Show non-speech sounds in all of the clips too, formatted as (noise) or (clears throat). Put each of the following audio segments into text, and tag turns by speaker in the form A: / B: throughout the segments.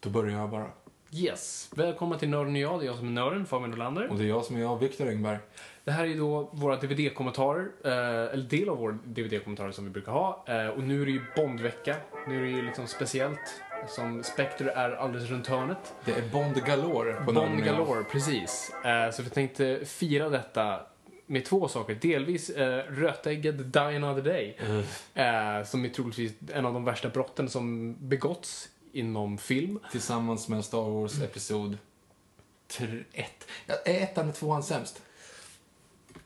A: Då börjar jag bara.
B: Yes, välkomna till Nörden och jag. Det är jag som är nörden, Fabian
A: Och
B: Olander.
A: det är jag som är jag, Viktor Engberg.
B: Det här är ju då våra DVD-kommentarer, eh, eller del av våra DVD-kommentarer som vi brukar ha. Eh, och nu är det ju Bondvecka. Nu är det ju liksom speciellt, som Spectre är alldeles runt hörnet.
A: Det är Bond Galore på Nörden
B: Bond
A: och jag.
B: galore, precis. Eh, så vi tänkte fira detta med två saker. Delvis eh, rötägget Die Another Day, eh, som är troligtvis en av de värsta brotten som begåtts inom film.
A: Tillsammans med Star Wars Episod 1. Ja, är ettan och tvåan sämst?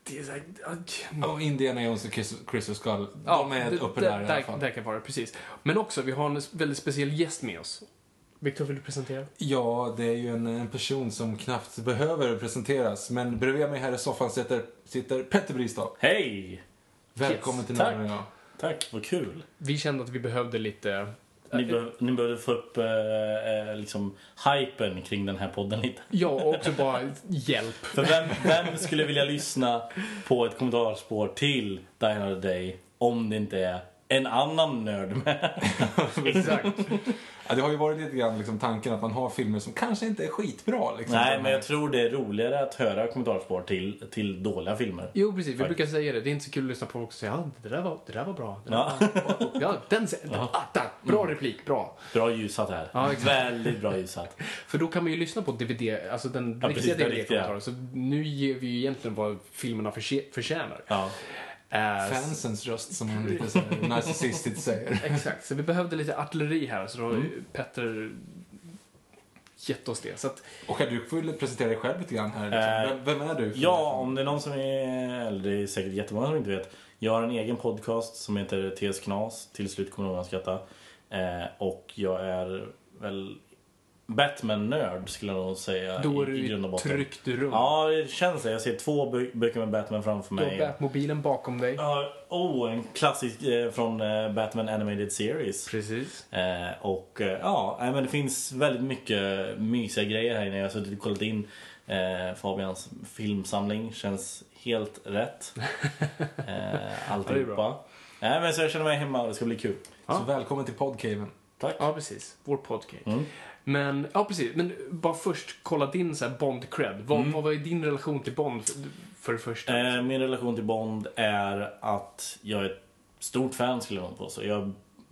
B: Det är så här,
A: Och Indiana Jones och Chris- Crystal Skull. de är
B: det-
A: uppe
B: det-
A: där i alla fall.
B: Där kan vara, precis. Men också, vi har en väldigt speciell gäst med oss. Viktor, vill du presentera?
A: Ja, det är ju en, en person som knappt behöver presenteras. Men bredvid mig här i soffan sitter, sitter Petter Bristav.
C: Hej!
A: Välkommen till
C: tack.
A: Nörden och jag.
C: Tack, vad kul.
B: Vi kände att vi behövde lite...
C: Ni, be- ni behövde få upp eh, eh, liksom hypen kring den här podden lite.
B: Ja, och också bara hjälp.
C: För vem, vem skulle vilja lyssna på ett kommentarspår till Die Another Day om det inte är en annan nörd med?
B: (laughs) Exakt.
A: Ja, det har ju varit lite grann liksom, tanken att man har filmer som kanske inte är skitbra. Liksom,
C: Nej, men jag tror det är roligare att höra kommentarspår till, till dåliga filmer.
B: Jo, precis. Vi
C: Tack.
B: brukar säga det. Det är inte så kul att lyssna på folk som säger ja, det där var, det där var bra. Det där
C: Ja.
B: var, ja, den, ja. Ah, tack. Bra replik, bra.
C: Bra ljusat här.
B: Ja, exakt.
C: Väldigt bra ljusat.
B: För då kan man ju lyssna på DVD, alltså den
C: Ja,
B: riktiga
C: precis, den
B: DVD-kommentaren. Så nu ger vi ju egentligen vad filmerna förtjä- förtjänar.
C: Ja.
B: Eh,
A: Fansens röst som man lite så här narcissistiskt säger.
B: Exakt, så vi behövde lite artilleri här så då har
C: Mm.
B: ju Petter gett oss det. Så att,
A: Och du får ju presentera dig själv lite grann här. Liksom.
C: Eh,
A: vem, vem är du?
C: Ja, om det är någon som är, eller det är säkert jättemånga som inte vet. Jag har en egen podcast som heter TS Knas, Till slut kommer någon att skratta. Eh, och jag är väl Batman-nörd skulle jag nog säga
B: då är
C: i, i grund och
B: du
C: botten.
B: tryckt rum.
C: Ja, det känns det. Jag ser två bö- böcker med Batman framför
B: du har
C: mig.
B: Batmobilen bakom dig.
C: Ja, oh, en klassisk eh, från eh, Batman Animated Series.
B: Precis.
C: Eh, och eh, ja, nej, men det finns väldigt mycket mysiga grejer här inne. Jag har suttit och kollat in eh, Fabians filmsamling. Känns helt rätt. Eh, alltihopa. Nej, men så jag känner mig hemma och det ska bli kul.
A: Så välkommen till Podcaven.
C: Tack.
B: Ja, precis. Vår podcast.
C: Mm.
B: Men, ja, precis. Men bara först kolla din så här Bond-cred. Vad, vad var din relation till Bond för, för det första?
C: Mm. Eh, min relation till Bond är att jag är ett stort fan skulle jag nog påstå. Jag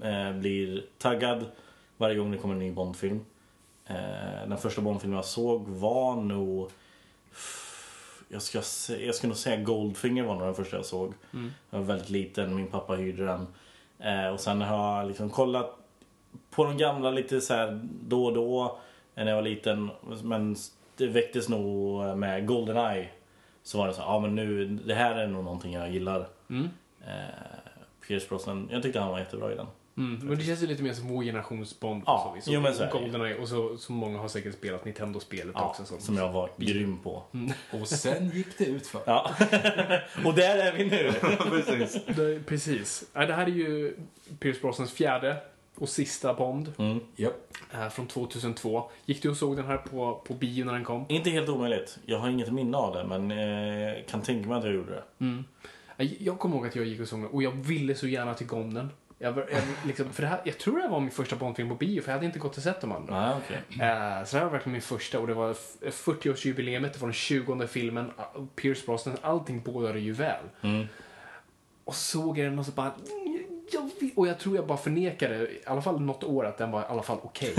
C: eh, blir taggad varje gång det kommer en ny Bond-film. Eh, den första Bond-filmen jag såg var nog... Jag ska, se, jag ska nog säga Goldfinger var nog den första jag såg. Jag var väldigt liten, min pappa hyrde den. Eh, och sen har jag liksom kollat på de gamla lite så här då och då eh, när jag var liten. Men det väcktes nog med Goldeneye. Så var det så här, ja men nu, det här är nog någonting jag gillar.
B: Mm.
C: Eh, Pierce Brosnan, jag tyckte han var jättebra i den.
B: Mm. Men det känns ju lite mer som vår generations Bond.
C: Ja,
B: och så, vis.
C: jo, men så är
B: och
C: det.
B: Goldeneye och så, så många har säkert spelat Nintendo-spelet
C: Ja,
B: också. Så.
C: som Mm. jag var grym på.
A: Och sen gick det ut för.
C: Ja. (laughs) och där är vi (laughs) nu!
A: precis.
B: Det, precis. Ja, Det här är ju Pierce Brosnans fjärde och sista Bond.
C: Mm.
A: Japp.
B: eh, från 2002. Gick du och såg den här på, på bio när den kom?
C: Inte helt omöjligt. Jag har inget minne av det men eh, kan tänka mig att jag gjorde det.
B: Jag- Jag kommer ihåg att jag gick och såg den och jag ville så gärna tycka om den. Jag, var- jag, liksom, för det här, jag tror det här var min första Bondfilm på bio för jag hade inte gått och sett de andra.
C: Nej, Ah, okej.
B: Eh, så det här var verkligen min första och det var f- eh, 40-årsjubileet, det var den 20 filmen, a- Pierce Brosnan, allting bådade ju väl. Och såg jag den och så bara... "Mm, Jag vill, och jag tror jag bara förnekade, i alla fall något år, att den var i alla fall okej.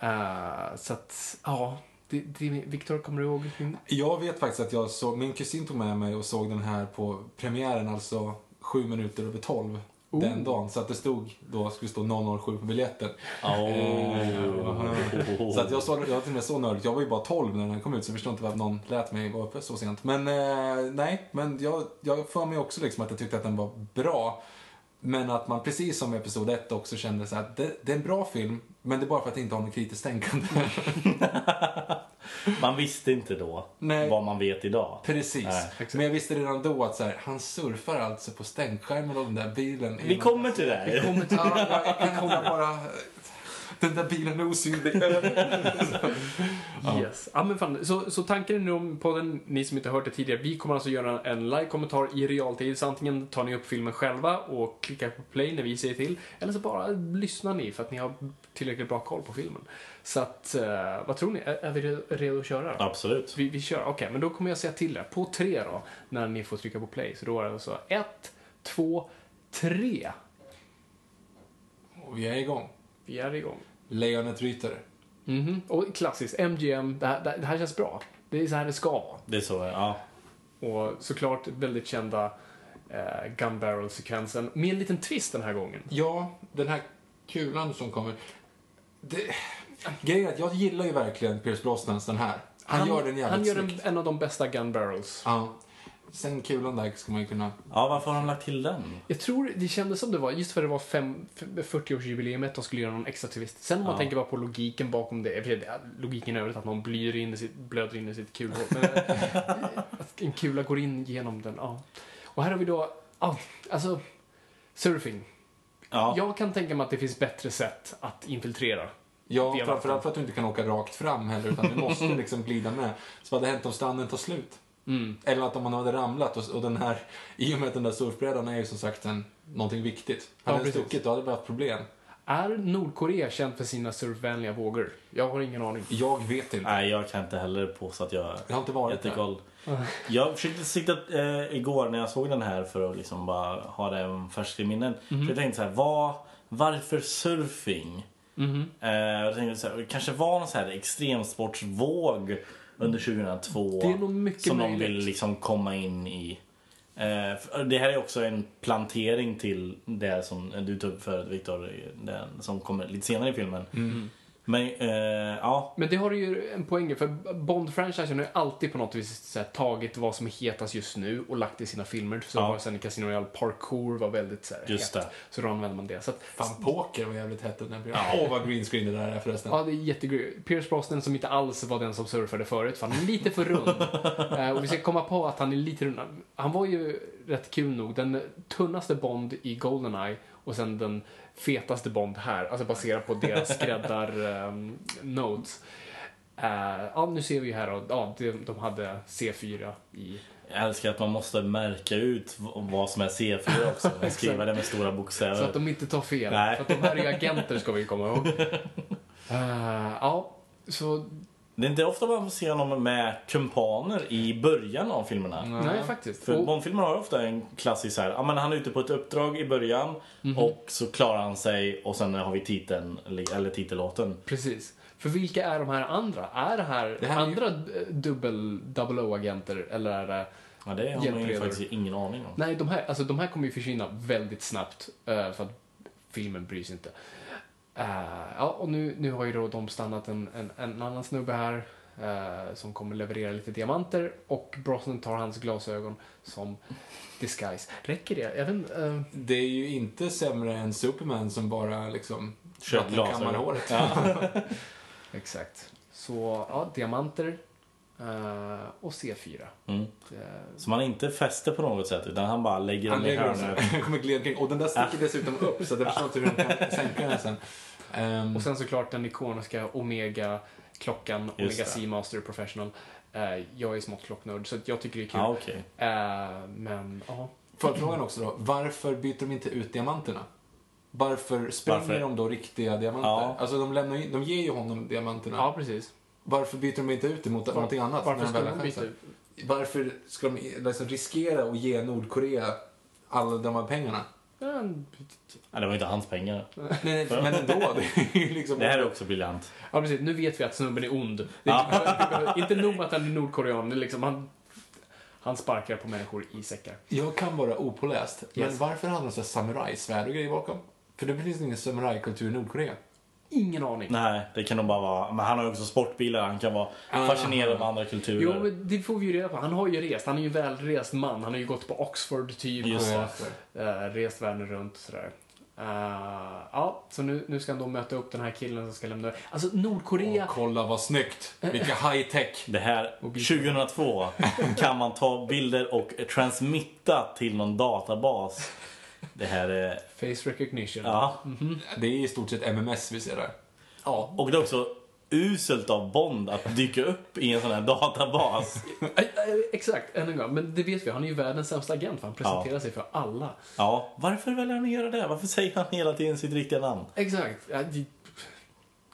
B: Eh, så att, ja. Det, det, Victor, kommer du ihåg? Din?
A: Jag vet faktiskt att jag såg, min kusin tog med mig och såg den här på premiären, alltså sju minuter över tolv.
C: Oh.
A: Den dagen, så att det stod då, skulle stå 007 på biljetten.
C: Åh.
A: Så att jag, såg, jag var till och med så nördigt, jag var ju bara 12 när den kom ut så jag förstår inte varför någon lät mig vara uppe så sent. Men eh, nej, men jag, jag för mig också liksom att jag tyckte att den var bra. Men att man precis som i Episod 1 också kände så här att det, det är en bra film, men det är bara för att jag inte har något kritiskt tänkande. (laughs)
C: Man visste inte då
A: Nej.
C: vad man vet idag.
A: Precis.
C: Nej,
A: men jag visste redan då att så här, han surfar alltså på stänkskärmen av den där bilen.
C: Vi kommer till det. här.
A: kommer till... Ja, jag- jag kan inte bara... Den där bilen är
C: (laughs)
A: osynlig.
B: Yes. Ja, men fan. Så, så tanken är nu om podden, ni som inte hört det tidigare, vi kommer alltså göra en live-kommentar i realtid. Så antingen tar ni upp filmen själva och klickar på play när vi säger till, eller så bara lyssnar ni för att ni har tillräckligt bra koll på filmen. Så att, eh, vad tror ni? Är, är vi re- redo att köra?
C: Absolut.
B: Vi, vi kör, okej, men då kommer jag säga till er. På tre då, när ni får trycka på play. Så då är det alltså ett, två, tre.
A: Och vi är igång.
B: Vi är igång.
A: Lejonet ryter.
B: Mhm. Och klassiskt, MGM, det här, det här känns bra. Det är så här det ska vara.
C: Det är så, ja.
B: Och såklart väldigt kända eh, gun barrel-sekvensen. Med en liten twist den här gången.
A: Ja, den här kulan som kommer. Det... Grejen är att jag gillar ju verkligen Pierce Brosnans den här. Han, gör den
B: han
A: jävligt
B: gör
A: snyggt.
B: en, en av de bästa gun barrels.
A: Ja. Sen kulan där ska man ju kunna...
C: Ja, varför har de lagt till den?
B: Jag tror det kändes som det var, just för det var fem- f- 40-årsjubileet, de skulle göra någon extra twist. Sen om man tänker bara på logiken bakom det, för det- logiken i övrigt att någon blyr in i sitt, blöder in i sitt kulhål. Men eh, att en kula går in genom den, ja. Och här har vi då, ja, alltså, surfing.
C: Ja,
B: Jag kan tänka mig att det finns bättre sätt att infiltrera.
A: Ja,
B: Via
A: framförallt för att du inte kan åka rakt fram heller, utan du
B: (laughs)
A: måste liksom glida med. Så vad hade hänt om stranden tar slut?
B: Mm.
A: Eller att om man hade ramlat och, och den här, i och med att den där surfbrädan är ju som sagt en, någonting viktigt. Hade
B: Ja,
A: den
B: precis.
A: stuckit, då hade vi haft problem.
B: Är Nordkorea känt för sina surfvänliga vågor? Jag har ingen aning.
A: Jag vet inte.
C: nej jag kan inte heller påstå att jag
A: Jag har inte varit där.
C: jättekoll. Jag försökte sitta eh, igår när jag såg den här för att liksom bara ha den färsk i minnen.
B: Mhm.
C: Så jag tänkte så här, vad, varför surfing?
B: Mhm.
C: Eh, jag tänkte så här, det kanske var någon så här extremsportsvåg under 2002.
B: Det är nog mycket
C: Som
B: möjligt.
C: de vill liksom komma in i. Eh, för det här är också en plantering till det som du tog upp förut Viktor, den som kommer lite senare i filmen.
B: Mhm.
C: Men eh, ja,
B: Men det har ju en poäng i, för Bond-franchisen har ju alltid på något vis så här, tagit vad som är hetast just nu och lagt det i sina filmer. Så
C: Ja.
B: var sen i Casino Royale, parkour var väldigt så här,
C: Just
B: hett.
C: det.
B: Så då använder man det. Så att,
A: Fan, poker var jävligt hett under den perioden. Åh, vad green screen det där är förresten.
B: Ja, det är jättegrymt. Pierce Brosnan som inte alls var den som surfade förut, för han är lite för
C: (laughs)
B: rund. Eh, och vi ska komma på att han är lite rund. Han var ju rätt kul nog, den tunnaste Bond i Goldeneye och sen den fetaste Bond här, alltså baserat på
C: (laughs)
B: deras skräddar-notes. Eh, ja, nu ser vi ju här då, ja, de, de hade C4 i...
C: jag älskar att man måste märka ut v- vad som är C4 också.
B: (laughs)
C: Men skriva det med stora bokstäver.
B: Så att de inte tar fel.
C: Nej.
B: För att de här är agenter, ska vi komma
C: (laughs)
B: ihåg. Eh, ja, så...
C: Det är inte ofta man får se honom med kumpaner i början av filmerna.
B: Nej, faktiskt.
C: För
B: Mm. Och-
C: Bondfilmer har ofta en klassisk så här, ja men han är ute på ett uppdrag i början
B: Mhm.
C: och så klarar han sig och sen har vi titeln, eller titellåten.
B: Precis. För vilka är de här andra? Är det här,
A: Det här är ju-
B: andra eh, dubbel double O-agenter eller är det...
C: Ja, det har man ju
B: Hjälpredor.
C: faktiskt ingen aning om.
B: Nej, de här, alltså, de här kommer ju försvinna väldigt snabbt eh, för att filmen bryr sig inte. Eh, ja, och nu, nu har ju då de stannat en, en, en annan snubbe här eh, som kommer leverera lite diamanter och Brosnan tar hans glasögon som disguise. Räcker det? Jag vet inte, eh,
A: Det är ju inte sämre än Superman som bara liksom...
C: Kör glasögon.
A: kammar håret. (laughs)
B: Exakt. Så, ja, diamanter eh, och Eh, C4.
C: Mm.
B: Det-
C: Så man inte fäster på något sätt utan han bara lägger
A: Han
C: dem i
A: lägger dem
C: hörnet.
A: så kommer glida omkring. Och (laughs) den där sticker dessutom upp, så att jag förstår inte hur de
C: (laughs)
A: kan sänka den sen. Ehm,
B: Och sen såklart den ikoniska Omega-klockan,
C: Just
B: Omega
C: det.
B: Seamaster Professional. Eh, jag är smått klocknörd, så att jag tycker det är kul.
C: Ja, Ah, okej.
B: Eh, men, ja.
A: Följdfrågan också då. Varför byter de inte ut diamanterna? Varför spränger
C: Varför?
A: de då riktiga diamanter?
C: Ja.
A: Alltså de, lämnar ju, de ger ju honom diamanterna.
B: ja, precis.
A: Varför byter de inte ut det mot någonting annat?
B: Varför
A: när
B: skulle
A: väl
B: de
A: har
B: byta
A: chansen?
B: ut?
A: Varför ska de liksom riskera att ge Nordkorea alla de här
C: (laughs)
A: pengarna?
B: Men-
C: Ja, det var ju inte hans pengar.
A: Nej, men ändå. Det är ju liksom...
C: Det här är också briljant.
B: Ja, precis. Nu vet vi att snubben är ond. Det är inte nog med att han är nordkorean, det är liksom han, han sparkar på människor i säckar.
A: Jag kan vara opåläst, men
B: Yes.
A: varför hade de så här samurajsvärd och grejer bakom? För det finns ingen samurajkultur i Nordkorea.
B: Ingen aning.
C: Nej, det kan nog bara vara. Men han har ju också sportbilar. Han kan vara fascinerad av andra kulturer.
B: Ah. Jo, men det får vi ju reda på. Han har ju rest. Han är ju en välrest man. Han har ju gått på Oxford typ.
C: Just det.
B: och, eh, rest världen runt och sådär. Eh, ja, så nu, nu ska han då möta upp den här killen som ska lämna Alltså Nordkorea.
A: Och kolla vad snyggt! Vilka high-tech!
C: Det här, 2002, kan man ta bilder och transmitta till någon databas. Det här är...
B: Face recognition.
C: Ja.
A: Det är i stort sett MMS vi ser där.
B: Ja.
C: Och det är också uselt av Bond att dyka upp i en sån här databas.
B: Eh, eh, Exakt, än en gång. Men det vet vi, han är ju världens sämsta agent för han presenterar sig för alla.
C: Ja, varför väljer han att göra det? Varför säger han hela tiden sitt riktiga namn?
B: Exakt. Ja, det...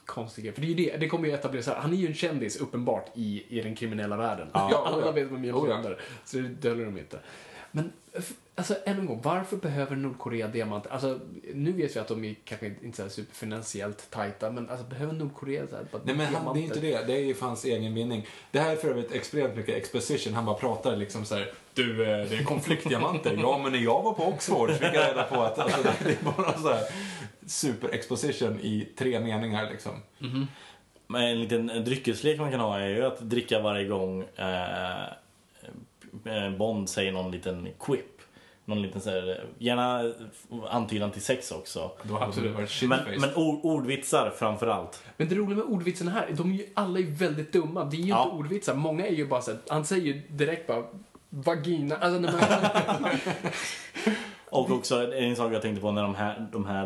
B: Konstig grej. För det är ju det, det kommer ju etablera sig. Han är ju en kändis uppenbart i, i den kriminella världen. (laughs)
A: Ja,
B: alla
A: oh ja.
B: vet vem James
A: Oh ja.
B: Bond är. Så det döljer de inte. Men f- alltså än en gång, varför behöver Nordkorea diamanter? Alltså nu vet vi att de är kanske inte så här superfinansiellt tajta, men alltså behöver Nordkorea så här, bara
A: Nej men han, det
B: diamanter?
A: är inte det, det är ju för hans egen vinning. Det här är för övrigt extremt mycket exposition, han bara pratar liksom så här. Du, eh, det är konfliktdiamanter. ja men när jag var på Oxford så fick jag reda på att alltså, det- det är bara så här super-exposition i tre meningar liksom.
C: Men en liten dryckeslek man kan ha är ju att dricka varje gång eh, eh, Bond säger någon liten quip. Någon liten så här, gärna antydan till sex också.
A: Då hade Absolut.
B: Absolut.
A: det varit
C: Men,
A: shitface.
C: men ord, ordvitsar framförallt.
B: Men det roliga med ordvitsarna här, de är ju, alla är ju väldigt dumma. Det är ju
C: Ja.
B: inte ordvitsar. Många är ju bara såhär, han säger ju direkt bara vagina. Alltså, när man,
C: Och också en sak jag tänkte på när de här, de här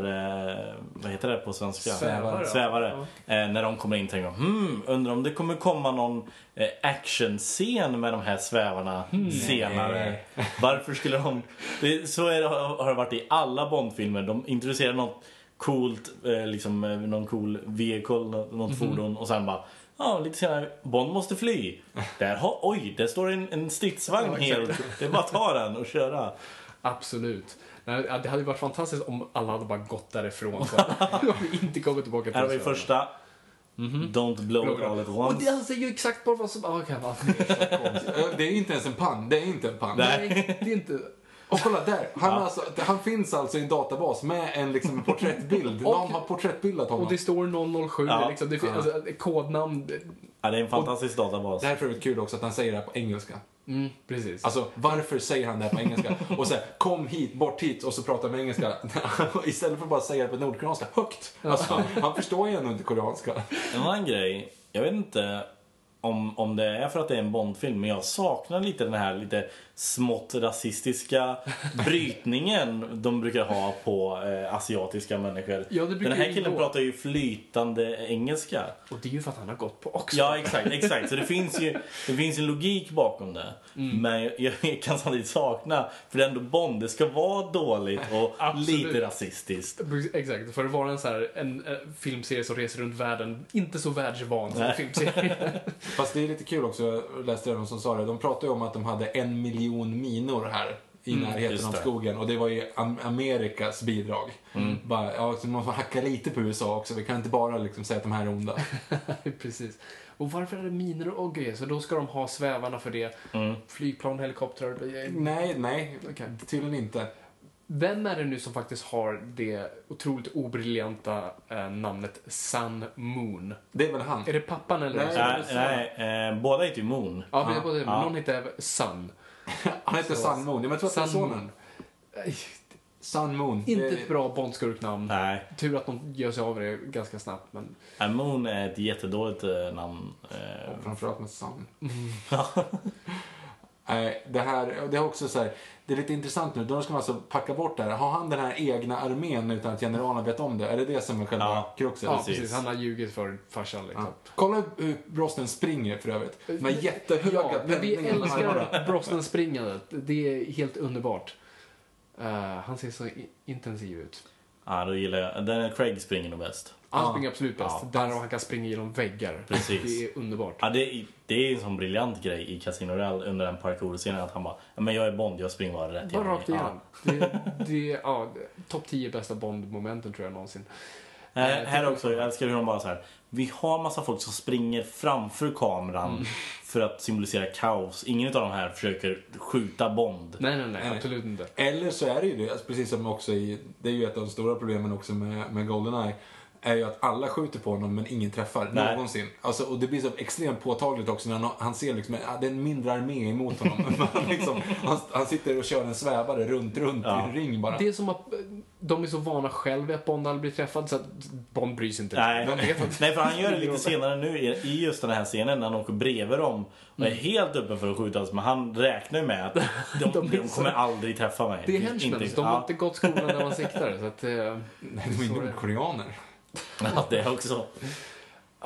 C: eh, vad heter det på svenska?
A: Svävare.
C: Svävare. Eh, när de kommer in tänker jag, hmm, undrar om det kommer komma någon eh, actionscen med de här svävarna senare.
A: Hmm. Nej.
C: Varför skulle de... Det, så är det, har det varit i alla Bondfilmer. De introducerar något coolt, eh, liksom eh, någon cool vehicle, nå- något
A: Mhm.
C: fordon och sen bara Ja, lite senare. Bond måste fly. Där har, oj, där står en, en stridsvagn helt. Det är bara att ta den och köra.
B: Absolut. Nej, ja, det hade ju varit fantastiskt om alla hade bara gått
C: (laughs)
B: därifrån. Så att vi inte kommer tillbaka till
C: Här har vi
B: det.
C: första.
B: Mhm.
C: Don't blow it all at
B: Och det
C: once.
B: han säger ju exakt bara vad som... Ah, okay, va.
A: Eh, Det är inte ens en pann, det är inte en pann.
C: (laughs) Nej.
B: Nej, det är inte...
A: Och kolla där, han, alltså, han finns alltså i en databas med en liksom,
B: (laughs)
A: porträttbild.
B: Och-
A: Någon har porträttbildat honom.
B: Och det står 007,
C: Ja.
B: det är liksom, det finns, alltså, det är kodnamn.
C: Ja, det är en fantastisk databas.
A: Det här är för övrigt kul också att han säger det här på engelska.
B: Mm, precis.
A: Alltså varför säger han det här på engelska? Och så här, kom hit, bort hit och så pratar han med engelska. (laughs) Istället för att bara säga det på nordkoreanska högt. Alltså, han förstår ju ändå inte koreanska.
C: En annan grej, jag vet inte om, om det är för att det är en Bondfilm, men jag saknar lite den här lite
B: (laughs)
C: smått rasistiska brytningen de brukar ha på eh, asiatiska människor.
B: Ja, det brukar
C: den här
B: ju
C: killen
B: gå.
C: pratar ju flytande engelska.
B: och det är ju för att han har gått på också.
C: Ja, exakt. exakt. Så det finns ju det finns en logik bakom det.
B: Mm.
C: Men jag, jag kan samtidigt sakna, för det är ändå Bond, det ska vara dåligt och
B: Absolut.
C: lite rasistiskt.
B: Exakt, för att vara en, så här, en eh, filmserie som reser runt världen, inte så världsvan som en
C: (laughs)
B: filmserie. (laughs)
A: Fast det är lite kul också, jag läste det någon som sa det. De pratade ju om att de hade en miljon minor här i
B: Mm,
A: närheten
C: just
A: av
C: det.
A: skogen. Och det var ju Am- Amerikas bidrag.
B: Mm.
A: Bara, ja, så man får hacka lite på USA också. Vi kan inte bara liksom säga att de här är
B: (laughs)
A: onda.
B: Precis. Och varför är det minor och grejer? Så då ska de ha svävarna för det.
C: Mm.
B: Flygplan, helikoptrar. eh,
A: nej, nej.
B: Okej.
A: Tydligen inte.
B: Vem är det nu som faktiskt har det otroligt obriljanta eh, namnet Sun Moon?
A: Det är väl han.
B: Är det pappan eller?
A: Nej.
C: Nej, nej eh, båda heter ju Moon.
B: Ja, vi är båda-
C: Ja.
B: Någon heter Sun.
A: Han heter Sun Moon. Ja, men Jag tror att det är
B: Sun
A: sonen.
B: Moon. Eh,
A: Sun Moon.
B: Inte
A: Det-
B: ett bra Bondskurknamn.
C: Nej,
B: Tur att de gör sig av det ganska snabbt. Men...
C: nej, Moon är ett jättedåligt eh, namn. Eh,
B: Mm. (laughs)
A: Framförallt med Sun. Nej, Nej, det här, och det är också så här, det är lite intressant nu. De ska alltså packa bort det här. Har han den här egna armén utan att generalerna vet om det? Är det det som är själva
C: Ja.
A: kruxet?
B: Ja,
C: precis.
B: precis. Han har ljugit för farsan liksom.
A: Ja. Kolla hur Brosnan springer för övrigt. De här jättehöga
B: Ja, men vi
A: penningarna med armarna.
B: älskar Brosnan springandet. Det är helt underbart. Eh, han ser så i- intensiv ut.
C: Ja, då gillar jag. Den Craig springer nog bäst.
B: Han
A: Ja.
B: springer absolut bäst.
C: Ja.
B: Där och han kan springa genom väggar.
C: Precis.
B: Det är underbart.
C: Ja, det, är- det är en sån briljant grej i Casino Royale under den parkour-scenen att han bara "Ja, men jag är Bond, jag springer bara rätt
B: Bara
C: igenom."
B: rakt igenom. Det, det, är- ja, Topp 10 bästa Bond-momenten tror jag någonsin.
C: Ja. Eh, här också, jag älskar hur de bara så här. Vi har massa folk som springer framför kameran
B: Mm.
C: för att symbolisera kaos. Ingen av de här försöker skjuta Bond.
B: Nej, nej,
A: nej.
B: nej. Absolut inte.
A: Eller så är det ju det, alltså precis som också i, det är ju ett av de stora problemen också med, med Goldeneye, är ju att alla skjuter på honom men ingen träffar
C: Nej.
A: någonsin. Alltså, och det blir så extremt påtagligt också när han, han ser liksom, ja, det är en mindre armé emot honom. (laughs) Men han, liksom, han, han sitter och kör en svävare runt, runt i
C: Ja.
A: en ring bara.
B: Det är som att eh, de är så vana själv vid att Bond aldrig blir träffad så att Bond bryr sig inte.
C: Nej.
B: De vet att
C: Nej, för han gör det lite senare nu i i just den här scenen när han åker bredvid dem och är
B: Mm.
C: helt öppen för att skjutas. Men han räknar
B: (laughs)
C: ju med att de, de, kommer aldrig träffa mig.
B: det är henchmans. De har inte gått skolan när man siktar. Så att, eh,
A: Nej, de
B: så
A: är
B: är det.
A: nordkoreaner.
C: (laughs) Ja, det också.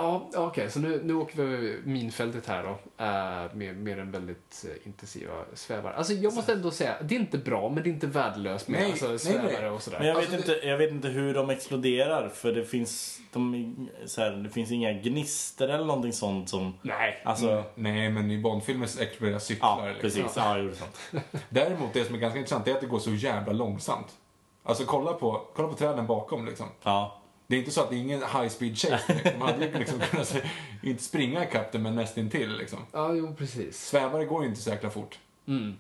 B: Ja, okej, så nu, nu åker vi över minfältet här då. eh, med, med den väldigt eh, intensiva svävaren. Alltså jag måste ändå säga, det är inte bra men det är inte värdelöst med
A: Nej,
B: alltså,
A: nej,
B: svävare
A: nej.
B: och sådär.
C: Men jag vet,
A: Alltså,
C: inte, jag vet inte hur de exploderar för det finns, de, är- så här, det finns inga gnister eller någonting sånt som...
B: Nej. Mm.
C: Alltså,
A: Nej, men i Bondfilmer exploderar cyklar.
C: ja
A: liksom.
C: precis. Ja, jag
B: (laughs)
C: gjorde sånt.
A: Däremot, det som är ganska intressant är att det går så jävla långsamt. Alltså kolla på, kolla på träden bakom liksom.
C: Ja.
A: Det är inte så att det är ingen high speed chase. Liksom. Man hade ju liksom (laughs) kunnat se, inte springa ikapp det, men nästintill. Liksom.
B: Ja, jo precis.
A: Svävare går ju inte så jäkla fort.
C: Nej,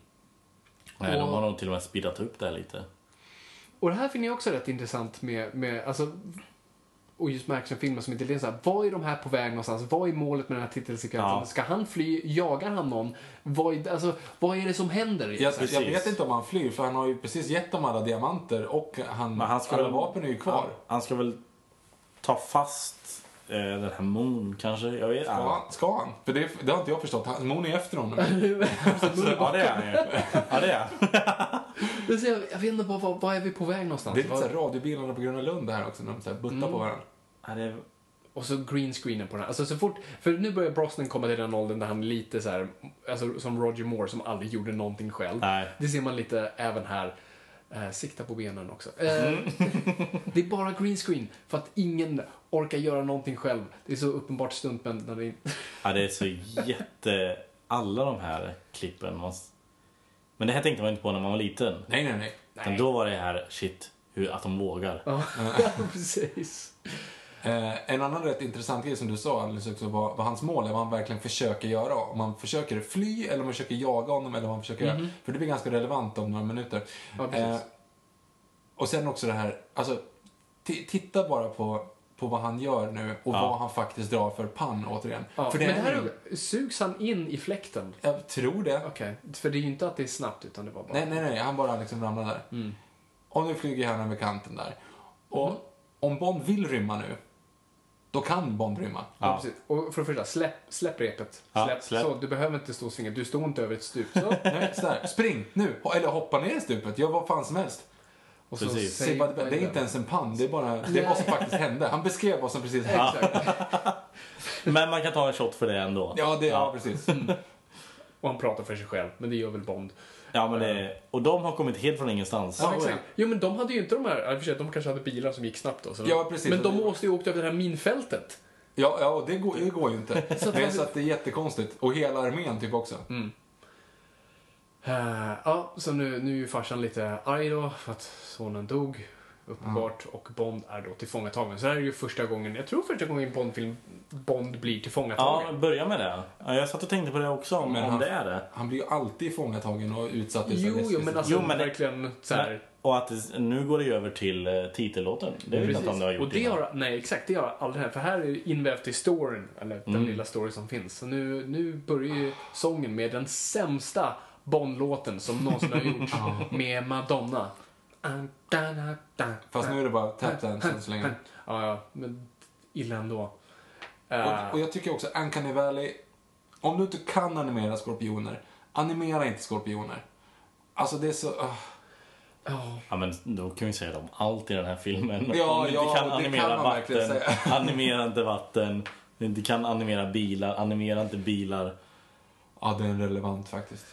C: de har nog till och med speedat upp det här lite.
B: Och det här finner jag också rätt intressant med, med alltså, och just med actionfilmer som inte är så här, vad är de här på väg någonstans? Vad är målet med den här titelsekvensen?
C: Ja.
B: Ska han fly? Jagar han någon? Vad är, alltså, vad är det som händer?
A: Jag,
C: Precis.
A: jag vet inte om han flyr, för han har ju precis gett dem alla diamanter och han,
C: Men han ska
A: alla
C: väl-
A: vapen är ju kvar.
C: Han, han ska väl ta fast eh, den här Moon kanske? Jag vet
A: Ska han? Ska han? För det, det har inte jag förstått. Han, Moon är efter
C: (laughs)
A: honom.
C: Ja, det är han ju. Ja, det är han.
B: Men så Jag, jag vet inte, bara, vad, vad är vi på väg någonstans?
A: Det är lite
B: Vad-
A: såhär radiobilarna på Gröna Lund det här också, när de så här buttar på
C: Mm.
A: varandra.
C: Ja, det är...
B: Och så greenscreenen på den här. Alltså så fort, för nu börjar Brosnan komma till den åldern där han är lite så här, alltså som Roger Moore som aldrig gjorde någonting själv.
C: Nej.
B: Det ser man lite även här. Eh, sikta på benen också. Eh, (laughs) det är bara greenscreen för att ingen orkar göra någonting själv. Det är så uppenbart stuntmän när det inte...
C: Ja, det är så jätte... Alla de här klippen. Man... Men det här tänkte man inte på när man var liten.
A: Nej, nej, nej.
C: Men då var det här, shit, hur, att de vågar.
B: (laughs) Ja, precis.
A: Eh, en annan rätt intressant grej som du sa alldeles också var vad hans mål är, vad han verkligen försöker göra. Om han försöker fly eller om han försöker jaga honom eller vad han försöker göra. För det blir ganska relevant om några minuter.
B: Mhm.
A: Eh,
B: Ja, precis.
A: och sen också det här, alltså ti- titta bara på, på vad han gör nu och
C: Ja.
A: vad han faktiskt drar för pann återigen.
B: Ja,
A: för det
B: men det
A: är
B: här
A: ju,
B: sugs han in i fläkten?
A: jag tror det.
B: Okej, för det är ju inte att det är snabbt utan det var bara...
A: Nej, nej, nej, han bara liksom ramlar där.
B: Mm.
A: Om du flyger här över kanten där. Och om Bond vill rymma nu, då kan Bond rymma.
B: Ja. precis. Och för det första, släpp, släpp repet.
C: Ja,
B: släpp.
C: släpp.
B: Så, du behöver inte stå och svinga. Du står inte över ett stup. Så.
A: Nej, sådär. Spring nu! Ho- Eller hoppa ner i stupet. Gör vad fan som helst.
B: Och så
C: Precis.
B: säg
A: Se vad-
B: vad
A: Det är inte ens en pann. Det är bara det är vad som faktiskt hände. Han beskrev vad som precis hände.
B: Exakt.
C: Men man kan ta en shot för det ändå.
A: Ja, det, ja precis.
B: (laughs) Mm. Och han pratar för sig själv, men det gör väl Bond.
C: Ja, men det... Och de har kommit helt från ingenstans.
A: Ja.
B: Exakt. Jo, men de hade ju inte de här... ja, i och för sig, De kanske hade bilar som gick snabbt då. Så
A: Ja, precis.
B: Men de måste ju ha åkt över det här minfältet.
A: Ja, ja och det går, det går ju inte.
B: Så Mm. att
A: Nej,
B: han-
A: så att det är jättekonstigt. Och hela armén typ också.
B: Eh, ja, så nu, nu är ju farsan lite arg då för att sonen dog. Uppenbart. Och Bond är då tillfångatagen. Så det här är ju första gången, jag tror första gången i en Bondfilm Bond blir
C: Ja,
B: tillfångatagen.
C: börja med det. Ja, jag satt och tänkte på det också, om,
A: Men
C: om
A: han-
C: det är det.
A: Han blir ju alltid fångatagen och utsatt i så här
B: Jo, jo,
A: läskiga
B: men alltså
C: Jo, men det-
B: verkligen så här.
C: Och att det, nu går det ju över till eh, titellåten. Det vet jag inte om det har gjort
B: och det
C: innan.
B: har, nej, exakt, det har aldrig hänt. För här är det invävt i storyn, eller
C: Mm.
B: den lilla story som finns. Så nu, nu börjar ju sången med den sämsta Bond-låten som någonsin har
A: (laughs)
B: gjorts. med Madonna.
A: Fast nu är det bara tap dance än så länge.
B: Ja, ja, men illa ändå.
A: Och, och jag tycker också Uncanny Valley. Om du inte kan animera skorpioner, Animera inte skorpioner. Alltså det är så... ah.
B: Ja.
C: Ja, men då kan vi säga det om allt i den här filmen.
A: Ja,
C: om du
A: ja,
C: inte kan
A: det
C: animera
A: kan man verkligen
C: vatten, animera inte vatten. Du inte kan animera bilar, animera inte bilar.
A: Ja, det är relevant faktiskt.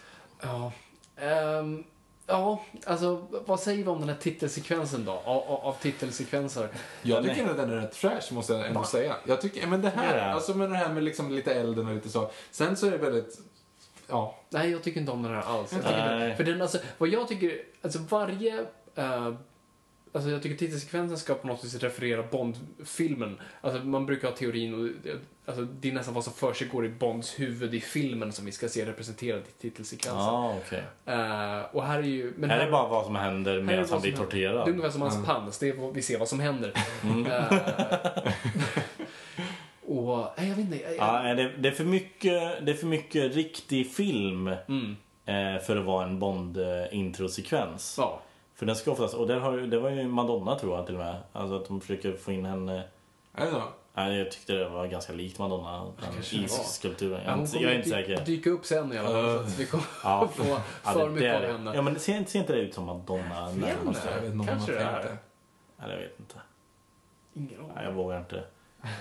B: Ja. Ehm, ja, alltså vad säger vi om den här titelsekvensen då? Av, av, av titelsekvenser.
A: Jag
C: Nej.
A: tycker att den är rätt fresh måste jag ändå säga. Jag tycker, men det här,
C: Ja, ja.
A: alltså med det här med liksom lite elden och lite så. Sen så är det väldigt, ja,
B: Nej, jag tycker inte om den här alls. Jag tycker
C: Nej.
B: inte- För den, alltså, vad jag tycker, alltså varje... eh, alltså jag tycker titelsekvensen ska på något vis referera Bond-filmen. Alltså man brukar ha teorin och eh, alltså, det är nästan vad som försiggår i Bonds huvud i filmen som vi ska se representerat i
C: Ja,
B: titelsekvensen.
C: Ah, okej.
B: Eh, och här är ju... Men
C: Här är bara vad som händer
B: här är
C: medan
B: vad som
C: han blir
B: händer. Det
C: torterad. Mm.
B: är ungefär som hans pans, det är vad, vi ser vad som händer. Eh, (laughs) och, nej, jag vet inte. Jag,
C: Ja, nej, det, det, är för mycket, det är för mycket riktig film eh, för att vara en Bond-introsekvens.
B: ja.
C: För den ska oftast, och där har, ju- det var ju Madonna tror jag till och med. Alltså att de försöker få in henne.
A: är det så?
C: Nej, jag tyckte det var ganska likt Madonna.
B: kanske det
C: Den
B: var.
C: isskulpturen. Jag,
B: Ja,
C: är
B: hon
C: inte-
B: kommer
C: jag är inte
B: dy-
C: säker.
B: dyka upp sen i alla fall. så att vi kommer
C: Ja.
B: (laughs) få
C: Ja,
B: för
C: det-
B: mycket
C: det
B: av
C: är det.
B: henne.
C: Ja, men ser, ser inte det ut som Madonna? när
B: vet
C: hon
B: inte.
C: ser-
A: Jag vet inte om man
B: Kanske det
A: tänkte.
B: är.
C: Nej, jag vet inte.
B: Ingen aning.
C: Nej, jag vågar inte.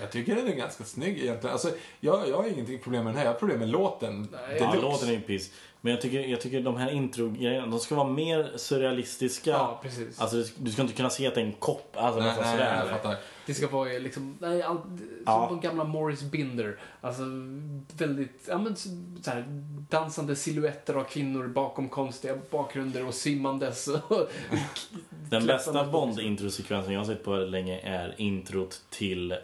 A: Jag tycker den är ganska snygg egentligen. Alltså, jag, jag har inget problem med den här, jag har problem med låten.
B: Nej.
C: Ja,
A: Deluxe.
C: låten är ju piss. Men jag tycker, jag tycker de här introgrejerna, de ska vara mer surrealistiska.
B: Ja, precis.
C: Alltså, du- du ska inte kunna se att det är en kopp. Alltså,
A: Nej,
C: nästan
A: nej,
C: sådär.
A: nej, jag fattar.
B: Det ska vara ju liksom, nej, all, som
C: Ja.
B: de gamla Morris Binder. Alltså väldigt, ja men så så här, dansande silhuetter av kvinnor bakom konstiga bakgrunder och simmandes.
C: (laughs)
B: och-
C: Den bästa
B: Klättrande
C: Bond-introsekvensen jag har sett på väldigt länge är introt till... Eh,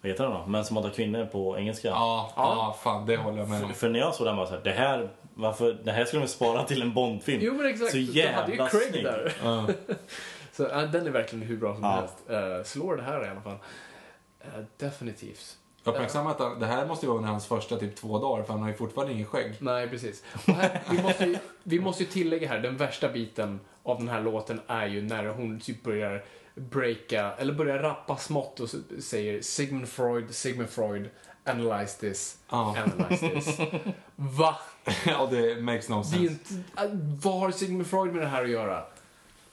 C: vad heter den då? Män som hatar kvinnor på engelska.
A: Ja, ja, fan det håller jag med om.
C: För när jag såg den var jag såhär, det här, varför, det här skulle vi spara till en Bond-film.
B: Jo men exakt,
C: Så
B: du hade ju
C: jävla
B: Craig
C: snygg.
B: där.
A: Ja.
B: (laughs) Så ja, den är verkligen hur bra som
C: Ja.
B: helst. Eh, slår det här i alla fall. Eh, definitivt.
A: Uppmärksamma att han- det här måste ju vara under hans första typ två dagar, för han har ju fortfarande ingen skägg. (laughs)
B: Nej, precis. Och här, vi, måste ju, vi måste ju tillägga här, den värsta biten av den här låten är ju när hon typ börjar breaka, eller börjar rappa smått och s- säger Sigmund Freud, Sigmund Freud, analyze this,
A: Ja.
B: analyze this. Va?
A: ja, det makes no
B: Det är
A: sense.
B: inte, äh, vad har Sigmund Freud med det här att göra?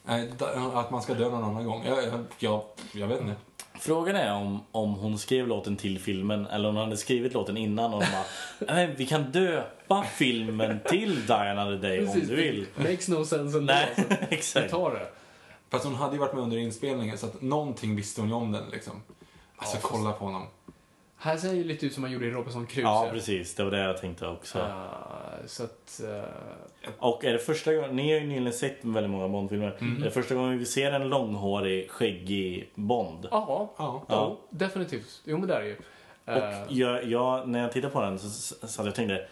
A: Nej, da- Att man ska dö någon annan gång. Jag, jag, jag, jag vet inte.
C: Frågan är om, om hon skrev låten till filmen eller om hon hade skrivit låten innan och de bara, "Nej, vi kan döpa filmen till Diana the Day om du vill.
B: Makes no sense ändå.
C: Nej,
B: alltså. Vi
C: (laughs) exakt.
B: tar det.
A: Fast hon hade ju varit med under inspelningen så att någonting visste hon ju om den liksom. Alltså kolla på honom.
B: Här ser det ju lite ut som man gjorde i Robinson Crusoe.
C: Ja, precis. Det var det jag tänkte också.
B: Eh, så att... eh,
C: Och är det första gången, ni har ju nyligen sett väldigt många Bondfilmer. Är det första gången vi ser en långhårig, skäggig Bond?
B: Ja,
A: Ja.
B: ja. definitivt. Jo, men det är det ju. Eh,
C: Och jag, jag, när jag tittar på den så, så, så jag tänkte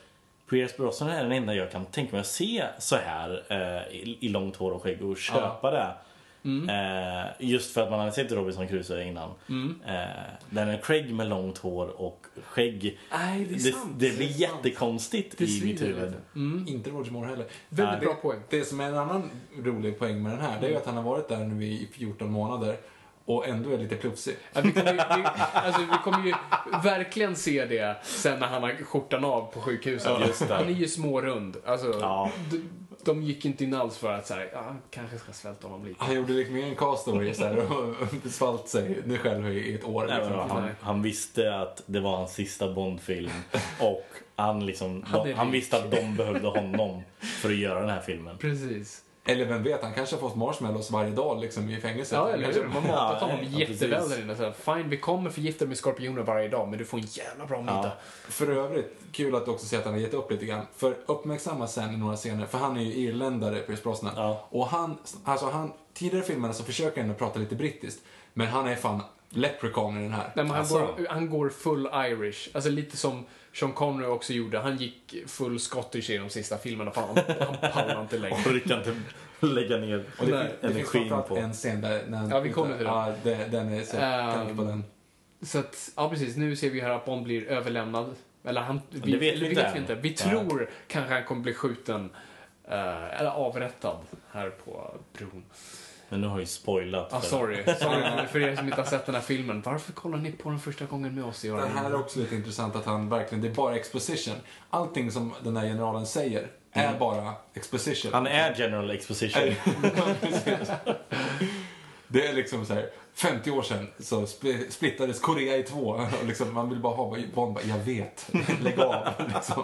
C: Pierce Brosnan är den enda jag kan tänka mig att se så här eh, i, i långt hår och skägg och köpa det.
B: Mm.
C: Eh, just för att man hade sett Robinson Crusoe innan.
B: Mm.
C: Eh, den är Craig med långt hår och skägg.
B: Nej, Äh, det är
C: det,
B: sant.
C: det blir
A: Det är sant.
C: jättekonstigt
B: Det
C: i mitt
B: svider
C: huvud.
B: lite. Mm.
A: Inte Roger Moore heller.
B: Väldigt
A: Nej.
B: bra poäng. Mm.
A: Det som är en annan rolig poäng med den här, det är ju att han har varit där nu i 14 månader och ändå är lite plufsig.
B: Ja, vi, kommer ju, vi, alltså, vi kommer ju verkligen se det sen när han har skjortan av på sjukhuset.
C: Ja, just det.
B: Han är ju smårund. Alltså,
C: Ja.
B: de, de gick inte in alls för att så här, ja, han kanske ska svälta honom lite.
A: Han gjorde liksom ingen castaway så här, och (laughs) svalt sig nu själv i i ett år.
C: Nej, men
A: liksom.
C: han, han visste att det var hans
B: (laughs)
C: sista Bondfilm och han, liksom,
B: Han är
C: de, han
B: rik.
C: visste att de behövde honom för att göra den här filmen.
B: Precis.
A: Eller vem vet, han kanske har fått marshmallows varje dag liksom, i fängelset.
B: Ja, eller hur? Man matat
C: Ja,
B: honom
C: ja,
B: jätteväl
C: precis.
B: där inne. Så här, Fine, vi kommer förgifta dig med skorpioner varje dag, men du får en jävla bra middag.
A: För övrigt, kul att du också ser att han har gett upp lite grann. För uppmärksamma sen i några scener, för han är ju irländare, Pierce Brosnan.
C: Ja.
A: Och han, alltså han, tidigare i filmerna så försöker han ändå prata lite brittiskt. Men han är fan leprechaun i den här.
B: Nej, men han,
C: Alltså.
B: går, han går full Irish. Alltså lite som Sean Connery också gjorde. Han gick full Scottish i de sista filmerna. Fan, han pallar inte
C: (laughs)
B: längre.
C: orkar inte lägga ner
A: Och det, fin- det finns
C: energin
A: framförallt
C: på.
A: en scen där... När han,
B: Ja, vi kommer till den.
A: ja, det. Den är så,
B: Ehm,
A: tanke på den.
B: Så att, ja precis. Nu ser vi här att Bond blir överlämnad. Eller han, vi,
C: det vet vi
B: eller
C: inte
B: vet vi
C: än.
B: inte. Vi
C: Nej.
B: tror kanske han kommer bli skjuten. eh, eller avrättad här på bron.
C: Men nu har jag ju spoilat.
B: Ah,
C: för-
B: sorry. sorry för er som inte har sett den här filmen. Varför kollar ni på den första gången med oss i
A: Det här är
B: öronen?
A: också lite intressant att han verkligen, det är bara exposition. Allting som den här generalen säger är bara exposition.
C: Mm. Han (laughs) är general exposition.
A: Det är liksom så här, 50 år sedan så spl- splittades Korea i två. Och liksom, man vill bara ha, Bond bara, jag vet, lägg av. Liksom.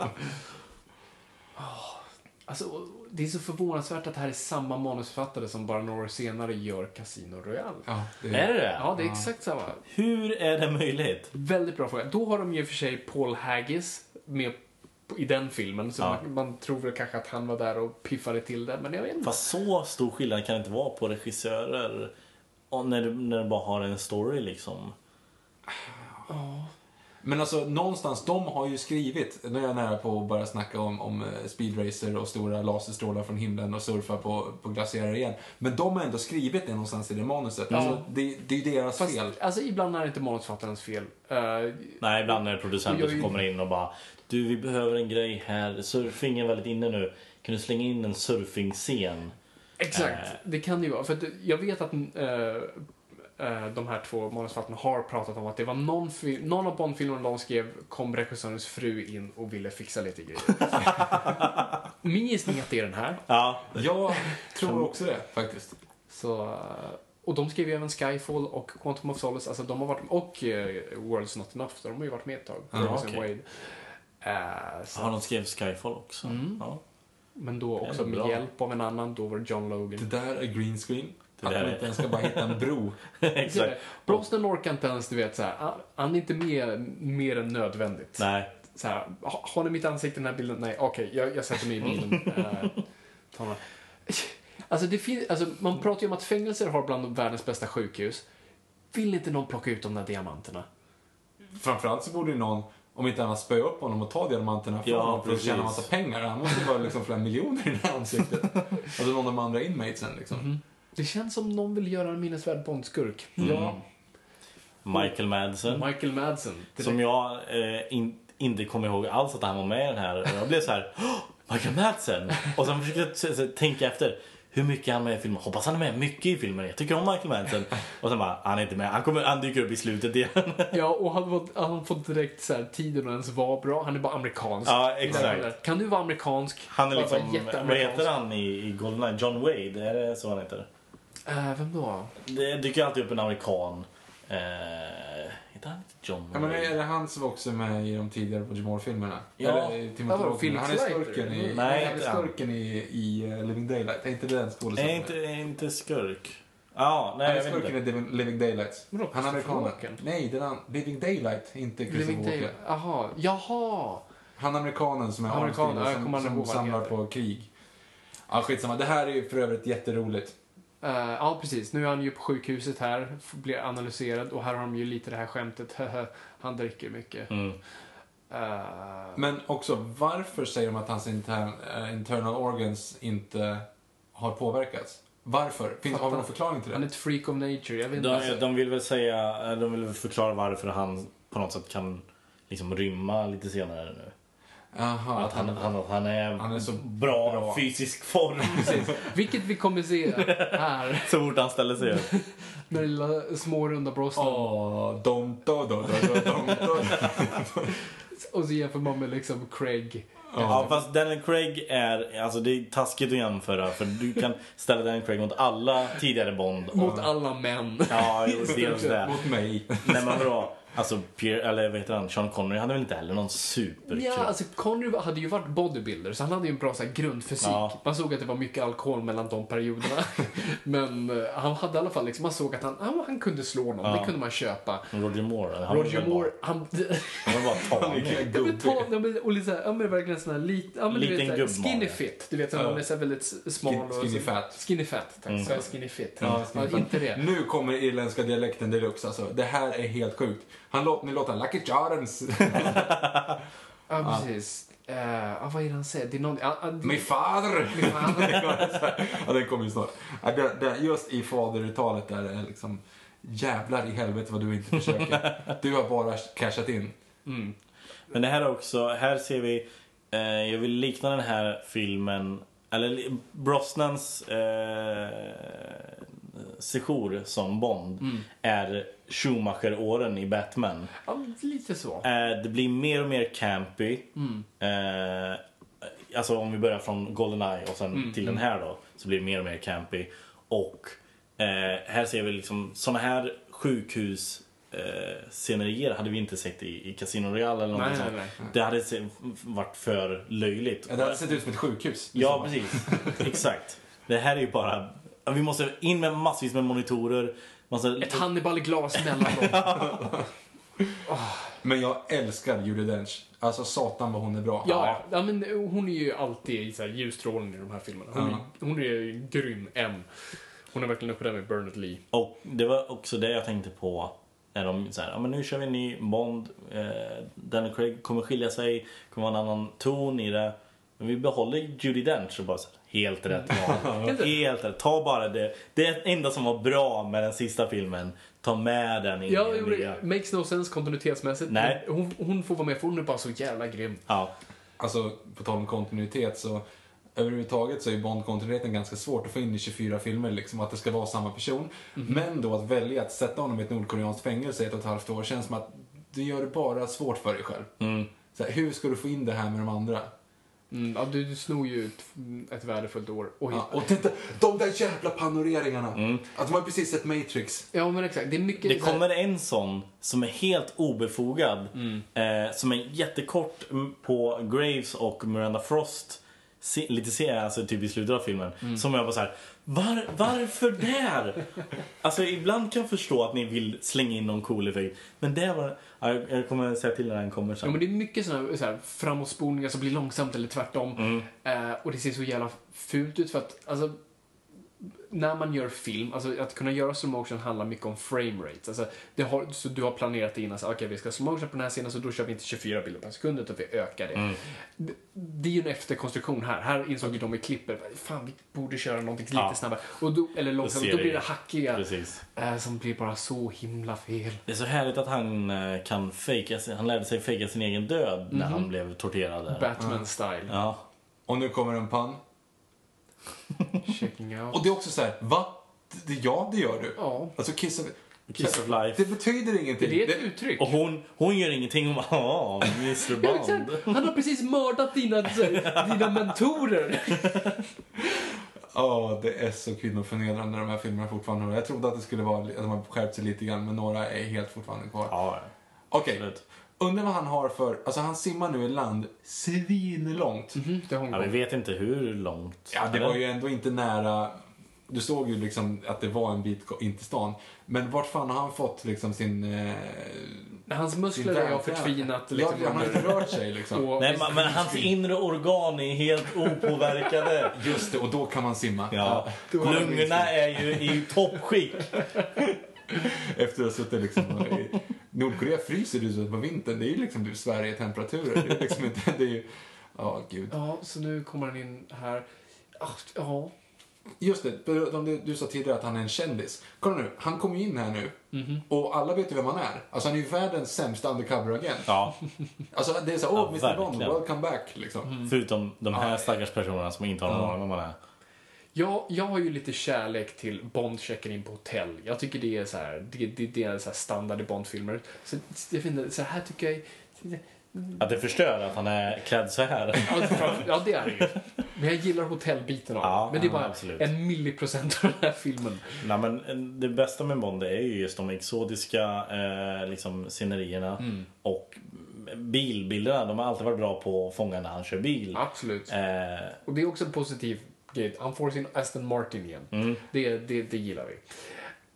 B: Alltså, det är så förvånansvärt att det här är samma manusförfattare som bara några år senare gör Casino Royale.
A: Ja, det
C: Är det det?
B: Ja, det är exakt samma.
C: Hur är det möjligt?
B: Väldigt bra fråga. Då har de ju i och för sig Paul Haggis med på- i den filmen. Så
C: Ja.
B: man, man tror väl kanske att han var där och piffade till det, men jag vet inte.
C: Fast så stor skillnad kan det inte vara på regissörer. Om när, du, när du bara har en story liksom.
A: Men alltså någonstans, de har ju skrivit, nu är jag nära på att börja snacka om, om eh, speedracer och stora laserstrålar från himlen och surfa på, på glaciärer igen. Men de har ändå skrivit det någonstans i det manuset. Alltså, det, det är ju deras
B: Fast,
A: fel.
B: alltså, ibland är det inte manusförfattarens fel. Eh,
C: Nej, ibland är det
B: Och jag
C: producenter
B: är
C: som
B: ju-
C: kommer in och bara Du, vi behöver en grej här. Surfing är väldigt inne nu. Kan du slänga in en surfingscen?
B: Exakt,
C: Eh.
B: det kan det ju vara. För att jag vet att eh, eh, de här två manusförfattarna har pratat om att det var någon, fi- någon av Bondfilmerna de skrev kom regissörens fru in och ville fixa lite
C: (laughs)
B: grejer. Min gissning är att det är den här.
C: Ja.
A: Jag tror också det, faktiskt.
B: Så, eh, och de skrev ju även Skyfall och Quantum of Solace, alltså de har varit och eh, World's Not Enough, de har ju varit med ett tag.
C: Ja,
B: Jason
C: okej.
B: Wade. Eh, så,
C: Har de skrivit Skyfall också? Ja. (laughs)
B: men då också
C: Ändå
B: med
C: bra.
B: hjälp av en annan, då var det John Logan.
A: Det där är green screen.
C: Det
A: att
C: där
A: man
C: är-
A: inte ens ska bara hitta en bro.
C: Exakt.
B: Brosnan orkar inte ens, du vet, så här, han- han är inte med mer än nödvändigt.
C: Nej.
B: Så här, ha- har ni mitt ansikte i den här bilden? Nej, okej, jag, jag sätter mig i
C: (laughs)
B: bilen. Eh, ta den. alltså, det fin- alltså, man pratar ju om att fängelser har bland världens bästa sjukhus. Vill inte någon plocka ut de där diamanterna?
A: Framförallt så borde ju någon, om inte annat, spöa upp honom och ta diamanterna från
C: Ja,
A: honom för att
C: precis.
A: tjäna massa pengar. Han måste ju vara liksom flera miljoner i det här
C: (laughs)
A: ansiktet. Alltså någon av de andra inmatesen liksom.
B: Det känns som någon vill göra en minnesvärd Bondskurk. Ja,
C: Mm. Michael Madsen.
B: Michael Madsen.
C: Som jag eh, in, inte kommer ihåg alls att han var med i den här. Och Jag blev så här. "Åh, Michael Madsen! Och sen försökte jag t- t- tänka efter. Hur mycket är han med i filmen? Hoppas han är med mycket i filmen. Jag tycker om Michael Madsen. Och sen bara, han är inte med. Han, kommer, han dyker upp i slutet igen. (laughs)
B: Ja, och han fått, han fått direkt så här, tiden att ens vara bra. Han är bara amerikansk.
C: Ja, exakt.
B: Kan du vara amerikansk?
C: Han är
B: Bara
C: liksom,
B: vara
C: vad
B: jätteamerikansk.
C: heter han i, i Goldeneye? John Wade, är det så han heter?
B: Eh, vem då?
C: Det dyker alltid upp en amerikan. Eh, heter han inte John
A: Ja,
C: Wade?
A: men är det han som också är med i de tidigare Roger Moore-filmerna?
C: Ja.
A: Eller i Timothy
B: Ja, vadå,
A: Dalton? Han är
B: Felix Leiter?
A: skurken i,
C: Nej,
A: han är
C: inte han.
A: skurken i, i eh, Living Daylight. Är inte det den skådespelaren?
C: är inte, är inte skurk? Ja, nej
A: Han
C: jag
A: är
C: vet
A: skurken i
C: inte.
A: Living- Living Daylight.
B: Vadå,
A: Han är amerikanen.
B: Christopher Walken?
A: Nej, den an- Living Daylight, inte Christopher
B: Living Day.
A: Walken.
B: Jaha. Jaha!
A: Han är amerikanen som är
B: Amerikanen, ja, jag
A: avskriven
B: kommer
A: som,
B: aldrig
A: som
B: ihåg vad han
A: samlar
B: heter.
A: på krig. Ja, skitsamma. Det här är ju för övrigt jätteroligt.
B: Eh, ja, precis. Nu är han ju på sjukhuset här, f- blir analyserad och här har de ju lite det här skämtet. (laughs) han dricker mycket.
C: Mm.
B: Eh,
A: Men också, varför säger de att hans intern, eh, internal organs inte har påverkats? Varför? Finns, har vi någon förklaring till
B: han är
A: det?
B: ett freak of nature. Jag vet inte.
C: De, de vill väl säga, eh, de vill väl förklara varför han på något sätt kan liksom rymma lite senare nu.
A: Jaha,
C: Att han, han, att han är,
A: Han är så
C: bra,
A: bra.
C: fysisk form
B: Vilket vi kommer se här.
C: så fort han ställer sig upp.
B: Med den lilla små runda Brosnan.
A: Åh, dom, do, do, do, do, dom,
C: (laughs)
A: do.
B: Och så jämför man med liksom Craig.
C: Ja, fast Daniel Craig är, alltså det är taskigt att jämföra för du kan ställa Daniel Craig mot alla tidigare Bond. Och,
B: Mot alla män.
C: ja, jo, dels det.
A: (laughs) Mot mig.
C: Nej men vadå? Alltså Pierre, eller vad heter han? Sean Connery hade väl inte heller någon superkropp?
B: Ja, alltså Connery hade ju varit bodybuilder så han hade ju en bra så här, grundfysik.
C: Ja.
B: Man såg att det var mycket alkohol mellan de
C: (laughs)
B: perioderna. Men eh, han hade i alla fall liksom, man såg att han, han, han kunde slå någon, det kunde man köpa.
C: Roger Moore, Mm. han var
B: Roger
C: väl bara-
B: Moore, han... (laughs)
C: Han
A: (laughs)
C: var bara tanig.
B: Ja, men ta, ja, men, och lite såhär, ja men verkligen sån här lit, ja, men, du
C: Liten
B: vet, så här,
C: gubbmage.
B: skinny fit. Du vet såhär, man är såhär väldigt s- smal
A: Skin-
B: och...
A: skinny
B: så-
A: fat.
B: Skinny fat, tack.
C: Mm.
B: Så jag är skinny fit.
A: Ja,
B: Ja,
A: skinny fat.
B: inte det.
A: Nu kommer irländska dialekten deluxe alltså. Det här är helt sjukt. Han låter, ni låter Lucky Charms. (laughs)
B: Ja, precis. Eh, Ja, vad är det han säger? Det är någon... ja, ja, det-
A: Min fader! (laughs)
B: Min fader.
A: ja, den kommer ju snart. Ja, det, det, just i faderuttalet där är liksom jävlar i helvete vad du inte försöker.
C: (laughs)
A: Du har bara cashat in.
C: Men det här är också, här ser vi, eh, jag vill likna den här filmen, eller li- Brosnans eh, sejour som Bond är Schumacher-åren i Batman.
B: (laughs) Ja, lite så.
C: Eh, Det blir mer och mer campy. Eh, alltså om vi börjar från Goldeneye och sen
B: Mm,
C: till den här då. Så blir det mer och mer campy. Och eh, här ser vi liksom sådana här sjukhus eh, scenerier hade vi inte sett i, i Casino Royale eller någonting
B: Nej,
C: sånt.
B: nej,
C: Det hade se- varit för löjligt.
A: Ja, det hade sett ut som ett sjukhus. liksom.
C: Ja, precis. Exakt. Det här är ju bara... Vi måste in med massvis med monitorer. Massa...
B: Ett Hannibal-glas mellan (laughs) dem.
A: Men jag älskar Judi Dench. Alltså satan vad hon är bra.
B: Ja, ja, men eh, hon är ju alltid i så här ljusstrålen i de här filmerna. Hon,
A: Ja.
B: hon är grym, M. Hon är verkligen uppe där med Bernard Lee.
C: Och det var också det jag tänkte på när de så här, ja men nu kör vi en ny Bond. Eh, Daniel Craig kommer skilja sig, kommer vara en annan ton i det. Men vi behåller Judi Dench och bara så här, helt rätt
B: (laughs)
C: val. helt rätt. Ta bara det. Det enda som var bra med den sista filmen, ta med den in
B: Ja,
C: i den
B: jo,
C: nya.
B: det makes no sense kontinuitetsmässigt.
C: Nej.
B: men Hon, hon får vara med för hon är bara så jävla grym.
C: Ja,
A: Alltså, på tal om kontinuitet så överhuvudtaget så är Bond-kontinuiteten ganska svårt att få in i 24 filmer, liksom att det ska vara samma person.
C: Mhm.
A: Men då att välja att sätta honom i ett nordkoreanskt fängelse i ett och ett halvt år känns som att du gör det bara svårt för dig själv.
C: Mm.
A: Så här, hur ska du få in det här med de andra?
B: Mm, ja, du, du snor ju ett, ett värdefullt år. Och,
A: Ja,
B: ja.
A: och titta, de där jävla panoreringarna!
C: Mm.
A: Att de har precis sett Matrix.
B: men exakt. Det är mycket...
C: Det
B: så här-
C: kommer en sån som är helt obefogad. Eh, som är jättekort m- på Graves och Miranda Frost. Se, lite senare, alltså typ i slutet av filmen. Som jag bara så här. Var, varför där? alltså ibland kan jag förstå att ni vill slänga in någon cool effekt. Men det var... Ja, jag- jag kommer säga till när den kommer sen.
B: Ja, men det är mycket sådana så här, framåtspolningar som blir långsamt eller tvärtom.
C: Mm.
B: Eh, och det ser så jävla fult ut för att, alltså, när man gör film, alltså att kunna göra slow motion handlar mycket om frame rates. Alltså, det har, så du har planerat innan, så, okej vi ska slow motion på den här scenen så då kör vi inte 24 bilder per sekund utan vi ökar det.
C: Mm.
B: Det, det är ju en efterkonstruktion här. Här insåg ju de i klippet, fan vi borde köra någonting lite
C: Ja.
B: snabbare. Och då, eller långsamt,
C: ser
B: då
C: det
B: blir
C: ju.
B: det hackiga
C: Precis.
B: eh, som blir bara så himla fel.
C: Det är så härligt att han eh, kan fejka sin, Han lärde sig fejka sin egen död när
B: Mhm.
C: han blev torterad. där.
B: Batman-style.
C: Ja.
A: Och nu kommer en pan.
B: Checking out.
A: Och det är också så här, va? Det, ja, det gör du.
B: Ja.
A: Alltså, kiss of...
C: Kiss of life.
A: Det betyder ingenting.
B: Det är ett uttryck.
C: Och hon, hon gör ingenting. (laughs) Hon bara, ja, Mr
B: Ja,
C: Bond.
B: exakt. Han har precis mördat dina, dina mentorer.
A: Ja, det är så kvinnoförnedrande de här filmerna fortfarande. Jag trodde att det skulle vara att de har skärpt sig lite grann, men några är helt fortfarande kvar.
C: Ja,
A: Okej,
C: absolut.
A: undrar vad han har för... Alltså han simmar nu i land svinlångt.
B: Det har hon
C: ja, vi
B: gått.
C: vet inte hur långt.
A: Ja, det
C: Eller?
A: var ju ändå inte nära... Du såg ju liksom att det var en bit ko- in till stan. Men vart fan har han fått liksom sin... Eh,
B: Hans
A: sin
B: muskler har
A: värld-
B: förtvinat.
A: Ja,
B: Liksom,
A: ja, han har inte
B: under-
A: rört sig
B: (laughs)
A: liksom.
B: och-
C: Nej, men, men hans inre organ är
A: (laughs)
C: helt opåverkade.
A: Just det, och då kan man simma.
C: Ja.
B: Det var-
C: Lungorna är ju i toppskick.
A: (laughs) Efter att ha suttit liksom i Nordkorea fryser det ju på vintern. Det är ju liksom typ Sverige-temperaturer. Det är liksom inte... Det är ju... Ja, gud.
B: Ja, så nu kommer han in här. Ah, Ja,
A: Just det, de- de- du sa tidigare att han är en kändis. Kolla nu, han kom ju in här nu. Och alla vet ju vem han är. Alltså han är ju världens sämsta undercover-agent.
C: Ja,
A: Alltså det är så åh,
C: Ja,
A: Mr Bond,
C: verkligen. Mm.
A: welcome back, liksom.
C: förutom de här stackars personerna som inte har någon aning om vad det är.
B: jag, jag har ju lite kärlek till Bond checkar in på hotell. Jag tycker det är så här, det, det, det är så här standard i Bondfilmer. Så jag finner, så här tycker jag är-
C: Att det förstör att han är klädd så här.
B: Ja, framför- ja, det är det ju. Men jag gillar hotellbiten av det.
C: Ja,
B: Men det är
C: ja,
B: bara
C: absolut.
B: en milliprocent av den här filmen.
C: Nej, men eh, det bästa med Bond är ju just de exotiska eh, liksom, scenerierna
A: Mm.
C: och bilbilderna. De har alltid varit bra på att fånga när han kör bil.
B: Absolut.
C: Eh,
B: Och det är också en positiv grej. Han får sin Aston Martin igen. Det, det, det gillar vi.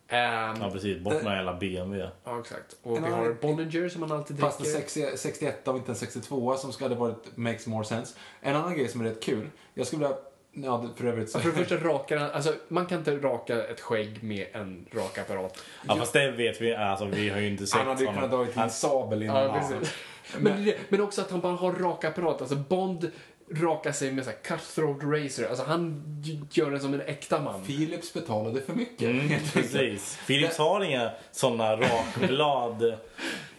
B: Ehm,
C: ja,
B: ja.
C: precis. Bort med hela BMW.
B: exakt. Och
A: En
B: vi
A: annan-
B: har Bollinger som han alltid
A: Fast en
B: dricker.
A: 60, 61 och inte en 62 som skulle ha varit makes more sense. En annan grej som är rätt kul. Jag skulle vilja... Ja, det- för övrigt så...
B: Ja, För det första rakar han, alltså man kan inte raka ett skägg med en rakapparat.
C: Ja fast det vet vi, alltså vi har ju inte sett
A: Han hade ju kunnat
C: honom.
A: dra en sabel innan.
B: Ja, precis. Men, det- men också att han bara har rakapparat. Alltså Bond rakar sig med så här cutthroat razor. Alltså han gör det som en äkta man.
A: Philips betalade för mycket. (laughs)
C: Mm,
A: helt enkelt.
C: precis. Philips har inga sådana rakblad.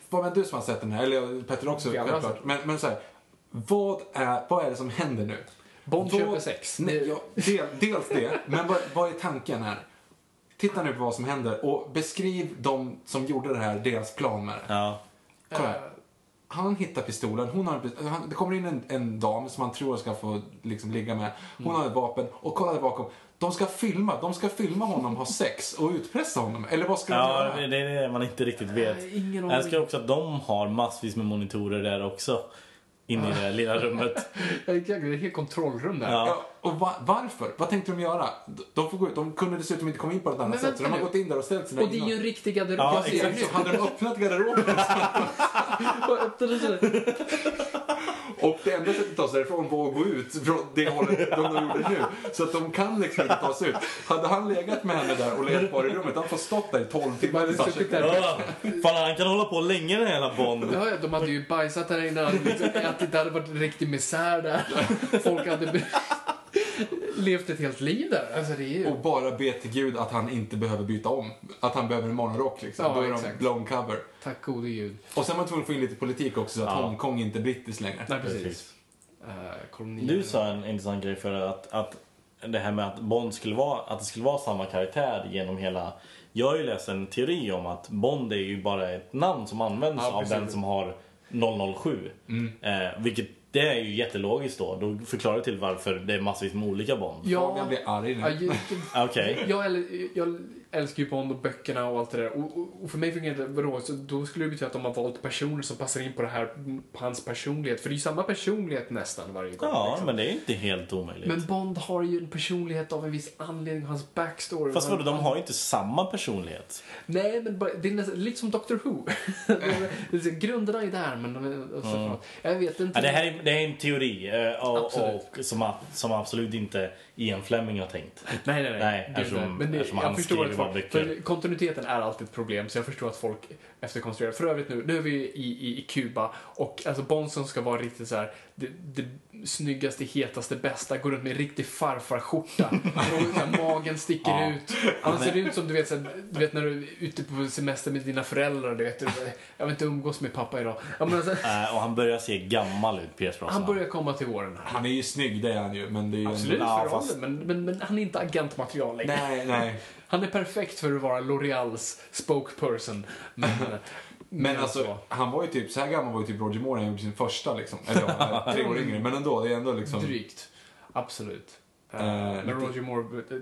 A: Vad men du som har sett den här, eller Petter också
B: Vi alla har
A: självklart.
B: sett
A: Men, men så här, vad är, vad är det som händer nu?
B: Bond
A: vad,
B: köper sex.
A: Nej, ja, del, dels det, men vad, vad är tanken här? titta nu på vad som händer och beskriv de som gjorde det här, deras plan med det.
C: Ja.
A: Kolla här. Han hittar pistolen, hon har, en pist- han, det kommer in en, en dam som han tror ska få liksom, ligga med. Hon
C: Mm.
A: har ett vapen och kollar bakom. De ska filma, de ska filma honom ha sex och utpressa honom. Eller vad ska de
C: ja,
A: göra?
C: det är det man inte riktigt vet.
B: Nej, ingen
C: Jag älskar
B: aning.
C: också att de har massvis med monitorer där också. Inne i det här lilla
A: (laughs)
C: rummet.
B: Ja, exakt. Det är ett helt kontrollrum där.
C: Ja.
A: Ja, och va, varför? Vad tänkte de göra? De- De, får gå ut. de kunde dessutom inte komma in på något annat
B: Men
A: sätt. Så de
B: vänta
A: har
B: nu.
A: gått in där och ställt sig där
B: Och det är ju en
A: innan.
B: riktig garderob.
C: Ja,
B: jag ser
A: Exakt, så hade de öppnat
B: (laughs)
A: garderoben
B: det nu.
A: och det enda sättet att ta sig därifrån var att gå ut från det hållet de gjorde nu. Så att de kan liksom inte ta sig ut. Hade han legat med henne där och legat kvar i rummet, han får stått där i 12 timmar.
B: hade
A: Bara,
B: suttit där.
C: Ja, fan, han kan hålla på länge den här jävla Bond.
B: Ja, ja, de hade ju bajsat där inne. Liksom, att det hade varit en riktig misär där. Folk hade be- levt ett helt liv där. Alltså, det är ju...
A: Och bara be till gud att han inte behöver byta om. Att han behöver en morgonrock liksom.
B: Ja,
A: Då är de
B: exakt.
A: blown cover.
B: Tack gode gud.
A: Och sen var man tvungen att få in lite politik också så att
C: Ja.
A: Hongkong inte är brittiskt längre.
B: Nej,
C: precis.
B: precis. Eh, kolonier.
C: Du sa en intressant grej för att, att det här med att Bond skulle vara, att det skulle vara samma karaktär genom hela... Jag har ju läst en teori om att Bond är ju bara ett namn som används
B: Ja,
C: av
B: precis. Mm.
C: den som har 007. Eh, vilket det är ju jättelogiskt då. Då förklarar det till varför det är massvis med olika Bond.
A: Fabian
B: Ja,
A: blir arg
B: ja
A: nu.
B: ju-
C: Okej.
B: jag, äl- jag älskar ju Bond och böckerna och allt det där. Och, och, och för mig fungerar det vadå? Så då skulle det betyda att de har valt personer som passar in på det här, på hans personlighet. För det är ju samma personlighet nästan varje gång.
C: Ja,
B: liksom.
C: men det är inte helt omöjligt.
B: Men Bond har ju en personlighet av en viss anledning, hans backstory.
C: Fast
B: Han-
C: vadå, de har ju inte samma personlighet.
B: Nej, men bara, det är nästan, lite som Doctor
C: (laughs)
B: Who. Det är så, Grunderna är där, men... de är- och så framåt. Jag vet inte.
C: Mm. Ja, det, här är, det här är en teori eh, och,
B: Absolut.
C: och, som, a- som absolut inte Ian Fleming har tänkt.
B: Nej, nej, nej.
C: Nej,
B: Gud,
C: eftersom-
B: nej. men det,
C: eftersom han
B: jag förstår
C: skriver
B: att
C: bara
B: folk,
C: böcker.
B: för kontinuiteten är alltid ett problem, så jag förstår att folk efterkonstruerar. För övrigt nu, nu är vi i, i, i Kuba och alltså Bonson ska vara riktigt så här det, det snyggaste, hetaste, bästa, går runt med en riktig farfarskjorta. Och så här, magen sticker
C: Ja.
B: ut. Han ser ut som du vet, så här, du vet när du är ute på semester med dina föräldrar, du vet. du bara, Jag vill inte umgås med pappa idag. Ja, men alltså,
C: Eh, och han börjar se gammal ut, Pierce Brosnan.
B: han börjar komma till åren här.
A: Han är ju snygg, det är han ju. Men det är ju
B: Absolut,
A: En...
C: Ja,
B: för
C: fast-
B: rollen, men, men, men han är inte agentmaterial längre.
A: Nej, nej.
B: Han är perfekt för att vara L'Oreals spokesperson. (laughs) Men,
A: (laughs) Men alltså, han var ju typ, så här gammal var ju typ Roger Moore när han gjorde sin första liksom. Eller ja, han (laughs) är tre år yngre. Men ändå, det är ändå liksom...
B: Drygt. Absolut. Eh,
A: Eh,
B: men
A: lite-
B: Roger Moore eh,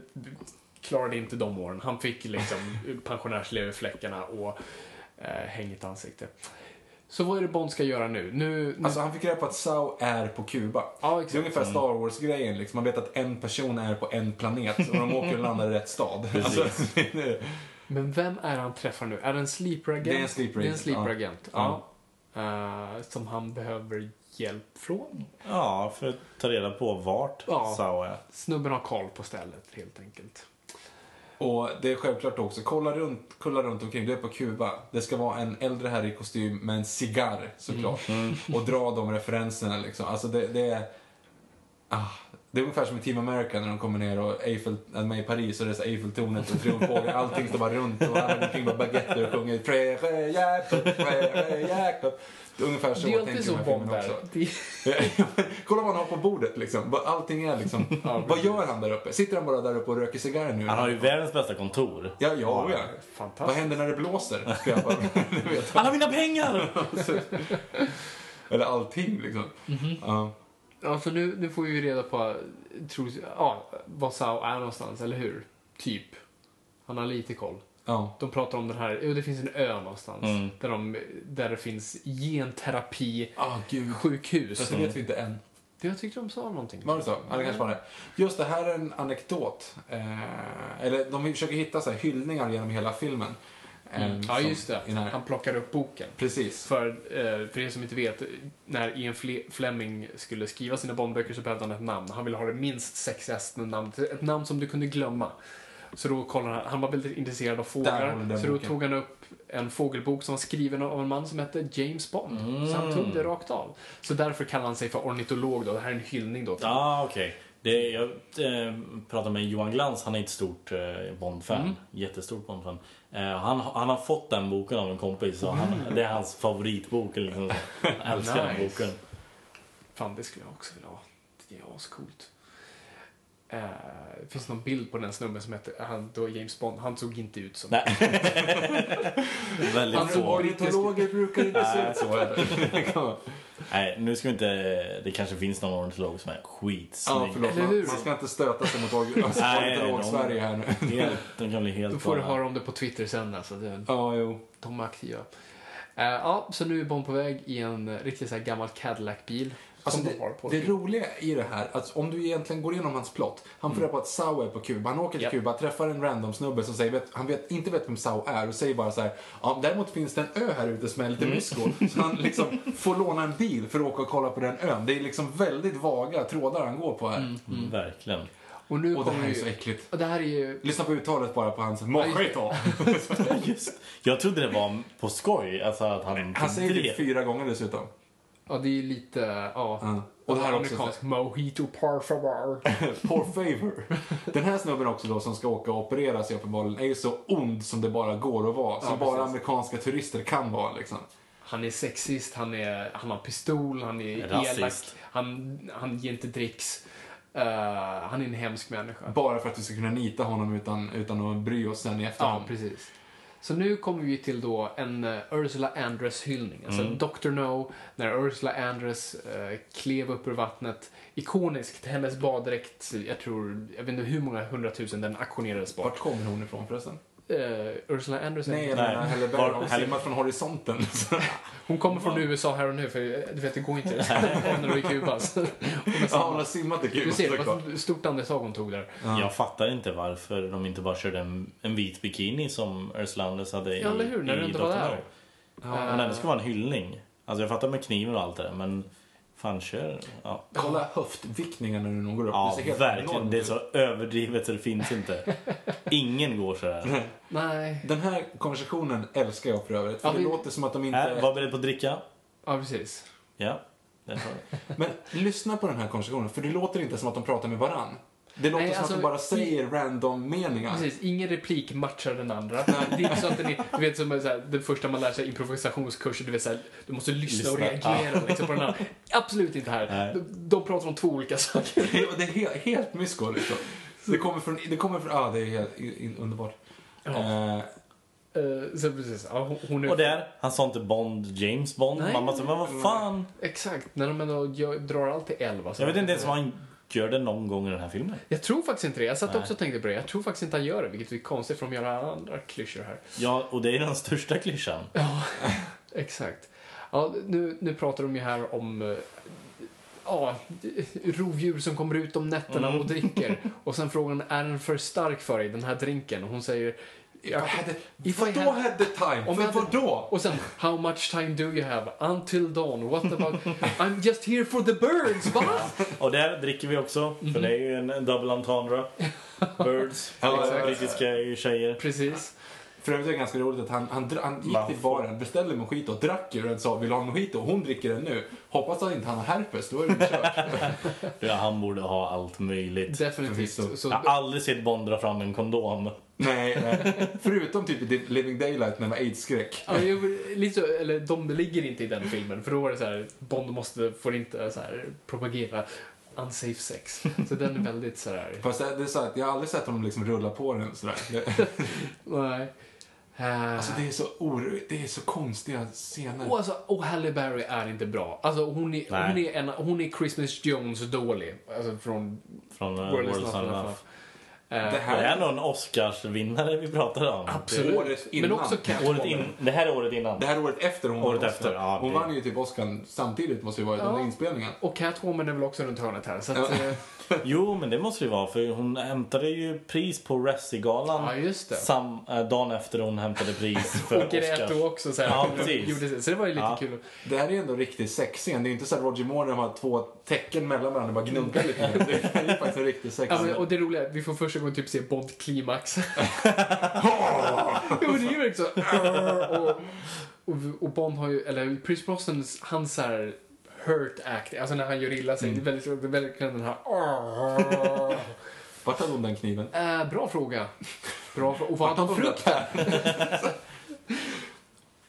B: klarade inte de åren. Han fick (laughs) liksom pensionärsleverfläckarna och eh, hängigt ansikte. Så vad är det Bond ska göra nu? Nu... nu
A: Alltså han fick reda på att Sao är på Kuba.
B: Ja,
A: det är
B: exakt.
A: ungefär Star Wars-grejen. Liksom. Man vet att en person är på en planet och de åker och landar i rätt stad. Alltså, (laughs)
B: Men vem är han träffar nu? Är det en sleeperagent?
A: Det är en sleeperagent,
B: Det är en sleeperagent,
A: ja.
B: ja. Eh, som han behöver hjälp från.
C: Ja, för att ta reda på vart
B: Ja.
C: Sao är.
B: Snubben har koll på stället helt enkelt.
A: och det är självklart också, kolla runt, kolla runt omkring. Du är på Kuba. Det ska vara en äldre herre i kostym med en cigarr såklart.
C: Mm.
A: Och dra de referenserna liksom. Alltså det, det är... Ah, det är ungefär som i Team America när de kommer ner och Eiffel, äh, med i Paris och det är så här Eiffeltornet och triumfbågen. Allting står bara runt och alla går omkring med baguetter och sjunger Frere Jacob, Frere Jacob. Det är ungefär så
B: Det är
A: tänker
B: alltid
A: de
B: så
A: här
B: Bond
A: filmerna
B: där.
A: också. (laughs)
B: Det-
A: Ja, men Kolla vad han har på bordet liksom. Vad Allting är liksom. vad gör han där uppe? Sitter han bara där uppe och röker cigarr nu?
C: Han har ju världens bästa kontor.
A: Ja, ja, ja.
B: Fantastiskt.
A: Vad händer när det blåser? Ska jag bara, (laughs) du vet.
C: Alla mina pengar!
A: Eller allting liksom.
B: Mhm.
A: Ja.
B: Ja, för Alltså, nu, nu får vi ju reda på tros, ja, vad Sao är någonstans, eller hur? Typ. Han har lite koll.
A: Ja.
B: De pratar om den här, jo det finns en ö någonstans
A: Mm.
B: där, de, där det finns genterapi
A: Ah, gud.
B: sjukhus.
A: Fast det vet vi inte än.
B: Det jag tyckte de sa någonting.
A: Var det så? Ja, det kanske var det. Just det, här är en anekdot. Eh, eller de försöker hitta så här, hyllningar genom hela filmen. Eh,
B: Mm. Ja,
A: som-
B: just
A: i den
B: det.
A: här-
B: Han plockar upp boken.
A: Precis.
B: För, eh, för er som inte vet, när Ian Fle- Fleming skulle skriva sina Bondböcker så behövde han ett namn. Han ville ha det minst sexigaste namnet, ett namn som du kunde glömma. Så då kollade han, han var väldigt intresserad av
A: Där har vi
B: fåglar,
A: den
B: så då
A: boken.
B: tog han upp en fågelbok som var skriven av en man som hette James Bond. Så han tog
A: Mm.
B: det rakt av. Så därför kallar han sig för ornitolog då, det här är en hyllning då. till-
C: Ja, ah, okej. Det- Jag eh, pratade med Johan Glans, han är ett stort eh, Bond-fan. Jättestort Bond-fan. Eh, han, han har fått den boken av en kompis. Så han, det är hans favoritbok. Liksom. Han älskar den
B: Nice.
C: boken.
B: Fan, det skulle jag också vilja ha. Det är ascoolt. Eh, det finns någon bild på den snubben som heter, han, då James Bond, han såg inte ut som
C: Nej. Väldigt
B: Han
C: få.
A: Ornitologer brukar inte se ut så (laughs) heller.
C: Nej, nu ska vi inte... Det kanske finns någon ornitolog som är
A: Ja,
C: skitsnygg.
A: förlåt.
B: Eller hur?
A: Man, man ska inte stöta sig mot
C: Nej, de-
A: ornitolog-Sverige här nu.
C: helt, de kan bli helt
B: Då får du
C: galna.
B: höra om det på Twitter sen. Alltså. Det,
A: Ja, jo.
B: de är aktiva. Eh, ja, så nu är Bond på väg i en eh, riktigt så här gammal Cadillac-bil.
A: Alltså
B: som
A: det,
B: de har på
A: det
B: sig.
A: roliga i det här, att om du egentligen går igenom hans plott. Han får reda på att Sao är på Kuba. Han åker till
B: Mm. Ja.
A: Kuba, träffar en random snubbe som säger, vet, han vet, inte vet vem Sao är och säger bara så här. Ja, däremot finns det en ö här ute som är
B: Mm.
A: lite mysko. Så han liksom får låna en bil för att åka och kolla på den ön. Det är liksom väldigt vaga trådar han går på här.
C: Mm, Verkligen.
B: och nu
A: Och det
B: kommer
A: här är
B: ju...
A: så äckligt.
B: Och det här är ju...
A: Lyssna på uttalet bara på hans
B: just det.
A: mojito.
C: (laughs) Just. Jag trodde det var på skoj. Alltså att han...
A: Han säger det
C: det.
A: fyra gånger dessutom.
B: Ja, det är ju lite... Ja.
A: Ja. Och det här är också-
B: Amerikansk mojito par favor.
A: Por favor. Den här snubben också då som ska åka och operera sig uppenbarligen är ju så ond som det bara går att vara. Som
B: Ja, precis.
A: bara amerikanska turister kan vara liksom.
B: Han är sexist, han, är, han har pistol, han är
C: Rasist.
B: elak. Han, han ger inte dricks. Eh, han är en hemsk människa.
A: Bara för att vi ska kunna nita honom utan, utan att bry oss sen i
B: Ja,
A: efterhand.
B: precis. Så nu kommer vi till då en eh, Ursula Andress-hyllning. Alltså
A: Mm.
B: Dr. No, när Ursula Andress eh, klev upp ur vattnet. Ikoniskt, hennes baddräkt, jag tror, jag vet inte hur många hundratusen den auktionerades bort.
A: Vart kommer hon ifrån förresten?
B: Eh, Ursula Andress,
A: Nej, jag
C: Nej.
A: menar Halle Berry.
C: Var-
A: Har hon
C: Halle-
A: simmat från horisonten? (laughs) Så-
B: hon kommer från USA här och nu, för eh, du vet, det går inte.
A: (laughs)
B: (laughs) Hon är i Kuba. så hon är
A: ja, hon
B: samma-
A: har simmat i
B: Du
A: Kuba
B: ser, det
A: såklart.
B: var ett stort andetag hon tog där.
C: Jag fattar inte varför de inte bara körde en, en vit bikini som Ursula Anders hade i
B: Ja, eller hur? När
C: i
B: du inte var
C: Dr.
B: där.
C: No. Om det ändå ska vara en hyllning. Alltså jag fattar med kniven och allt det där men fan kör. Ja,
A: Kolla höftvickningarna nu när hon går upp.
C: ja
A: det ser helt
C: verkligen.
A: enormt
C: Det är
A: ut.
C: så överdrivet så det
A: (laughs)
C: finns inte. Ingen går sådär.
B: Nej,
A: Den här konversationen älskar jag för övrigt. För
B: Ja,
A: det
B: vi-
A: låter som att de inte...
C: Här, Äh, var beredd på att dricka.
B: ja precis.
C: Ja. Där har du.
A: Men lyssna på den här konversationen, för det låter inte som att de pratar med varann. Det låter
B: Nej,
A: som
B: alltså,
A: att de bara
B: i-
A: säger random meningar. (laughs)
B: Precis, ingen replik matchar den
C: (laughs)
B: andra. Det är inte så att den är, du vet som är så här, det första man lär sig improvisationskurser, du vet så här, du måste lyssna och
C: Lyssna,
B: reagera liksom, på den
C: (laughs)
B: andra. Absolut inte här.
C: Nej.
B: De, de pratar om två olika saker.
A: Det är- det är helt, helt mysko liksom. Det kommer från, det kommer från, ja ah, det är helt i- i- underbart. Eh,
B: Eh, så precis, ja, hon, hon är...
C: Och där, han sa inte Bond, James Bond.
B: Nej.
C: Mamma sa, men
A: Mm.
C: vad fan.
B: Exakt, när de ändå gör, drar allt till elva. så-
C: Jag vet inte ens om han gör det någon gång i den här filmen.
B: Jag tror faktiskt inte det. Jag satt också och tänkte på det. Jag tror faktiskt inte han gör det, vilket är konstigt för de gör alla andra klyschor här.
C: Ja, och det är den största klyschan.
B: Ja, exakt. Ja, nu, nu pratar de ju här om eh, ja, rovdjur som kommer ut om nätterna
A: Mm.
B: och dricker. Och sen frågan, är den för stark för dig, den här drinken? Och hon säger...
A: if I had the,
B: If I
A: vadå
B: had-
A: had the time?
B: Om
A: Om men
B: jag hade-
A: vadå?
B: Och sen, how much time do you have? Until dawn? What about... I'm just here for the
A: (laughs)
B: birds, va?
C: Och där dricker vi också, för det är ju en, en double entendre.
B: (laughs)
C: Birds,
A: Ja, exakt.
C: brittiska är ju tjejer.
B: Precis.
A: För övrigt är det ganska roligt att han, han, dra- han gick
C: Man
A: till
C: får-
A: baren, beställde mojito, drack ur den, sa vill du ha en mojito? Hon dricker den nu. Hoppas att inte han har herpes, då är det
C: (laughs)
A: kört.
C: Ja, han borde ha allt möjligt.
B: Definitivt. Så,
C: Jag har aldrig sett Bond dra fram en kondom.
A: nej, nej. Förutom typ i Living Daylight när det var aids-skräck.
B: Ja, jag, lite så, eller de ligger inte i den filmen för då var det så här, Bond måste, får inte så här, propagera unsafe sex. Så den är väldigt så här.
A: Fast det det är så att jag har aldrig sett honom liksom rulla på den sådär. Det-
B: (laughs) Nej. Eh,
A: Alltså det är så or- det är så konstiga scener.
B: och, alltså, och Halle Berry är inte bra. Alltså hon är,
C: Nej.
B: hon är, en, hon är Christmas Jones dålig. Alltså från
C: Från eh,
B: World is
C: World
B: Not
C: Sun
B: Enough.
C: Enough.
A: det
C: Det här
A: här
C: är nog en Oscarsvinnare vi pratar om.
B: Absolut.
A: året innan.
B: Men också
C: Året
B: Catwoman.
C: in, det här är året innan.
A: det här året efter hon
C: Året
A: vann
C: efter, ja,
A: hon
C: det-
A: vann ju typ Oscar samtidigt måste ju varit under
B: Ja.
A: inspelningen.
B: Och Catwoman är väl också runt hörnet här. Så att, eh,
C: Jo, men det måste det ju vara för hon hämtade ju pris på Razzie-galan
B: Ja, just det.
C: sam- eh, dagen efter hon
B: (laughs)
C: hämtade pris för
B: och grät
C: Oscars.
B: då också. Så, här,
C: Ja, precis.
B: Gjorde sig. så det var ju lite
C: Ja.
B: kul.
A: Det här är ändå en riktig sexscen. Det är inte så att Roger Moore när de har två tecken mellan varandra och bara gnuggar lite. Det är ju faktiskt en riktig
B: Ja, men,
A: sexscen.
B: och det roliga är att vi får första gången typ se Bond (laughs) klimax. jo, men det är ju verkligen så. Och, och, och Bond har ju, eller Chris Brosnans, hans så här hurt act, alltså när han gör illa sig, det är väldigt, det är verkligen den här
A: Vart hade hon den kniven?
B: Eh, Bra fråga. Bra fråga. Och vad hade han
A: Vart
B: fruktat?
A: fruktar?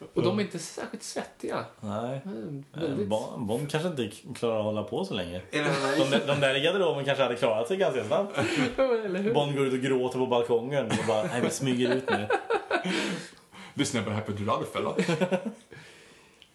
B: Och Och de är inte särskilt svettiga.
C: Nej.
B: Mm,
C: Eh,
B: Väldigt...
C: Bond, Bond kanske inte klarar att hålla på så länge.
A: Är det-
C: De, där- de där i garderoben kanske hade klarat sig ganska snabbt.
B: (laughs) Eller hur?
C: Bond går ut och gråter på balkongen och bara, nej vi smyger ut nu.
A: Lyssna på det här på Ralf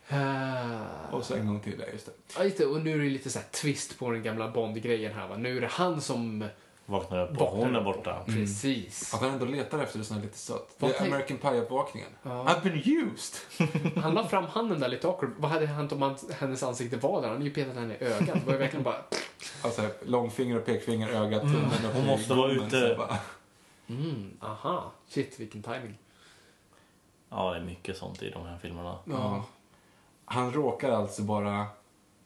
B: Ah.
A: Och så en gång till, ja just det.
B: Ja, just det. Och nu är det lite så här twist på den gamla Bond-grejen här va. Nu är det han som
C: Vaknar upp och hon är borta.
B: Precis.
A: Att han ändå letar efter det som är lite sött.
B: Vad
A: Det är
B: tänk-
A: American Pie-uppvakningen.
B: Ja.
A: I've been used!
B: Han la fram handen där lite awkward. Vad hade hänt om hans- hennes ansikte var där? Han hade ju petat henne i ögat. Det var ju verkligen bara...
A: Alltså, långfinger och pekfinger, ögat, tummen upp
C: Mm. Hon
A: i
C: måste vara
A: gommen,
C: ute.
A: så bara-
B: Mm, aha. Shit, vilken timing.
C: Ja, det är mycket sånt i de här filmerna.
A: Ja. Han råkar alltså bara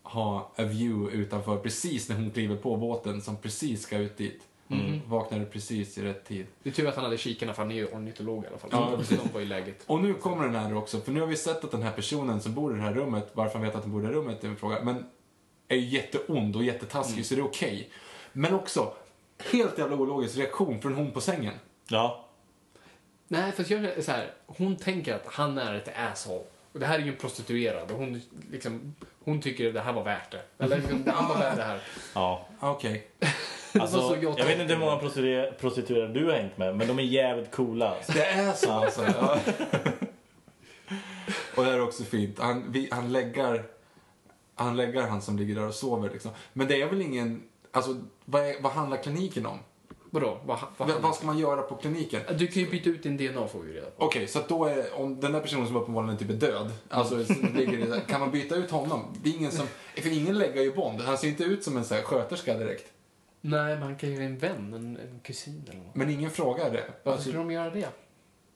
A: ha a view utanför precis när hon kliver på båten som precis ska ut dit.
C: Mm.
A: Mm. Vaknar precis i rätt tid.
B: Det är tur att han hade kikarna för han är ju ornitolog i alla fall.
A: Ja,
B: Så
A: precis.
B: De var i läget.
A: Och nu kommer den här också, för nu har vi sett att den här personen som bor i det här rummet, varför han vet att den bor i det här rummet är en fråga, men är ju jätteond och jättetaskig
C: Mm.
A: så det är okej. Men också, helt jävla ologisk reaktion från hon på sängen.
C: Ja,
B: Nej, för att jag är så här, hon tänker att han är ett asshole. Och det här är ju en prostituerad och hon, liksom, hon tycker att det här var värt det. Eller liksom, han var värd det här.
C: ja.
A: Okej. (laughs)
B: Det var
C: Alltså,
B: så jag
C: jag vet inte hur många prostituer- prostituerade du har hängt med, men de är jävligt coola.
A: Det är så alltså. Ja. och det här är också fint. Han, vi, han läggar han läggar han som ligger där och sover liksom. Men det är väl ingen, alltså vad, är, vad handlar kliniken om?
B: Vadå? Vad, vad,
A: V- vad ska man göra på kliniken?
B: Du kan ju byta ut din DNA får vi ju reda på.
A: Okej, så att då är, om den där personen som uppenbarligen typ är död, alltså som ligger i, kan man byta ut honom? Det är ingen som, för ingen lägger ju Bond, han ser inte ut som en så här sköterska direkt.
B: Nej, man kan ju ha en vän, en, en kusin eller
C: Alltså-
B: något.
A: Men ingen frågar det. Alltså,
B: Varför skulle de göra det?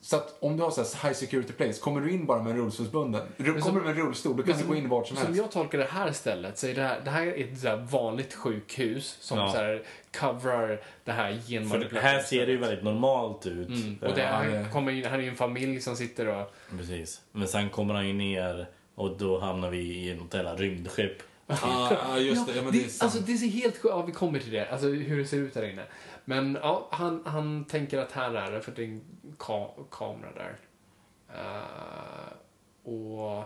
A: Så att om du har så här high security place, kommer du in bara med en rullstolsbunden? Ru-
B: som-
A: Kommer du med en rullstol, du kan inte gå in vart som helst.
B: Som jag tolkar det här stället så är det här, det här är ett så här vanligt sjukhus som
C: Ja.
B: så här coverar det här
C: För det här ser det ju väldigt normalt ut.
B: Mm. Och det
A: Ja,
B: här,
A: det-
B: kommer in, här är ju en familj som sitter och...
C: Precis. Men sen kommer han ju ner och då hamnar vi i något jävla rymdskepp.
A: Ja, ja, just det. Ja, men det, är sant.
B: alltså, det ser helt sjukt Ja, vi kommer till det. Alltså hur det ser ut där inne. Men ja, han, han tänker att här är det för det är en ka kamera där. Eh, och...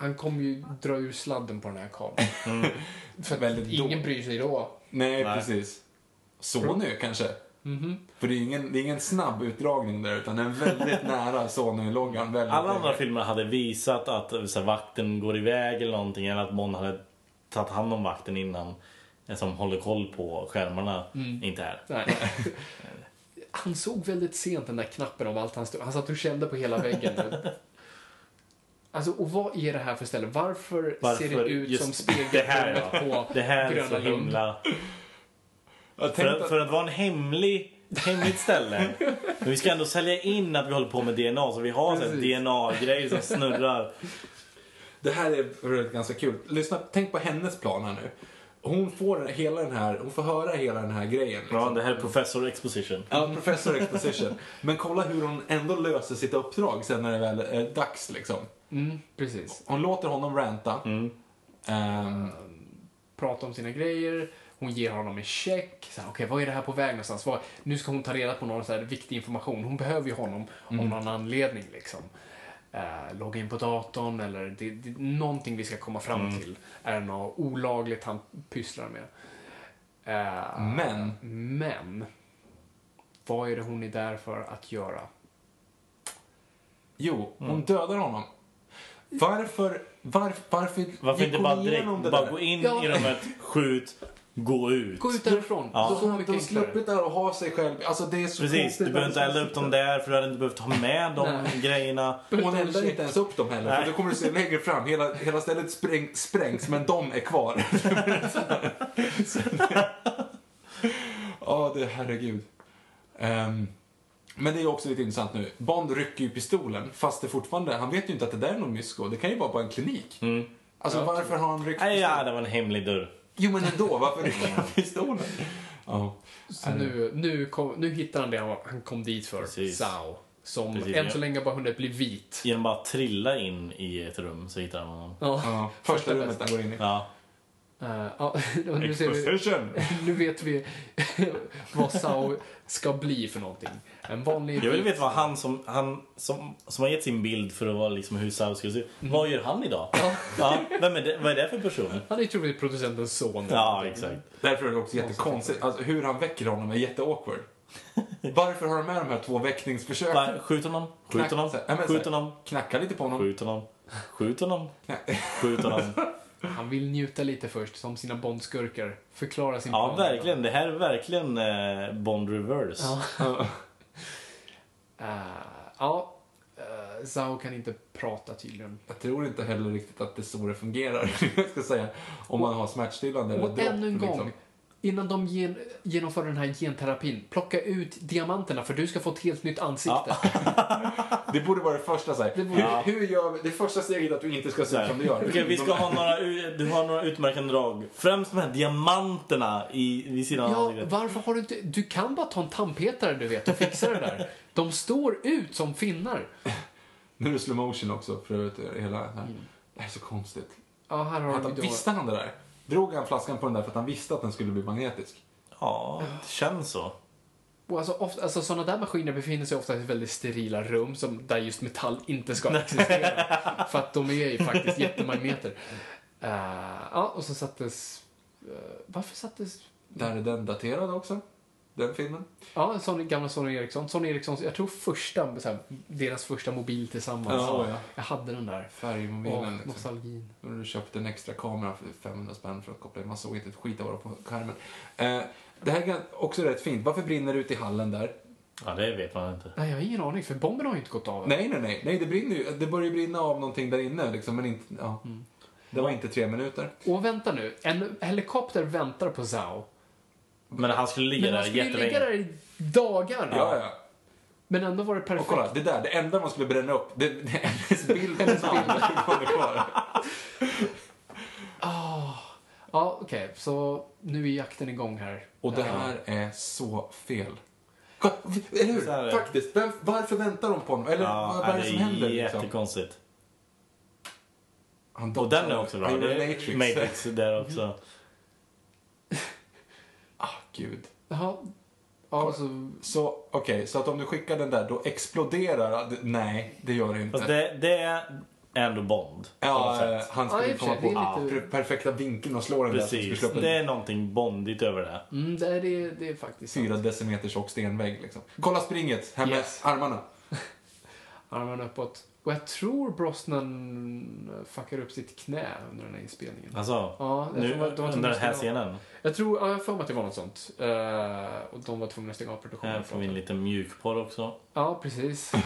B: Han kommer ju dra ur sladden på den här kameran. för att
A: Väldigt då-
B: ingen bryr sig då.
A: Nej,
C: Nej.
A: precis. Sonö kanske? För det är ingen, det är ingen snabb utdragning där, utan den är väldigt (laughs) nära Sonö-loggan. Väldigt
C: Alla
A: nära.
C: andra filmer hade visat att så här, vakten går iväg eller någonting eller att Bond hade tagit hand om vakten innan eh, som håller koll på skärmarna. Inte här.
B: Nej. (laughs) Han såg väldigt sent den där knappen om allt han stod. Han satt och kände på hela väggen. Alltså, och vad är det här för ställe? Varför, ser det
C: Varför
B: ut
C: just
B: som
C: det här,
B: spegelrummet
C: ja.
B: på
C: Det här är
B: Gröna
C: så
B: Lund?
C: himla...
A: Jag
C: För
A: tänkte
C: att, för att vara en hemlig, ett hemligt ställe. Men vi ska ändå sälja in att vi håller på med DNA så vi har så här
B: Precis.
C: DNA-grejer som snurrar.
A: att det här är för övrigt ganska kul. Lyssna, tänk på hennes plan här nu. Hon får, hela den här, hon får höra hela den här grejen. liksom.
C: Bra, det här är professor exposition.
A: Ja, professor exposition. Men kolla hur hon ändå löser sitt uppdrag sen när det väl är dags liksom.
B: Mm, precis.
A: Hon låter honom ranta.
C: Mm.
A: Ehm,
B: Prata om sina grejer. Hon ger honom en check. Så här, Okej, vad är det här på väg någonstans? Vad, nu ska hon ta reda på någon så här viktig information. Hon behöver ju honom av någon anledning. Liksom. Eh, logga in på datorn eller det, det, någonting vi ska komma fram till. Är det något olagligt han pysslar med? Eh,
A: men
B: Men, vad är det hon är där för att göra?
A: Jo, hon
C: Mm.
A: dödar honom. Varför, varför, varför,
C: Varför
A: gick
C: inte
A: hon
C: bara direkt
A: igenom det
C: bara
A: där?
C: gå in
B: Ja.
C: i rummet, skjut, gå ut.
B: Gå ut därifrån.
C: Ja.
B: Så
A: Då har
B: mycket
A: de
B: enklare.
A: sluppit där och ha sig själv. Alltså det är så
C: Precis, du behöver inte elda upp dem där för du hade inte behövt ha med de
B: Nej.
C: grejerna.
A: Hon eldar inte ens upp dem heller,
C: Nej.
A: för då kommer du se längre fram. Hela, hela stället spräng, sprängs, men de är kvar. Så det- Ja, det herregud. Ehm, men det är också lite intressant nu. Bond rycker ju pistolen, fast det fortfarande, han vet ju inte att det där är någon mysko. Det kan ju vara bara en klinik. Alltså varför har han ryckt
C: Mm. Nej,
A: pistolen?
C: ja, det var en hemlig dörr.
A: Jo men ändå, varför rycker han pistolen? Ja.
B: Så nu, nu, kom, nu hittar han det han, han kom dit för,
C: Precis.
B: Sao. Som
C: Precis,
B: än
C: ja.
B: så länge bara hunnit bli vit.
C: Genom att bara trilla in i ett rum så hittar han honom.
B: Ja.
A: Ja, första rummet han går in i.
C: Ja.
B: Eh, ja, (laughs) och nu, ser vi,
A: Exposition!
B: (laughs) nu vet vi (laughs) vad Sao ska bli för någonting. En vanlig...
C: Jag vill veta vad han som, han som, som har gett sin bild för att vara liksom hur Sao skulle se ut.
A: Mm.
C: Vad gör han idag? Ja, vem är det, vad är det för person?
B: Han är ju troligtvis producentens son.
C: Ja, exakt.
A: Därför är det också jättekonstigt. Alltså, hur han väcker honom är jätteawkward. Varför har de med de här två väckningsförsöken?
C: Nej, Skjut honom, skjut honom,
A: Knack- så- ja, men så-
C: skjut honom,
A: Knacka lite på honom.
C: skjut honom, skjut honom, skjut honom.
B: Han vill njuta lite först, som sina Bondskurkar. Förklara sin
C: Ja, verkligen. Det här är verkligen eh, Bond Reverse.
B: Eh, ja, uh, Zhao kan inte prata tydligen.
A: Jag tror inte heller riktigt att det är så det fungerar, (laughs) jag ska säga. Om man har smärtstillande eller
B: Och
A: dropp.
B: ännu en gång,
A: liksom.
B: innan de gen- genomför den här genterapin, plocka ut diamanterna för du ska få ett helt nytt ansikte.
A: (laughs) Det borde vara det första så här.
B: Det borde-
A: Hur, hur gör vi? Det första steget är att du inte ska se ut som du gör.
C: Okej, vi ska ha några, u- du har några utmärkande drag. Främst de här diamanterna i, vid sidan av
B: Ja,
C: ansiktet.
B: varför har du inte... Du kan bara ta en tandpetare du vet och fixa det där. De står ut som finnar.
A: Nu är det slow motion också för övrigt. Hela
C: Mm.
A: det här. Det här är så konstigt.
B: Ja, här har
A: Vänta,
B: vi då...
A: visste han det där? Drog han flaskan på den där för att han visste att den skulle bli magnetisk?
C: Ja, det känns så.
B: Och alltså, ofta, alltså sådana där maskiner befinner sig ofta i väldigt sterila rum som, där just metall inte ska existera.
A: (laughs)
B: för att de är ju faktiskt jättemagneter. Eh, ja, och så sattes... eh, varför sattes...
A: Där är den daterad också. Den filmen.
B: Ja, Sony, gamla Sony Ericsson. Sony Ericsson, jag tror första, så här, deras första mobil tillsammans.
A: Ja, ja.
B: Jag hade den där. Åh,
A: Färgmobilen. liksom.
B: nostalgin.
A: Och du köpte en extra kamera för 500 spänn för att koppla in. Man såg inte ett skit av vad det var på skärmen. Eh, det här är också rätt fint. Varför brinner det ut i hallen där?
C: Ja, det vet man inte.
B: Nej, jag har ingen aning, för bomben har ju inte gått av.
A: Nej, nej, nej. nej det, brinner ju. det börjar ju brinna av någonting där inne. Liksom, men inte, ja. Det var inte tre minuter.
B: Och vänta nu, en helikopter väntar på Zao.
C: Men han skulle ligga
B: Men
C: där
B: han skulle ju
C: jättelänge.
B: ligga där i dagar.
A: Ja, ja.
B: Men ändå var det
A: Och
B: perfekt.
A: kolla, det där, det enda man skulle bränna upp, det, det är hennes bild på (laughs) namn som kvar.
B: Ja, okej. Så nu är jakten igång här.
A: Och det här är så fel. Kolla, Eller
C: Så här är
A: hur?
C: det.
A: Faktiskt. Vem, varför väntar de på honom? Eller
C: Ja,
A: vad vad är det som händer? Liksom?
C: jättekonstigt.
A: Han
C: Och den är också bra.
A: Han
C: Det
A: gjorde
C: är
A: Matrix.
C: Matrix där också.
A: (laughs) Ah, gud.
B: Jaha. Ja, alltså,
A: Så okej, så att om du skickar den där, då exploderar... Nej, det gör det inte.
C: Fast det, det är ändå Bond. på något
A: Ja, eh,
C: sätt.
A: han
B: Ja,
A: skulle
B: i och för
A: komma
B: sig, det är
A: på
B: lite-
A: per- perfekta vinkeln och slå den där.
C: Precis.
A: som skulle slå upp
C: Det
A: en
C: är någonting bondigt över det.
B: mm, det, är, det, det är faktiskt sant.
A: Fyra decimeter tjock stenvägg liksom. Kolla springet, här med
B: Yes.
A: armarna.
B: Armarna uppåt. Och jag tror Brosnan fuckar upp sitt knä under den här inspelningen.
C: Alltså,
B: Ja, jag
C: nu,
B: tror att de var
C: under den här
B: tvungna
C: scenen.
B: Jag tror, ja, jag har för mig att det var något sånt. Eh, och de var tvungna att stänga av
C: Här
B: produktionen.
C: får vi en liten mjukporr också.
B: Ja, precis. (laughs)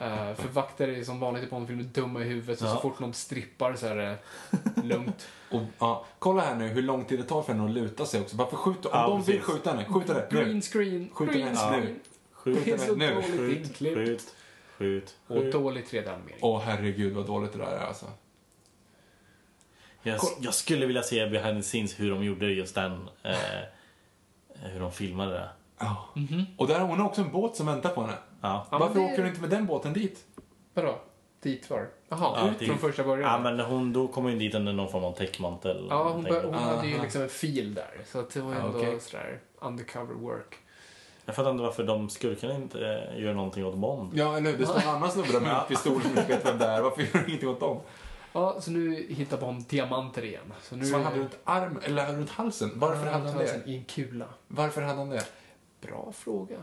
B: Eh, för vakter är som vanligt i Bondfilmer dumma i huvudet så,
C: Ja.
B: så fort någon strippar så är
C: (laughs)
B: det lugnt.
A: Och, ja, kolla här nu hur lång tid det tar för henne att luta sig också. Varför skjuter Om
C: Ja,
A: de vill
C: precis.
A: skjuta henne, skjut henne nu.
B: Green screen,
A: Skjut den
B: green
A: ens
B: screen.
A: nu.
C: Skjut,
B: Det är så
A: Nu,
B: dåligt
C: skjut,
B: inklippt.
C: skjut, skjut.
B: Och
C: skjut.
B: dålig 3D-animering.
A: Åh herregud vad dåligt det där är alltså.
C: Jag, jag skulle vilja se behind the scenes hur de gjorde just den. Eh, hur de filmade det.
A: Ja. Och där har hon också en båt som väntar på henne.
C: Ja.
B: Ja, men
A: Varför
B: det-
A: åker hon inte med den båten dit?
B: Vadå? Dit var Jaha, ut
C: det-
B: från första början?
C: Ja, men hon, då kom hon dit under någon form av täckmantel.
B: Ja, hon, bör, hon
C: tänker.
B: hade ju
A: Aha.
B: liksom en fil där. Så att det var ju
A: Ja,
B: ändå
A: okej.
B: sådär undercover work.
C: Jag fattar inte varför de skurkarna inte eh, gör någonting åt Bond.
A: Ja, eller hur? Det står en annan snubbe där med en pistol som inte vet vem det är. Varför gör du ingenting åt dem?
B: Ja, så nu hittar Bond diamanter igen. Så nu
A: Som han hade runt armen, eller hade runt halsen. Varför hade han det?
B: I en kula.
A: Varför hade han det?
B: Bra fråga.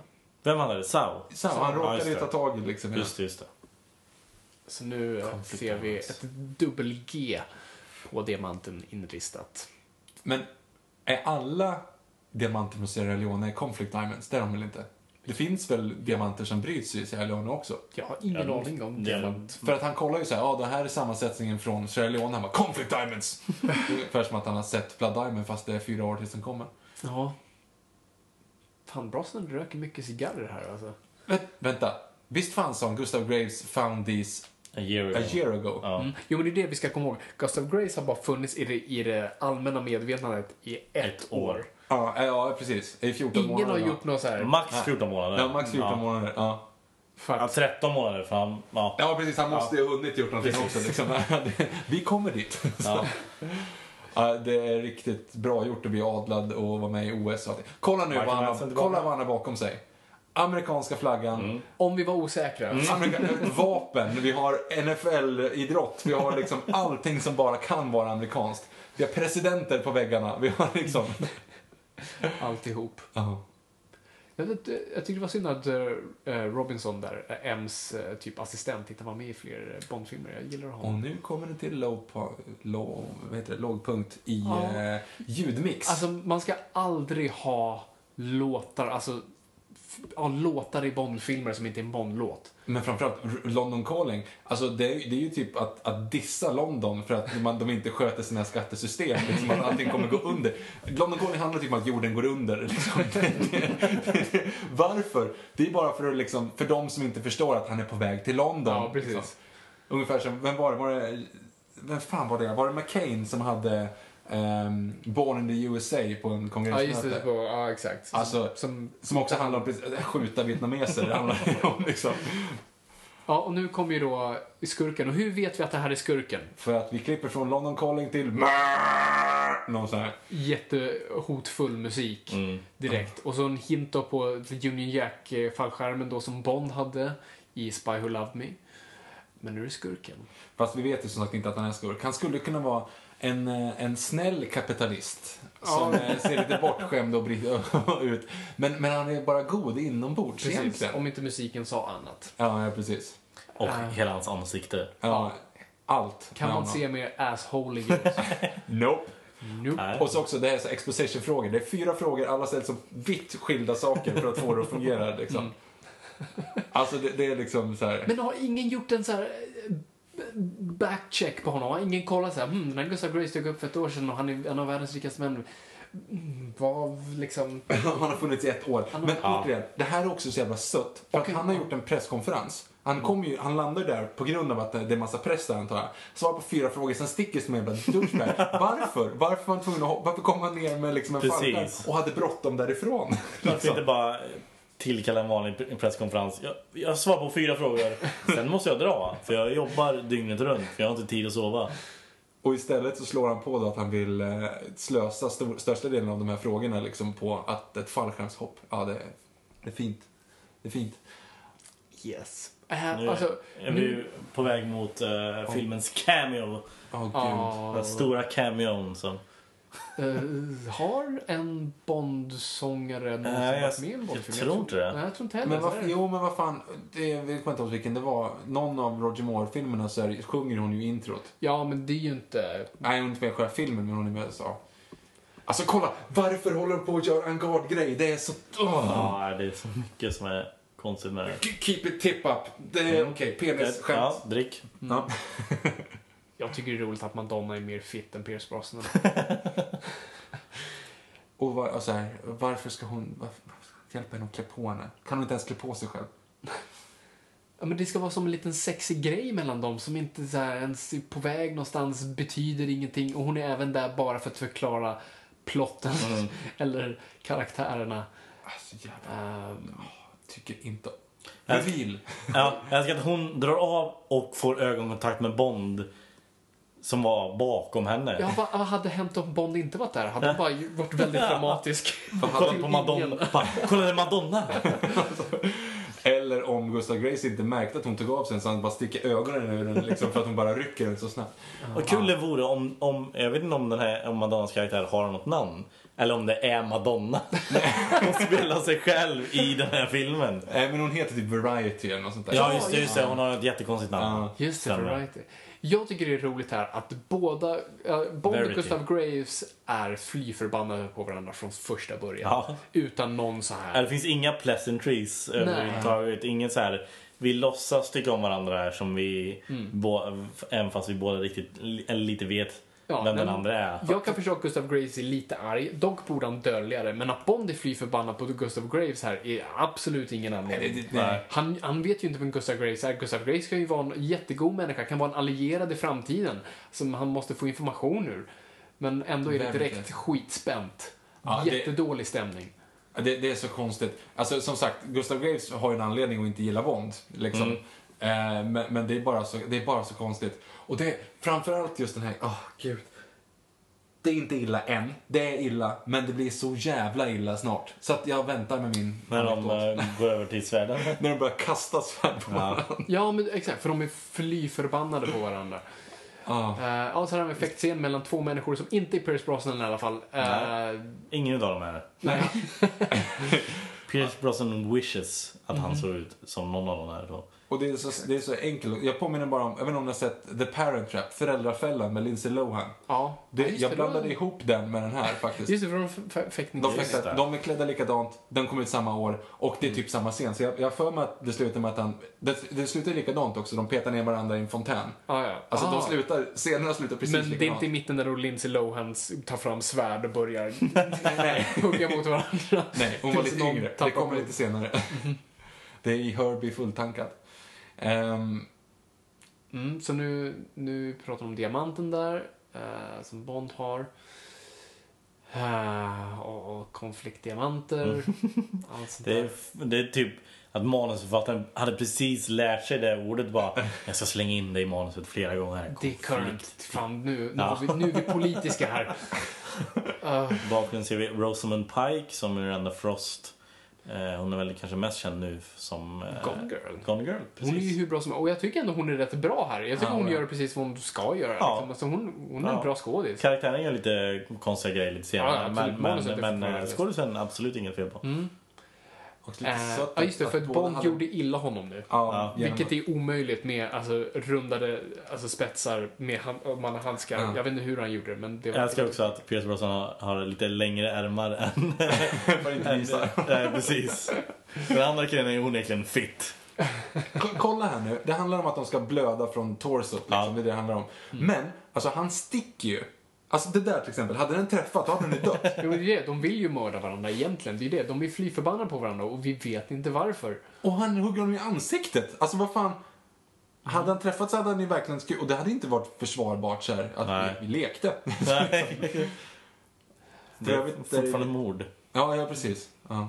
C: Vem var det? Sao?
A: Så han
C: Ja,
A: råkade
C: just
A: ju
C: det.
A: ta tag i liksom.
C: Just det, just det.
B: Så nu eh,
C: Conflict
B: ser vi
C: diamonds.
B: ett dubbel-G på diamanten inristat.
A: Men är alla diamanter från Sierra Leone conflict diamonds? Det är de väl inte? Det finns väl diamanter som bryts i Sierra Leone också?
B: Jag har ingen
C: Ja,
B: aning om
C: det är-
B: diamant.
A: För att han kollar ju så här, ja det här är sammansättningen från Sierra Leone. Han bara, conflict diamonds! Ungefär som att han har sett Blood Diamond fast det är fyra år tills den kommer.
B: Ja. Fan, Brosnan röker mycket cigarrer här alltså.
A: Vä- vänta, visst fan sa han Gustav Graves found these
C: A year ago.
A: a year ago?
C: Ja.
B: Jo, men det är det vi ska komma ihåg. Gustav Grace har bara funnits i det, i det allmänna medvetandet i ett,
C: Ett år.
B: år.
A: Ja, eh, ja precis. I 14
B: Ingen
A: månader.
B: har
A: ja.
B: gjort något så här.
C: Max 14 månader.
A: Ja, max 14
C: Ja.
A: månader. Ja.
C: Ja,
B: Fuck.
C: 13 månader fram. Ja.
A: (laughs)
C: (laughs)
A: ja, precis. Han måste ju ha hunnit gjort någonting också. Liksom. Vi kommer dit.
C: Ja.
A: Ja, det är riktigt bra gjort att bli adlad och vara med i OS och allting. Kolla nu
C: Michael
A: vad han,
C: Madsen
A: har,
C: tillbaka. Mm.
A: kolla vad han har bakom sig. Amerikanska flaggan,
B: Om vi var osäkra.
A: Amerika- vapen, vi har NFL-idrott, vi har liksom allting som bara kan vara amerikanskt. Vi har presidenter på väggarna, vi har liksom...
B: Alltihop.
A: Ja.
B: Jag, vet, inte, jag tycker det var synd att eh, Robinson där, eh, M's eh, typ assistent, inte var med i fler eh, Bondfilmer. Jag gillar honom.
A: Och nu kommer det till low, po- low, vad heter det, lågpunkt i
B: Ja.
A: eh, ljudmix.
B: Alltså man ska aldrig ha låtar, alltså f- ja, låtar i Bondfilmer som inte är en Bondlåt.
A: Men framförallt R- London calling. Alltså det, är, det är ju typ att, att dissa London för att man, de inte sköter sina skattesystem. Liksom, att allting kommer gå under. London calling handlar typ om att jorden går under. Liksom. (laughs) Det, det, det, varför? Det är bara för, att, liksom, för de som inte förstår att han är på väg till London.
B: Ja, precis.
A: liksom. Ungefär som, vem var det? Var det vem fan var det? Var det McCain som hade ehm, Born in the USA på en
B: Ja,
A: kongressmöte?
B: just det. På, ja, exakt. Som,
A: Alltså-
B: som,
A: Som också handlar om precis- skjuta vietnameser.
B: (laughs)
A: Det handlar ju om liksom.
B: ja, och nu kommer ju då skurken. Och hur vet vi att det här är skurken?
A: För att vi klipper från London calling till någon sån här.
B: Jättehotfull musik direkt. Och så en hint då på Union Jack-fallskärmen då som Bond hade i Spy Who Loved Me. Men nu är det skurken.
A: Fast vi vet ju som sagt inte att han är skurk. Han skulle kunna vara en, eh, en snäll kapitalist. Som eh, ser lite bortskämd och bri- (laughs) ut. Men, men han är bara god inombords
B: Precis,
A: egentligen.
B: om inte musiken sa annat.
A: Ja, ja, precis.
C: Och hela hans ansikte.
A: Ja, allt.
B: Kan
A: med
B: man
A: honom.
B: se mer assholy ut?
A: Nope.
B: Nope.
C: Nej.
A: Och så också, det här är så exposition-frågor. Det är fyra frågor, alla ställs som vitt skilda saker för att få det att fungera. Liksom. Alltså, det, det är liksom så här...
B: Mm. Men har ingen gjort en så här eh, backcheck på honom? Har ingen kollat så här, hmm, den här Gustav Grace dök upp för ett år sedan och han är en av världens rikaste män. Mm, vad liksom...
A: (laughs) Han har funnits i ett år. Men återigen, det här är också så jävla sött. För att han har gjort en presskonferens. Han, kom ju, han landar ju där på grund av att det det är massa press där antar jag. Svarar på fyra frågor, sen sticker som en jävla (laughs) douchebag. Varför? Varför var han tvungen att hoppa? Varför kom han ner med liksom en
C: Precis.
A: fallskärm och hade bråttom (laughs) därifrån?
C: Varför
A: Liksom.
C: inte bara tillkalla en vanlig presskonferens? Jag, jag svarar på fyra frågor. Sen måste jag dra. För jag jobbar dygnet runt. För jag har inte tid att sova.
A: Och istället så slår han på då att han vill eh, slösa stor, största delen av de här frågorna liksom på att ett fallskärmshopp, ja det, det är fint. Det är fint.
B: Yes. Äh,
C: Nu
B: alltså,
C: är vi ju på väg mot eh, filmens cameo.
A: Åh gud.
B: ja,
C: Den stora cameon som...
B: eh, har en Bondsångare någonsin
C: Nej, jag-
B: varit med i en
C: jag
B: Bondfilm?
C: tror inte det.
B: Nej, jag tror inte heller
A: Men
B: så
A: vad,
B: är det.
A: jo, men vad fan. Det, jag vet inte vilken det var. Någon av Roger Moore-filmerna så är, sjunger hon ju introt.
B: Ja, men det är ju inte...
A: Nej, hon är inte med i själva filmen, men hon är med och sa. Alltså kolla, varför håller hon på att göra en gardgrej? Det är så... åh.
C: Ja, det är så mycket som är konstigt med det.
A: K- Keep it tip up. Det är
B: Mm.
A: okej, penisskämt. Mm.
C: Ja, drick.
A: Ja.
B: Jag tycker det är roligt att Madonna är mer fit än Pierce Brosnan.
A: Och, var, och så här, varför ska hon... Varför, varför ska jag hjälpa henne att klä på henne? Kan hon inte ens klä på sig själv?
B: Ja, men det ska vara som en liten sexig grej mellan dem som inte så här ens är på väg någonstans, betyder ingenting och hon är även där bara för att förklara plotten
C: Mm.
B: (laughs) eller karaktärerna.
A: Alltså jävlar,
B: Ehm,
A: tycker inte om...
C: Jag-
A: Reveal. (laughs)
C: Ja, jag älskar att hon drar av och får ögonkontakt med Bond. Som var bakom henne.
B: ja, vad, vad hade hänt om Bond inte varit där? Hade han bara ju- varit väldigt dramatisk?
C: Kolla på Madonna. Bara, Kolla det är Madonna!
A: Eller om Gustav Grace inte märkte att hon tog av sig den så han bara sticker ögonen ur den liksom, för att hon bara rycker den så snabbt.
C: Vad kul det vore om, om, jag vet inte om den här om Madonnas karaktär har något namn. Eller om det är Madonna. (laughs) Hon spelar sig själv i den här filmen.
A: Nej men hon heter typ Variety eller något sånt där.
C: Ja just det, just det. hon har ett jättekonstigt namn.
A: Ja.
B: Just det,
C: Stämmer.
B: variety. Jag tycker det är roligt här att båda, eh, Bond och
C: Verity.
B: Gustav Graves är fly förbannade på varandra från första början.
C: Ja.
B: Utan någon så här...
C: Ja, Det finns inga pleasantries överhuvudtaget. Ingen så här, vi låtsas tycka om varandra här som vi,
B: Mm.
C: bå- även fast vi båda riktigt, eller lite vet
B: Ja,
C: vem den
B: men-
C: andra är.
B: Jag kan förstå att Gustav Graves är lite arg, dock borde han dölja det, men att Bond är fly förbannad på Gustav Graves här är absolut ingen
A: Nej,
B: anledning.
A: det- nej.
B: Han, han vet ju inte vem Gustav Graves är. Gustav Graves kan ju vara en jättegod människa, kan vara en allierad i framtiden som han måste få information ur. Men ändå är det
A: Vem
B: direkt
A: vet?
B: skitspänt.
A: Ja, det-
B: Jättedålig stämning.
A: Det, det är så konstigt. Alltså som sagt, Gustav Graves har ju en anledning att inte gilla Bond. Liksom.
C: Mm.
A: Eh, men men det, är bara så, det är bara så konstigt. Och det är framförallt just den här, åh gud. Det Det är inte illa än. Det är illa, men det blir så jävla illa snart. Så att jag väntar med min
C: När de
A: anekdot.
C: eh, går över till svärden.
A: När de börjar kasta svärd på varandra.
B: Ja, men exakt. För de är fly förbannade på varandra.
A: Ja.
B: Eh, ja, så här har vi en effektscen mellan två människor som inte är Pierce Brosnan i alla fall. Eh,
C: Ingen utav dem är det.
B: nej.
C: Pierce Brosnan wishes att
B: Mhm.
C: han såg ut som någon av dem här då.
A: Och det är, så, det är så enkelt. Jag påminner bara om, jag vet inte om ni har sett The Parent Trap, Föräldrafällan med Lindsay Lohan.
B: Ja.
A: Det,
B: Ja, just
A: jag
B: det,
A: blandade
B: då-
A: ihop den med den här faktiskt.
B: Just det, för de f- f- fick
A: De,
B: inte...
C: Just
A: fick,
C: det.
A: de är klädda likadant, den kom ut samma år och det är typ samma scen. Så jag jag har för mig att det slutar med att han... Det, det slutar likadant också, de petar ner varandra i en fontän.
B: Ja, ja.
A: Alltså
B: Ah.
A: de slutar, scenerna slutar precis
B: Men det är
A: likadant.
B: inte i mitten där då Lindsay Lohan s- tar fram svärd
A: (laughs)
B: och börjar
A: nej,
B: hugga mot varandra.
A: nej,
B: (laughs)
A: hon var
B: Tills
A: lite
B: någon
A: yngre. Det
B: tappar
A: kommer
B: blod.
A: lite senare.
B: (laughs)
A: det är i Herbie fulltankad. Ehm,
B: Mm, så nu, nu pratar de om diamanten där, eh, som Bond har. Eh, och, och konfliktdiamanter.
A: Mm.
B: (laughs) Allt sånt
C: Det är,
B: där.
C: det är typ att manusförfattaren hade precis lärt sig det ordet bara. Jag ska slänga in det i manuset flera gånger. här.
B: Det är current.
C: Konflikt.
B: Fan, nu, nu,
C: Ja.
B: har vi, nu är vi politiska
C: (laughs)
B: här. Eh,
C: Bakgrunden ser vi Rosamund Pike som Miranda Frost. Eh, hon är väl kanske mest känd nu som... Eh,
B: Gone Girl.
C: Gone Girl,
B: Hon är ju
C: precis.
B: hur bra som helst. Och jag tycker ändå hon är rätt bra här. Jag tycker
C: Ja,
B: hon
C: ja.
B: gör precis vad hon ska göra.
C: Ja.
B: Liksom. Alltså hon, hon är en
C: Ja.
B: bra skådis.
C: Karaktären gör lite konstiga grejer lite senare.
B: Ja, ja, absolut.
C: men
B: Manuset är
C: men, men eh,
B: förfärligt.
C: skådisen absolut inget fel på.
B: Mm.
A: och lite
B: Eh,
A: sött
B: ja, just det.
A: att
B: För att
A: båda
B: Bond
A: hade-
B: gjorde illa honom nu.
A: Ja, genom-
B: Vilket är omöjligt med alltså, rundade alltså, spetsar med hand, om man har handskar.
A: Ja.
B: Jag vet inte hur han gjorde det, men det
C: Jag älskar också att Pierce Brosnan har, har lite längre
B: (laughs)
C: ärmar än...
A: För inte
C: än (laughs)
A: visa.
C: nej, precis. Den andra killen är onekligen fit.
A: K- Kolla här nu, det handlar om att de ska blöda från torsot. Liksom.
C: Ja.
A: Det är det det handlar om.
B: Mm.
A: Men, alltså han sticker ju. Alltså det där till exempel, hade den träffat då hade den ju dött.
B: Jo, men det är det. De vill ju mörda varandra egentligen. Det är det. De är fly förbannade på varandra och vi vet inte varför.
A: Och han hugger honom i ansiktet. Alltså vad fan. Hade han träffat så hade han ju verkligen skurit. Och det hade inte varit försvarbart så här, att
C: Nej.
A: vi, vi lekte.
C: Nej.
A: För övrigt är det-
C: Fortfarande
B: eh,
C: mord.
A: Ja, ja precis. Ja.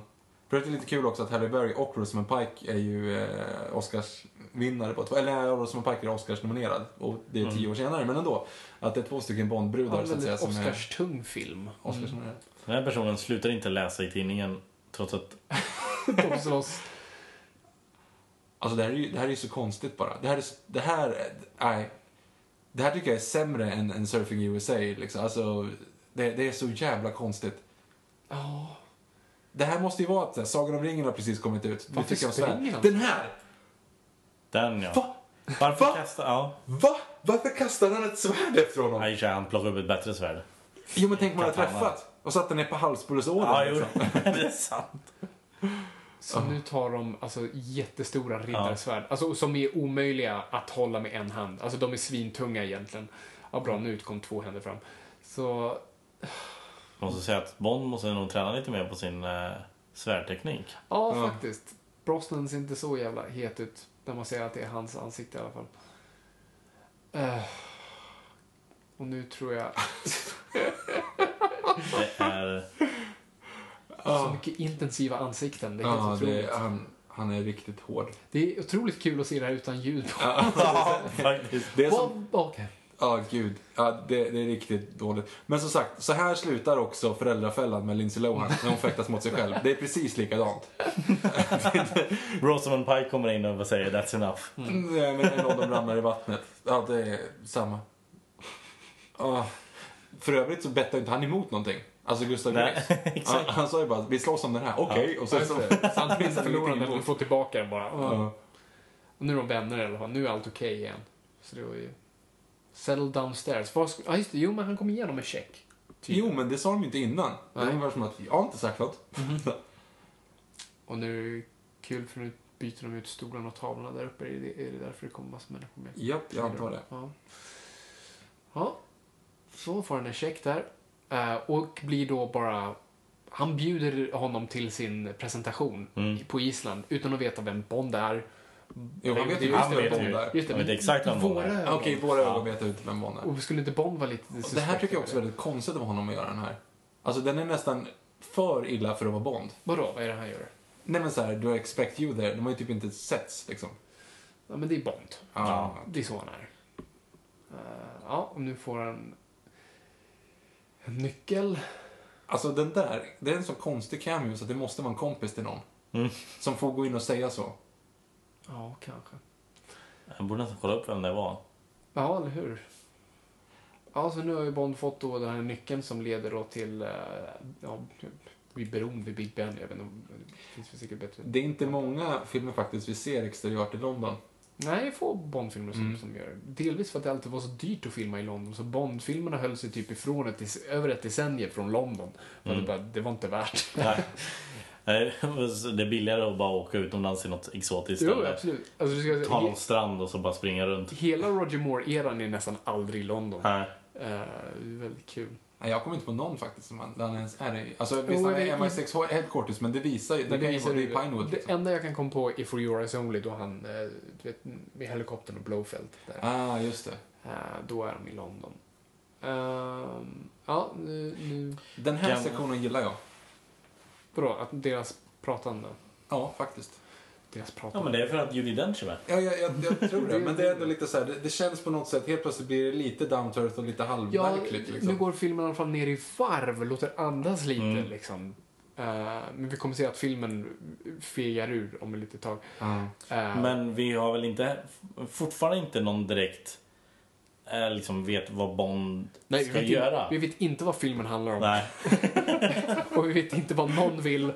A: För övrigt är det lite kul också att Harry Berry och Rosamund Pike är ju eh, Oscarsvinnare på två, eller ja, Rosamund Pike är Oscarsnominerad och det är tio år senare, men ändå. Att det är två stycken
B: Ja,
A: Bondbrudar
B: en
A: så att säga
B: väldigt
A: som är
B: Oscarstung film.
A: Oscarsnominerade.
C: Den här personen slutar inte läsa i tidningen trots att...
B: De slåss.
A: Alltså det här är ju, det här är ju så konstigt bara. Det här är, s- det här, är- nej. Det här tycker jag är sämre än, än Surfing USA liksom. Alltså, det, det är så jävla konstigt.
B: Ja.
A: Det här måste ju vara att så här, Sagan om ringen har precis kommit ut. Vi
B: Varför
A: fick en svärd.
B: springer han?
A: Den här!
C: Den ja.
A: Va?
C: Varför
A: Va?
C: kasta... Ja.
A: Va? Varför kastade han ett svärd efter honom?
C: Nej, tja, han plockar upp ett bättre svärd.
A: Jo men tänk om man hade
C: Katana.
A: träffat. Och satt den ner på halspulsådern.
C: Ja, jo.
A: liksom.
C: (laughs) Det är sant.
B: Så nu tar de alltså, jättestora riddarsvärd, alltså, som är omöjliga att hålla med en hand. Alltså de är svintunga egentligen. Ja, bra, nu kom två händer fram. Så,
C: Jag måste säga att Bond måste nog träna lite mer på sin eh, svärdteknik.
B: ja,
A: Ja.
B: faktiskt. Brosnan ser inte så jävla het ut när man ser att det är hans ansikte i alla fall. Eh, Och nu tror jag...
C: Det är... (laughs)
B: Så mycket intensiva ansikten. Det är helt
A: Ja,
B: otroligt.
A: det, han, han är riktigt hård.
B: Det är otroligt kul att se det här utan ljud. Ja,
C: Ja, faktiskt.
A: Det är som
B: Okej.
A: Ja, gud. Ja, det, det är riktigt dåligt. Men som sagt, så här slutar också Föräldrafällan med Lindsay Lohan när hon fäktas mot sig själv. Det är precis likadant.
C: Rosamund Pike kommer in och säger that's enough.
B: Mm.
A: Nej, men Eh, en av dem ramlar i vattnet. Ja, det är samma. Ja. För övrigt så bettar inte han emot någonting. Alltså Gustav
C: Nej,
B: (laughs)
A: Grace. Han, han sa ju bara vi slåss om den här. Okej, och sen så...
B: Så antingen
A: Minns
B: förlorar han
A: ingenting
B: eller
A: emot.
B: får tillbaka den bara.
A: Ja.
B: Och nu är de vänner i alla fall. Nu är allt okej igen. Så det var ju... Settle downstairs. Var sk- ja, just det. Jo, men han kom igenom med check. Typ.
A: Jo, men det sa de ju inte innan. Det var
B: Nej. Mhm.
A: ungefär som att jag har inte sagt något.
B: Och nu är det kul för nu byter de ut stolarna och tavlorna där uppe. Är det, är det därför det kommer massa människor med?
A: Japp, jag antar det.
B: Ja. ja. Så får han en check där. Eh, och blir då bara... Han bjuder honom till sin presentation på Island utan att veta vem Bond är.
A: Jo, han
B: Nej,
A: vet
B: det-
A: ju
B: han
A: visst vem
C: vet
A: Bond
C: ju.
A: är.
B: Just det,
C: Jag vet
B: men
C: exakt vem Bond är.
B: våra ögon.
A: Okej, våra ögon vet ut vem Bond är.
B: Och skulle inte Bond vara lite
A: Och det här
B: suspekt
A: tycker jag
B: över
A: också är väldigt konstigt av honom att göra den här. Alltså den är nästan för illa för att vara Bond.
B: Vadå, vad är det han gör?
A: Nej men såhär, do I expect you there? De har ju typ inte setts liksom. Ah.
B: Ja, men det är Bond.
A: Ja.
B: Det är så han är. Eh, ja, och nu får han... En nyckel.
A: Alltså den där, det är en så konstig cameo så att det måste vara en kompis till någon. Som får gå in och säga så.
B: Ja, kanske.
C: Jag borde nästan kolla upp vem det var.
B: Ja, eller hur? Ja, så nu har ju Bond fått då den här nyckeln som leder då till eh, ja, vid bron vid Big Ben. Jag vet inte, om- det finns väl säkert bättre.
A: Det är inte många filmer faktiskt vi ser exteriört i London.
B: Nej, få Bondfilmer
A: Mm.
B: som, som gör det. Delvis för att det alltid var så dyrt att filma i London. Så Bondfilmerna höll sig typ ifrån ett, dec- över ett decennium från London. För
A: Mm.
B: att det, bara, det var inte värt.
C: (laughs) Nej. Nej, det är billigare att bara åka utomlands till något exotiskt
B: Jo,
C: ställe.
B: absolut. Alltså, du ska,
C: Ta någon
B: he,
C: strand och så bara springa runt.
B: hela Roger Moore-eran är nästan aldrig i London.
C: Nej.
B: Eh, det är väldigt kul.
A: Nej, jag kommer inte på någon faktiskt som han- där han ens är i. Alltså
B: Jo,
A: visst han är
B: det-
A: i MI6 Headquarters men det visar ju, det, det,
B: visar
A: det är
B: du-
A: i Pinewood.
B: Det
A: Liksom.
B: enda jag kan komma på är For Your Eyes Only då han, eh, du vet, med helikoptern och Blowfelt. Där.
A: Ah, just det.
B: Eh, Då är de i London. Ehm, ja, nu, nu...
A: Den här
C: Gamla.
A: sektionen gillar jag.
B: Vadå, att deras pratande?
A: Ja, faktiskt.
B: Deras
C: Ja, men
B: pratande.
C: det är för att Judi Dench är med.
A: Ja, jag, jag, jag tror det. Men det är ändå lite så här, det, det känns på något sätt, helt plötsligt blir det lite down to earth och lite
B: ja,
A: halvverkligt
B: nu
A: liksom.
B: går filmen i alla fall ner i varv, låter andas lite
C: Mm.
B: liksom. Eh, men vi kommer se att filmen fegar ur om ett litet tag.
A: Ja.
B: Eh,
C: Men vi har väl inte, fortfarande inte någon direkt eh, liksom vet vad Bond
B: Nej, vi
C: ska
B: vet,
C: göra.
B: Inte, vi vet inte vad filmen handlar om.
C: Nej.
B: Och vi vet inte vad någon vill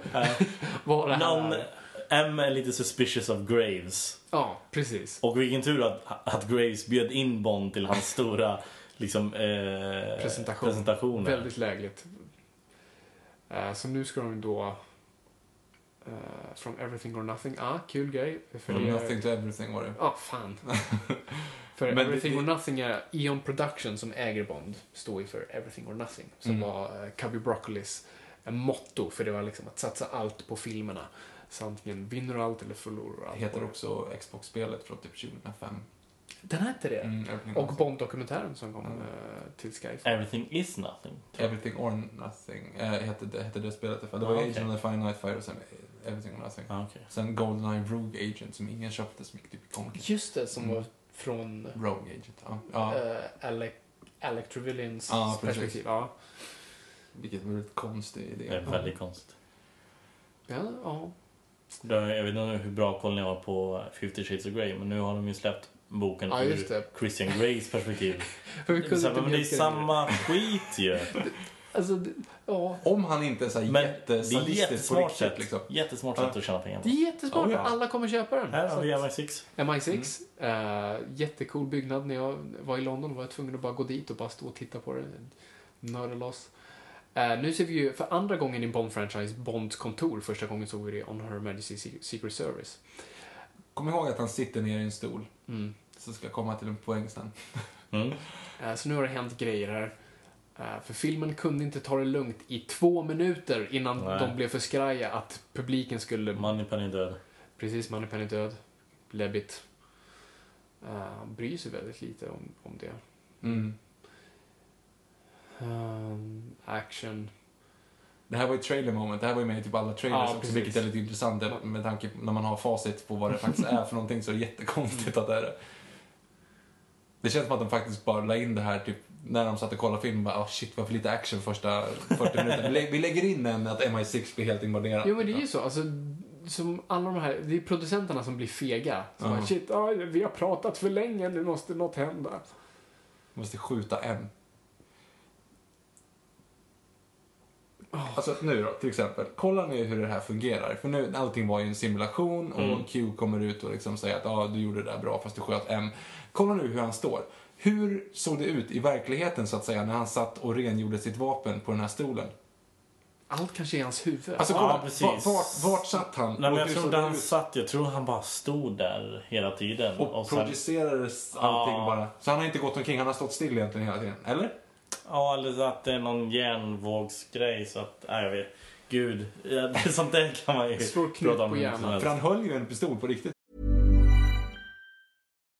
B: vara det här.
C: Någon,
B: är.
C: M är lite suspicious of Graves.
B: Ja, precis.
C: Och vilken tur att, att Graves bjöd in Bond till hans stora liksom, eh,
B: Presentation.
C: presentationer.
B: Väldigt lägligt. Eh, så nu ska de då... eh, from everything or nothing. Ah, kul grej. För
A: From
B: det är-
A: nothing to everything var det.
B: Ja,
A: (laughs)
B: fan. för
A: Men det-
B: everything
A: det-
B: or nothing är Eon Production som äger Bond. Står ju för everything or nothing. Som
A: Mm.
B: var eh, Cubby Broccolis eh, motto. För det var liksom att satsa allt på filmerna. Så antingen vinner du allt eller förlorar du allt.
A: Heter också Xbox-spelet från typ 2005.
B: Den hette det.
A: Mm, everything,
B: Och
A: or
B: Bond-dokumentären som
C: Mm.
B: kom eh, till Skyfall.
C: Everything is nothing. tror jag.
A: everything or Nothing eh, hette, det, hette det spelet. Det var
C: Ah,
A: Agent
C: okej.
A: of the Fine Nightfire och sen Everything or Nothing.
C: Ah, okej.
A: Sen Goldeneye Rogue Agent som ingen köpte som gick typ i konken.
B: Just det, som
C: Mm.
B: var från...
A: Rogue Agent, ja. ja
B: eh, Alec, Alec Trevillans
A: Ja, precis.
B: perspektiv. Ja.
A: vilket var en konstig
C: Det är
A: idé.
C: väldigt konstigt.
B: Ja, ja.
C: Då- Jag vet inte hur bra koll ni har på 50 Shades of Grey men nu har de ju släppt boken
B: Ja, just
C: ur
B: det.
C: Christian Greys perspektiv.
B: För (laughs) vi
C: Det är,
B: kunde
C: så
B: inte
C: här, men det är
B: mjölka
C: samma skit ju.
B: Alltså, det- ja.
A: Om han inte är så här
C: Men det är
A: jättesalistisk på
C: jättesmart
A: riktigt
C: sätt.
A: liksom.
C: Jättesmart sätt att tjäna pengar
B: Det
C: på.
B: är jättesmart.
C: Oh, ja.
B: Alla kommer köpa den.
C: Här
B: Så
C: har vi
B: att-
C: MI6.
B: MI6. eh, jättecool byggnad. När jag var i London var jag tvungen att bara gå dit och bara stå och titta på det. Nörda loss. Eh, nu ser vi ju för andra gången i en Bond-franchise Bonds kontor. Första gången såg vi det i On Her Majesty's Secret Service.
A: Kom ihåg att han sitter ner i en stol.
B: Mm.
A: Så ska jag komma till en poäng sen.
C: Mm.
B: Eh, Så nu har det hänt grejer här. Eh, För filmen kunde inte ta det lugnt i två minuter innan
C: Nej.
B: de blev för skraja att publiken skulle...
C: Moneypenny är död.
B: Precis, Moneypenny död. Lebbit. Eh, Han bryr sig väldigt lite om, om det.
A: Mm.
B: Ehm, action.
A: Det här var ju trailer moment, det här var ju med i typ alla trailers
B: Ja,
A: också,
B: precis.
A: vilket är lite intressant med tanke på när man har facit på vad det faktiskt är för någonting så är det jättekonstigt att det är det. Det känns som att de faktiskt bara la in det här typ när de satt och kollade film, bara oh, shit vad för lite action första 40 minuterna. Vi, lä- vi lägger in en att MI6 blir helt invaderad.
B: Jo men det är ju så. Alltså, som alla de här, det är producenterna som blir fega. Som
A: Ja.
B: bara, shit, ah, vi har pratat för länge, nu måste något hända.
A: Måste skjuta en. Alltså nu då, till exempel. Kolla nu hur det här fungerar. För nu, allting var ju en simulation och
C: Mm.
A: Q kommer ut och liksom säger att ah, du gjorde det där bra fast du sköt en. Kolla nu hur han står. Hur såg det ut i verkligheten så att säga när han satt och rengjorde sitt vapen på den här stolen?
B: Allt kanske är i hans huvud.
A: Alltså
C: Ja,
A: kolla,
C: precis.
A: vart, vart, vart satt han?
C: Nej, men
A: Och
C: jag
A: hur
C: tror
A: såg
C: inte
A: det
C: han
A: ut?
C: satt, jag tror han bara stod där hela tiden.
A: Och,
C: Och sen,
A: producerades allting
C: Ja.
A: bara. Så han har inte gått omkring, han har stått still egentligen hela tiden. Eller?
C: ja, eller så att det är någon järnvågsgrej så att, nej jag vet. Gud, ja, det- sånt där kan man ju
B: Slår knut på
C: hur mycket
B: hjärnan.
C: som helst.
A: För han höll ju en pistol på riktigt.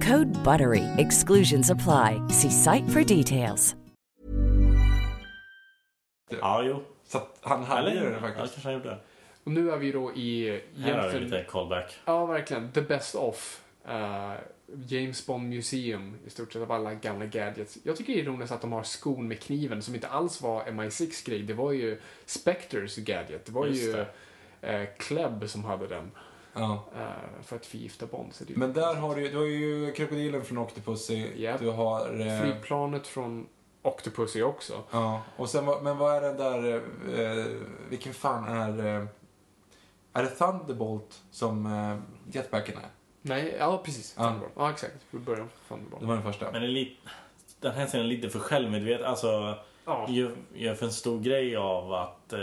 D: Code BUTTERY. Exclusions apply. See site for details.
C: Ja, jo.
A: Så att han hade ju det
C: ja,
A: faktiskt.
C: kanske han gjorde.
B: Och nu är vi då i
C: Här har vi
B: jämför...
C: lite callback.
B: Ja, verkligen. The best of. eh, James Bond Museum, i stort sett av alla gamla gadgets. Jag tycker det är ironiskt att de har skon med kniven som inte alls var MI6 grej. Det var ju Spectres gadget. Det var
C: Just
B: ju
C: det.
B: eh, Klebb som hade den
A: Ja.
B: eh, för att förgifta Bond. Så det är ju-
A: Men där har du ju, du har ju krokodilen från Octopussy.
B: Japp.
A: Du har... Eh,
B: Flygplanet från Octopussy också.
A: ja. Och sen, vad- men vad är det där, eh, vilken fan är... Eh, är det Thunderbolt som eh, jetpacken är?
B: Nej, ja precis.
A: Ja.
B: Thunderbolt. Ja, exakt. Vi börjar med Thunderbolt.
A: Det var den första.
C: Men det är lite, den här scenen är lite för självmedveten. Alltså,
B: Ja.
C: gör, gör för en stor grej av att eh,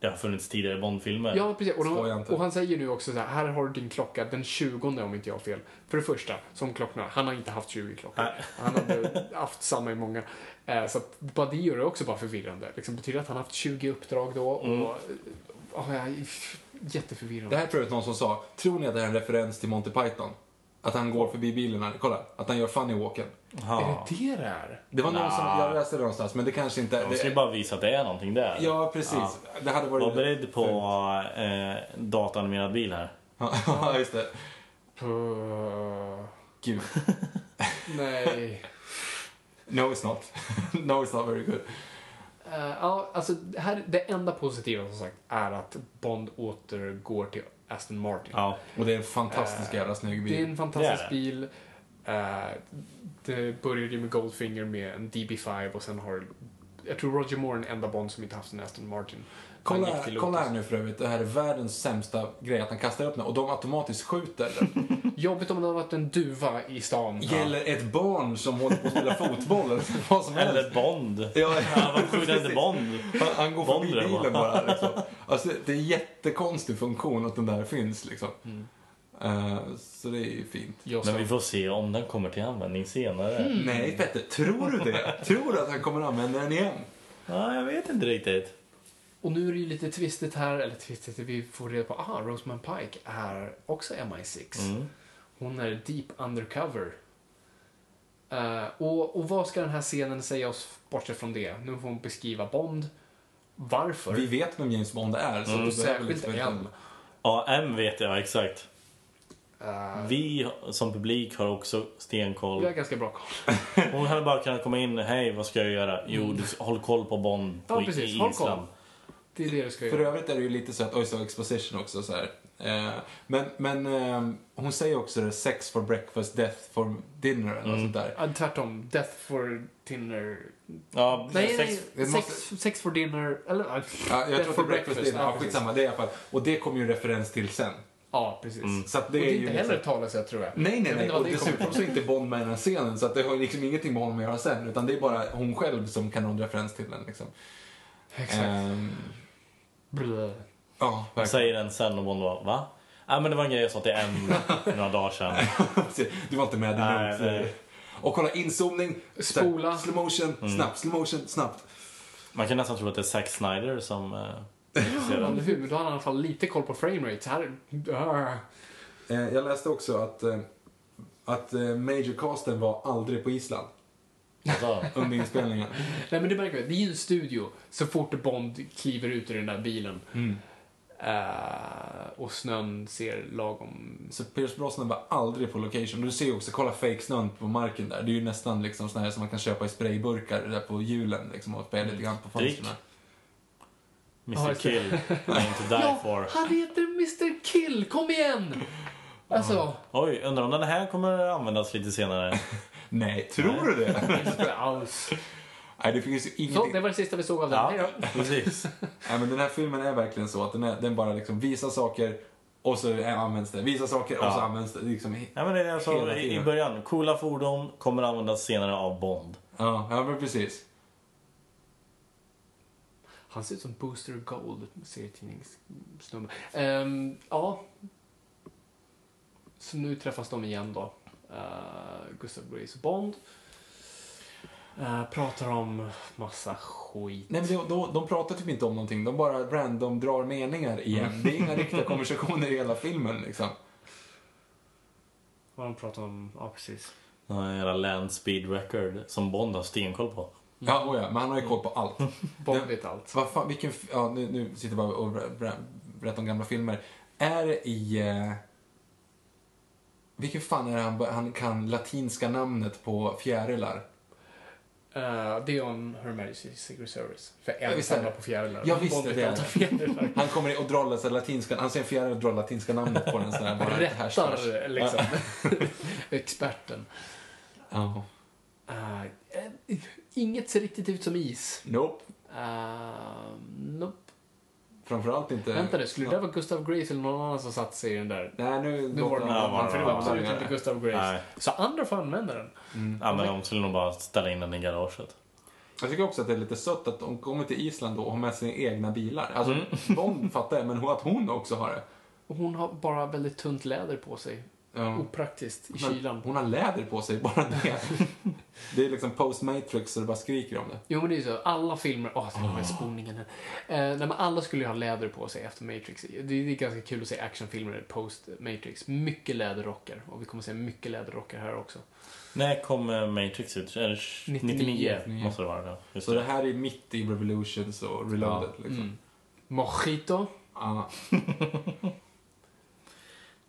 C: det har funnits tidigare Bondfilmer.
B: Ja, precis. Och,
A: Skoja
B: de,
A: inte.
B: och han säger nu också så här, här har du din klocka den 20 om inte jag har fel. För det första, som klockorna, han har inte haft 20 klockor.
C: Nej.
B: Han har haft samma i många. Eh, så att, bara det gör det också bara förvirrande. Liksom, betyder det att han har haft 20 uppdrag då? Och,
C: Mm.
B: ja, jag är f- jätteförvirrande.
A: Det här tror jag att någon som sa, tror ni att det här är en referens till Monty Python? Att han går förbi bilen här, kolla. Att han gör funny walken.
C: Ja.
B: Är det det det är?
A: Det var någon som, jag läste det någonstans, men det kanske inte...
C: De ska ju
A: Det,
C: bara visa att det är någonting där.
A: ja, precis. Det hade varit...
C: Var beredd på eh, dataanimerad bil här.
A: (laughs) Ja, just det.
B: Puh,
A: Gud. (laughs)
B: nej.
A: No it's not. (laughs) no it's not very good.
B: Eh, Ja, alltså det här, det enda positiva som sagt är att Bond återgår till Aston Martin.
C: Ja.
A: Och det är en fantastisk jävla snygg
B: Det är
A: bil.
B: en fantastisk
C: Det är det.
B: bil. Eh, det började ju med Goldfinger med en DB5 och sen har jag tror Roger Moore är den enda Bond som inte haft en Aston Martin. Han
A: Kolla,
B: gick till Lotus.
A: kolla här nu för övrigt, det här är världens sämsta grej att han kastar upp den och de automatiskt (laughs) skjuter den.
B: Jobbigt om det hade varit en duva i stan.
A: Gäller ett barn som håller på att spela fotboll eller (laughs) vad som helst.
C: Eller Bond.
A: Ja,
C: Han var sjudande Bond.
A: Han, han går förbi
C: Bondre,
A: bilen
C: va?
A: bara. Liksom. Alltså, det är en jättekonstig funktion att den där finns. Liksom. Eh, så det är ju fint.
B: Jag
C: Men vi
B: sa-
C: får se om den kommer till användning senare.
B: Hmm.
A: Nej Petter, tror du (laughs) det? tror du att han kommer använda den igen?
C: Ja, jag vet inte riktigt.
B: Och nu är det ju lite twistigt här, eller twistigt, vi får reda på aha, Rosamund Pike är också MI6.
C: Mm.
B: Hon är deep undercover. Eh, och, och vad ska den här scenen säga oss bortsett från det? Nu får hon beskriva Bond. Varför?
A: Vi vet vem James Bond är. Så du
B: Och
A: behöver
B: särskilt
A: liksom inte...
B: M.
C: Ja, M vet jag exakt.
B: Eh,
C: Vi som publik har också stenkoll.
B: vi har ganska
A: (laughs)
B: bra koll.
C: Hon hade bara kunnat komma in. Hej, vad ska jag göra? Jo, du, håll koll på Bond på
B: Mm. Ja, precis.
C: i
B: Håll
C: Island.
B: koll. Det är det du ska
A: För
B: göra.
A: övrigt är det ju lite så att, oj så exposition också så här. Eh, men men eh, hon säger också det, sex for breakfast, death for dinner eller något sånt där.
B: Mm. Ja, tvärtom. Death for dinner.
C: Ja,
B: Nej,
C: sex...
B: nej.
A: Det
B: Sex,
A: måste-
B: sex for dinner. Eller, ja,
A: Ja, jag
B: death
A: tror att det
B: for
A: är breakfast dinner, ja,
B: precis.
A: skitsamma, det är i alla fall. Och det kommer ju en referens till sen.
B: Ja, precis.
A: Så att det,
B: Det
A: är
B: är, och det är
A: ju
B: inte
A: liksom-
B: heller ett talesätt tror jag.
A: Nej, nej,
B: Jag vet
A: nej.
B: inte vad
A: Och
B: det kommer
A: dessutom så är inte Bond med i den här scenen så att det har liksom ingenting med honom att göra sen. Utan det är bara hon själv som kan ha en referens till den liksom.
B: Exakt.
A: Ehm,
B: Blö.
A: ja,
C: Hon
A: verkligen.
C: säger den sen och Bond bara, va? Ja, men det var en grej jag sa
B: (laughs)
C: till en för några dagar sedan.
A: (laughs) Du var inte med. det är
C: Nej,
A: lugnt.
C: nej.
A: Och kolla inzoomning,
B: Spola. Mm.
A: slow motion, snabbt, slow motion, snabbt.
C: Man kan nästan tro att det är Zack Snyder som... Eh,
B: Ja,
C: regisserar
B: men
C: den.
B: hur? Men Då har han i alla fall lite koll på framerate. Så här... Ah.
A: Eh, jag läste också att, eh, att eh, majorcasten var aldrig på Island
C: alltså,
A: under inspelningen.
B: Nej men det märker vi. Det är ju en studio. Så fort Bond kliver ut ur den där bilen.
A: Mm.
B: eh, och snön ser lagom...
A: Så Pierce Brosnan var aldrig på location. Och du ser ju också, kolla fake snön på marken där. Det är ju nästan liksom sån här som man kan köpa i sprayburkar där på hjulen liksom och spela lite grann på
C: Drick.
A: fönstren.
C: Mr Kill, Name to die for.
B: han heter Mr Kill! Kom igen! Alltså,
C: Oj, undrar om den här kommer användas lite senare.
A: Nej, tror du det?
B: inte alls.
A: (laughs) Nej, det finns ju
B: Så,
A: ingenting.
B: det var det sista vi såg av den. Hej
C: Ja,
B: då.
C: precis.
A: Nej, men den här filmen är verkligen så att den, är, den bara liksom visar saker och så är- används det. Visar saker och så
C: Ja.
A: används det. Liksom, he-
C: Ja, men det är det jag sa
A: Hela
C: i, i
A: tiden.
C: början. Coola fordon kommer användas senare av Bond.
A: ja, ja, men precis.
B: Han ser ut som Booster Gold, serietidningssnubbe. Ehm, ja. Så nu träffas de igen då. Uh, Gustav Grace och Bond. Eh, pratar om massa skit.
A: Nej, men de, de, de pratar typ inte om någonting. De bara random drar meningar
B: Mm.
A: igen. Det är inga riktiga konversationer i hela filmen liksom.
B: Vad de pratar om, ja precis.
C: Den här jävla land speed record som Bond har stenkoll på.
B: Mm.
A: Ja, oh ja, men han har ju koll på allt.
B: Bond vet allt.
A: Vad fan, vilken... f- Ja, nu, nu sitter jag bara och ber- ber- berättar om gamla filmer. Är det i... Eh, vilken fan är det han, ba- han kan latinska namnet på fjärilar?
B: Eh, det är om Her Majesty's Secret Service. För
A: Ja,
B: en
A: visst är det.
B: samlar på fjärilar.
A: Ja, visst
B: Bond
A: är
B: vet
A: det.
B: allt om fjärilar.
A: Han kommer in och drar så här latinska... Han ser en fjäril och drar latinska namnet på den sådär. Bara härstörs.
B: Rättar liksom. (laughs) Experten.
A: Ja.
B: Eh, eh, inget ser riktigt ut som is.
A: Nope.
B: Uh, nope.
A: Framförallt inte...
B: Vänta nu, skulle det där vara Gustav Grace eller någon annan som satte sig i den där?
A: Nej, nu...
B: Nu var det någon
C: Ja,
B: annan, för det var
C: ja,
B: absolut
A: ja.
B: inte Gustav Grace.
C: Nej.
B: Så andra får använda den.
A: Mm.
C: Ja, men de skulle nog bara ställa in den i garaget.
A: Jag tycker också att det är lite sött att de kommer till Island då och har med sina egna bilar. Alltså,
B: Mm.
A: Bond fattar jag, men hon- att hon också har det.
B: Och hon har bara väldigt tunt läder på sig.
A: Ja.
B: Opraktiskt i
A: Ehm, Men
B: kylan.
A: Hon har läder på sig, bara
B: (laughs)
A: det. det är liksom post-matrix så det bara skriker om det.
B: Jo men det är ju så, alla filmer, åh oh, oh. spolningen här. Eh, nej men alla skulle ju ha läder på sig efter Matrix. Det är, det är ganska kul att se actionfilmer post Matrix. Mycket läderrockar. Och vi kommer se mycket läderrockar här också.
C: När kom eh, Matrix ut? Är det sh-
B: 99?
C: 99 måste det vara. Ja. Just
A: Så det
C: det.
A: här är mitt i Revolutions och Reloaded. Liksom.
B: Mm. Mojito.
A: Ja.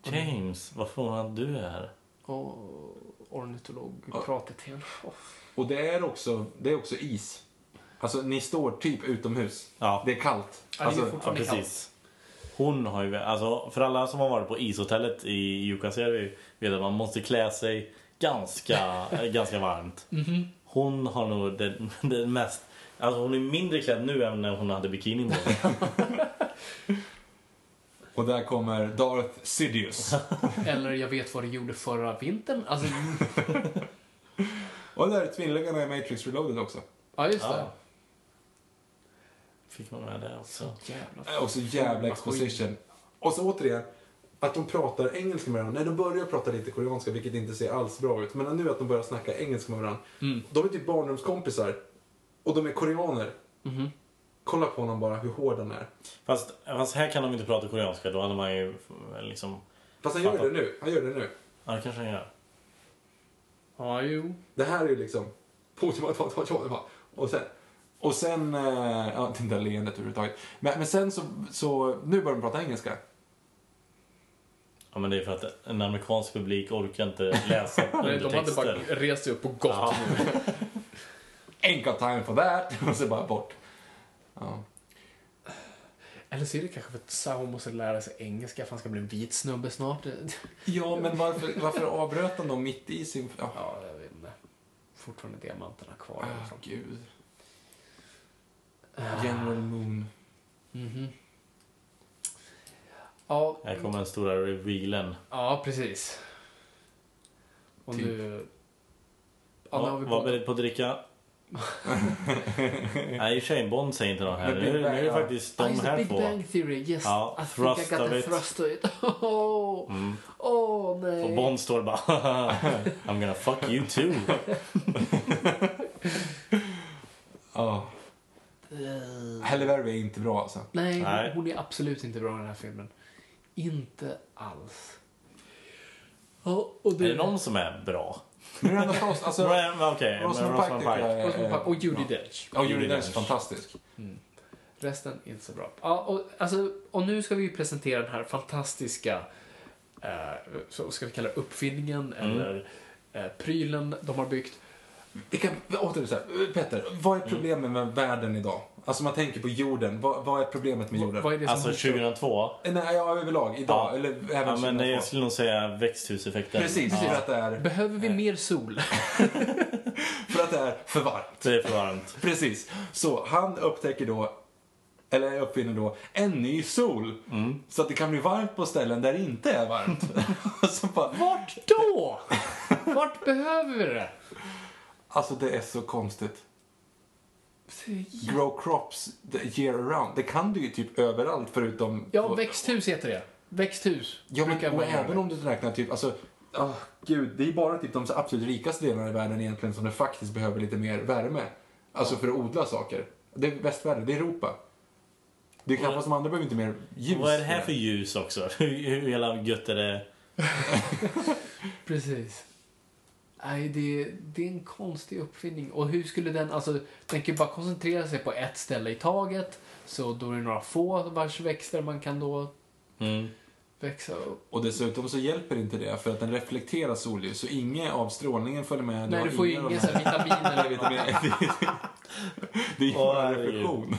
C: James, vad förvånad du är.
B: Och ornitologpratet igen. Åh.
A: Och det är, också, det är också is. Alltså, ni står typ utomhus.
C: Ja.
A: Det är kallt.
B: Ja, det är
A: Alltså,
C: Ja,
B: fortfarande kallt.
C: precis. Hon har ju, alltså för alla som har varit på ishotellet i Jukkasjärvi vet att man måste klä sig
B: (laughs)
C: ganska, eh, ganska varmt.
B: Mhm.
C: Hon har nog den, (laughs) den mest, alltså hon är mindre klädd nu än när hon hade bikini
B: (laughs)
C: på sig.
A: och där kommer Darth
B: (laughs)
A: Sidious.
B: Eller jag vet vad du gjorde förra vintern. Alltså,
A: och där är tvillingarna i Matrix Reloaded också.
B: ja just det.
C: Ja. Fick man med det också.
B: Jävla
A: Äh, Och så jävla
B: Maskin.
A: exposition. Och så återigen, att de pratar engelska med varandra. Nej, de börjar prata lite koreanska, vilket inte ser alls bra ut. Men nu att de börjar snacka engelska med varandra. De är typ barndomskompisar. Och de är koreaner. Kolla på honom bara, hur hård han är.
C: Fast, fast här kan de inte prata koreanska, då hade man ju eh, liksom...
A: Fast han gör
C: Fattar.
A: det nu. Han gör det nu.
C: Ja, det kanske han gör.
B: Ja, jo.
A: Det här är ju liksom... (laughs) Och sen... Och sen... eh, Ja, det där leendet överhuvudtaget. Men, men sen så, så... Nu börjar de prata engelska.
C: Ja, men det är för att en amerikansk publik orkar inte läsa
B: (laughs) Nej, de hade bara
C: undertexter.
B: rest sig upp på gott
C: Ja.
A: Ain't got time for that! (laughs) Och så bara bort. Ja.
B: Eller så är det kanske för att Sao måste lära sig engelska för han ska bli en vit snubbe snart.
A: Ja, men varför, varför avbröt han dem mitt i sin... Ja,
B: Ja, jag vet inte. Fortfarande diamanterna kvar.
A: Ah,
B: därifrån.
A: gud. Ah. General Moon.
B: Mhm. Ja,
C: Här kommer den stora revealen.
B: ja, precis. Och
A: Typ.
B: nu... Ja, nu
C: Ja,
B: har vi
C: var
A: (laughs)
B: pratat...
C: beredd på att dricka. Nej, Shane Bond säger inte något här.
A: The
C: Nu
A: Big
C: är det- nu är det
A: Bang, ja.
C: faktiskt
B: Ah,
C: de
B: just the
C: här
B: Big
C: två.
B: Bang Theory. Yes,
C: Ja,
B: I think I
C: thrust
B: got
C: of
B: the
C: it.
B: thrust of it. (laughs) Åh,
C: Mm.
B: åh, nej.
C: Och Bond står bara (laughs) I'm gonna fuck you
B: (laughs)
C: too.
A: Ja. Halle Berry är inte bra alltså.
B: Nej, hon-
C: Nej.
B: hon är absolut inte bra i den här filmen. Inte alls. Ja, och
C: Är
B: det...
C: det någon som är bra?
A: Miranda Frost, alltså...
C: Ro- men Okej, men
A: Rosamund Pike
C: Rosamund
A: tycker jag
C: Pike.
A: är...
B: Rosamund Pike Och Judi
A: ja.
B: Dench.
A: Ja, Judi
C: Judi
A: Dench är
C: Dench.
A: fantastisk.
B: Resten är inte så bra. Ja, och, alltså, och nu ska vi ju presentera den här fantastiska, eh, så ska vi kalla det uppfinningen
A: Mm.
B: eller eh, prylen de har byggt.
A: Det kan, återigen så här, Petter, vad
C: Mm.
A: är problemet med världen idag? Alltså man tänker på jorden, vad, vad är problemet med jorden?
B: Vad är det som
C: Alltså
B: hotar?
C: 2002.
A: Nej, ja, överlag, idag,
C: Ja.
A: eller även
C: Ja, men
A: 2002.
C: jag skulle nog säga växthuseffekten.
A: Precis, för att det är,
B: Behöver vi mer sol?
A: för att det är för varmt.
C: Det är för varmt.
A: Precis. Så han upptäcker då, eller uppfinner då, en ny sol. Så att det kan bli varmt på ställen där det inte är varmt. så bara,
B: Vart då? Vart behöver vi
A: (laughs)
B: det?
A: alltså det är så konstigt.
B: Ja,
A: Grow crops the year round. Det kan du ju typ överallt förutom...
B: Ja, växthus heter det. Växthus.
A: Ja, men,
B: brukar
A: och
B: man göra
A: även
B: det.
A: om du räknar typ, alltså, ah, gud, det är bara typ de så absolut rikaste delarna i världen egentligen som det faktiskt behöver lite mer värme. Alltså för att odla saker. Det är västvärlden, det är Europa. Det är knappast som andra behöver inte mer ljus.
C: Vad är det här för ljus också? (laughs) Hur, hur hela gött är det?
B: Precis. Nej, det, det är en konstig uppfinning. Och hur skulle den, alltså, den kan ju bara koncentrera sig på ett ställe i taget. Så då är det några få vars växter man kan då
C: Mm.
B: växa upp.
A: Och dessutom så hjälper inte det för att den reflekterar solljus så ingen av strålningen följer med.
B: Nej,
A: har
B: du får ju
A: av de
B: ingen
A: här-
B: sån här vitamin eller
A: Jag (laughs) vet inte,
B: vitamin.
A: men- det är- Det är ju
C: Åh,
A: bara
C: herregud.
A: reflektion.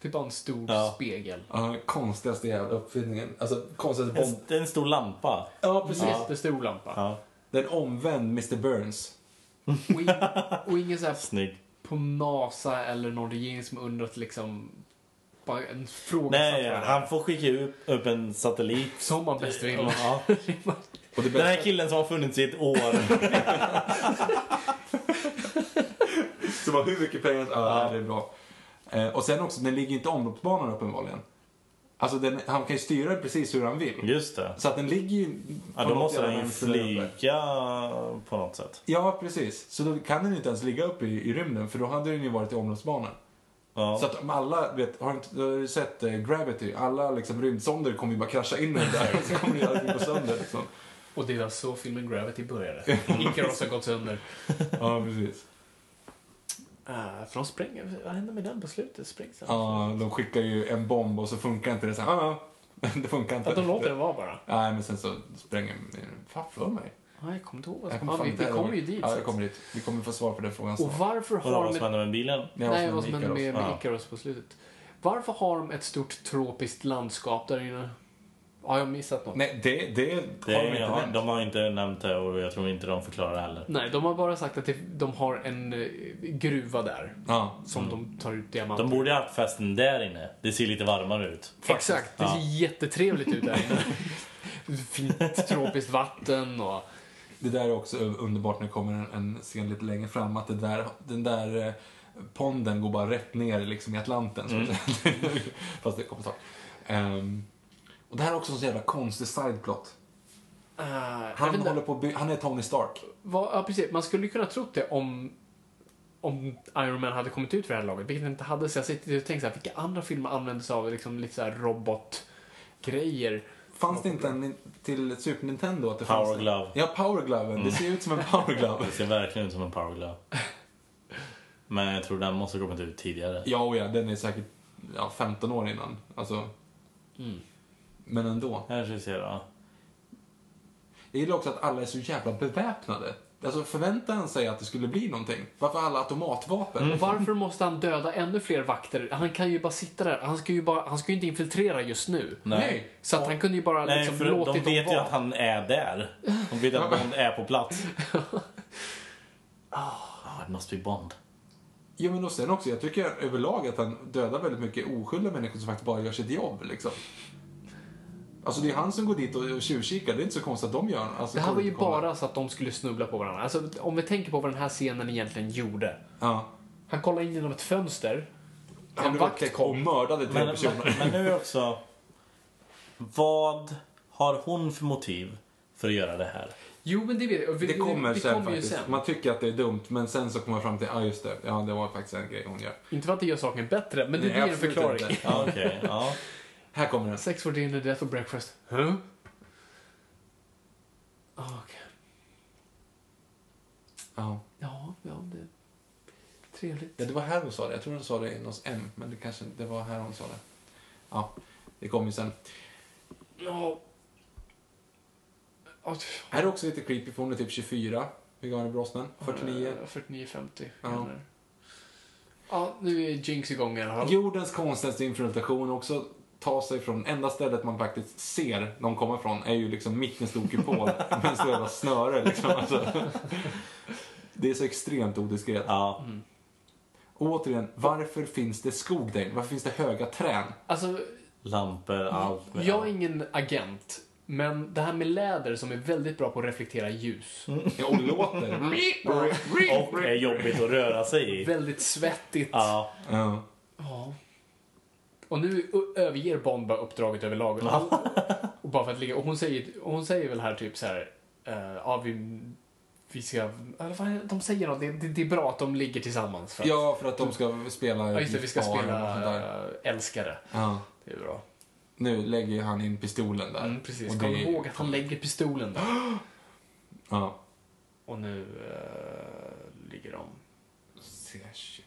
B: Det är bara en stor
C: Ja.
B: spegel.
A: Ja, konstigaste jävla uppfinningen. Alltså konstigaste bomb...
C: En, det är en stor lampa.
A: Ja, precis.
B: Jättestor lampa.
C: Ja,
A: Den omvänd Mr Burns.
B: Och, in, och ingen så här
C: snygg.
B: på NASA eller någon regering som undrat liksom, bara en fråga.
C: Nej, han får skicka upp, upp en satellit.
B: Som man bäst vill.
C: Ja. (laughs)
B: (laughs)
A: Och det
C: Den
A: bästa,
C: här killen som har funnits i ett år.
A: som har hur mycket pengar som ja, det är bra. Eh, och sen också, den ligger ju inte i omloppsbanan uppenbarligen. Alltså, den, han kan ju styra den precis hur han vill.
C: (laughs) Just det.
A: Så att den ligger ju...
C: Ja,
A: på
C: då
A: något
C: måste
A: jävla
C: den ju
A: vänster där uppe.
C: flyga på något sätt.
A: Ja, precis. Så då kan den ju inte ens ligga uppe i, i rymden, för då hade den ju varit i omloppsbanan.
C: Ja.
A: Så att om alla, vet, har du inte har du sett eh, Gravity? Alla liksom, rymdsonder kommer ju bara krascha in i den där och så kommer ju allting gå sönder. Liksom.
B: Och det var så filmen Gravity började.
A: Mm.
B: Icaros har gått sönder.
A: Ja, precis.
B: Uh, för de spränger, vad händer med den på slutet? Sprängs den?
A: Ja, de skickar ju en bomb och så funkar inte det. Så här, ah, (laughs) det funkar inte.
B: Att de låter den vara bara?
A: Nej, men sen så spränger Fan, för mig.
B: Nej, jag kommer inte
A: Jag
B: ihåg. Alltså. Ja,
A: fan
B: vi,
A: inte
B: vi kommer ju
A: ihåg.
B: dit.
A: Ja,
B: så
A: jag
B: att-
A: kommer dit. Vi kommer få svar på den frågan
B: Och
A: snart.
B: varför
C: Vadå,
B: har
C: vad
B: de...
C: som
B: Ett...
C: händer med bilen?
B: Nej, vad som händer
A: Icaros.
B: med, med
C: Ja.
B: Icaros på slutet. Varför har de ett stort tropiskt landskap där inne? Har jag missat något?
A: Nej, det, det,
C: Det,
A: har de inte
C: ja,
A: nämnt.
C: de har inte nämnt det och jag tror inte de förklarar det heller.
B: Nej, de har bara sagt att det, de har en eh, gruva där.
A: Ja.
B: Som de tar ut diamanter
C: De borde ju ha haft festen där inne. Det ser lite varmare ut.
B: Exakt, det ser jättetrevligt ut där inne. (laughs) Fint tropiskt vatten och... eh,
A: Det där är också underbart när det kommer en, en scen lite längre fram. Att det där, den där eh, ponden går bara rätt ner liksom, i Atlanten.
C: Mm.
A: så att säga. (laughs) Fast det kommer snart. Ehm, och det här är också en så jävla konstig sideplot.
B: Uh,
A: Han, håller på att by- han är Tony Stark.
B: Vad, ja, precis. Man skulle ju kunna trott det om, om Iron Man hade kommit ut för det här laget, vilket den inte hade. Så jag sitter och tänker så här, vilka andra filmer använder sig av liksom lite så här robotgrejer?
A: Fanns det inte en till Super Nintendo? Att det
C: Power
A: fanns en-
C: Glove. Mm.
A: Ja, Power Gloven. Det ser ut som en Power Glove.
C: Det ser verkligen ut som en power glove. Men jag tror den måste ha kommit ut tidigare.
A: ja, och ja, den är säkert ja, 15 år innan. Alltså.
C: Mm.
A: Men ändå.
C: Här ska vi se då.
A: Jag gillar också att alla är så jävla beväpnade. Alltså förväntar han sig att det skulle bli någonting? Varför alla automatvapen?
B: Och varför måste han döda ännu fler vakter? Han kan ju bara sitta där. Han ska ju, bara, han ska ju inte infiltrera just nu.
A: Nej.
B: Så att han kunde ju bara
C: Nej,
B: liksom
C: för de
B: låtit
C: vet
B: dem
C: ju
B: vara.
C: att han är där. De vet att Bond är på plats. Ah, it must be Bond.
A: Jo men och sen också, jag tycker överlag att han dödar väldigt mycket oskyldiga människor som faktiskt bara gör sitt jobb liksom. Alltså det är han som går dit och och tjuvkikar. Det är inte så konstigt att de gör alltså,
B: Det här var ju
A: kollar-
B: bara så att de skulle snubbla på varandra. Alltså, om vi tänker på vad den här scenen egentligen gjorde.
A: Ja.
B: Han kollade in genom ett fönster.
A: Han
B: En
A: blev
B: vakt
A: upptäckt och
B: kom.
A: mördade tre
C: Men,
A: personer.
C: men, men nu också. Vad har hon för motiv för att göra det här?
B: Jo, men det vet jag. Vi,
A: Det kommer
B: vi,
A: sen
B: kommer ju
A: faktiskt.
B: sen.
A: Man tycker att det är dumt, men sen så kommer man fram till, ja ah, just det, ja det var faktiskt en grej hon gör.
B: Inte för att det gör saken bättre, men det
A: Nej,
B: blir en
A: absolut
B: förklaring.
A: inte.
C: Ja, Okej, ja.
A: Här kommer den.
B: (laughs) Sex for dinner, death for breakfast. Huh? Ah, Okej.
A: Ja.
B: Ja, ja, det... Trevligt.
A: Ja, det var här hon sa det. Jag tror hon sa det i någons M, men det kanske det var här hon sa det. Ja, det kommer ju sen.
B: Ja. Ja, tf-
A: Här är också lite creepy, för hon är typ 24. Hur gammal är Brosnan? 49.
B: eh, 49, 50.
A: Ja.
B: Ja. ja, nu är Jinx igång i alla fall.
A: Jordens konstigaste infiltration också ta sig från enda stället man faktiskt ser dem komma från är ju liksom mitt i en stor kupol med en stor jävla snöre liksom. Alltså. Det är så extremt odiskret.
C: ja.
A: Och återigen, varför finns det skog där inne? Varför finns det höga träd?
B: Alltså,
C: Lampor, allt. med
B: jag är
C: allt.
B: ingen agent. Men det här med läder som är väldigt bra på att reflektera ljus.
A: Ja, Och
B: Mm.
A: låter.
C: Och är jobbigt att röra sig i.
B: Väldigt svettigt.
C: Ja.
A: Ja.
B: Ja. Och nu ö- överger Bond bara uppdraget överlag. (laughs) och bara för att ligga. Och hon säger, hon säger väl här typ så här. eh, ja, vi, vi ska... Eller vad är det? de säger något. Det, det, det är bra att de ligger tillsammans. För att,
A: ja, för att de ska spela
B: ja, just det. Vi ska
A: gitarr och sånt
B: spela
A: där.
B: eh, älskare.
A: Ja.
B: Det är bra.
A: Nu lägger ju han in pistolen där.
B: Mm, precis.
A: Och
B: Kom
A: det-
B: ihåg att han lägger pistolen där.
A: Ja.
B: Och nu eh, ligger de...
A: C20,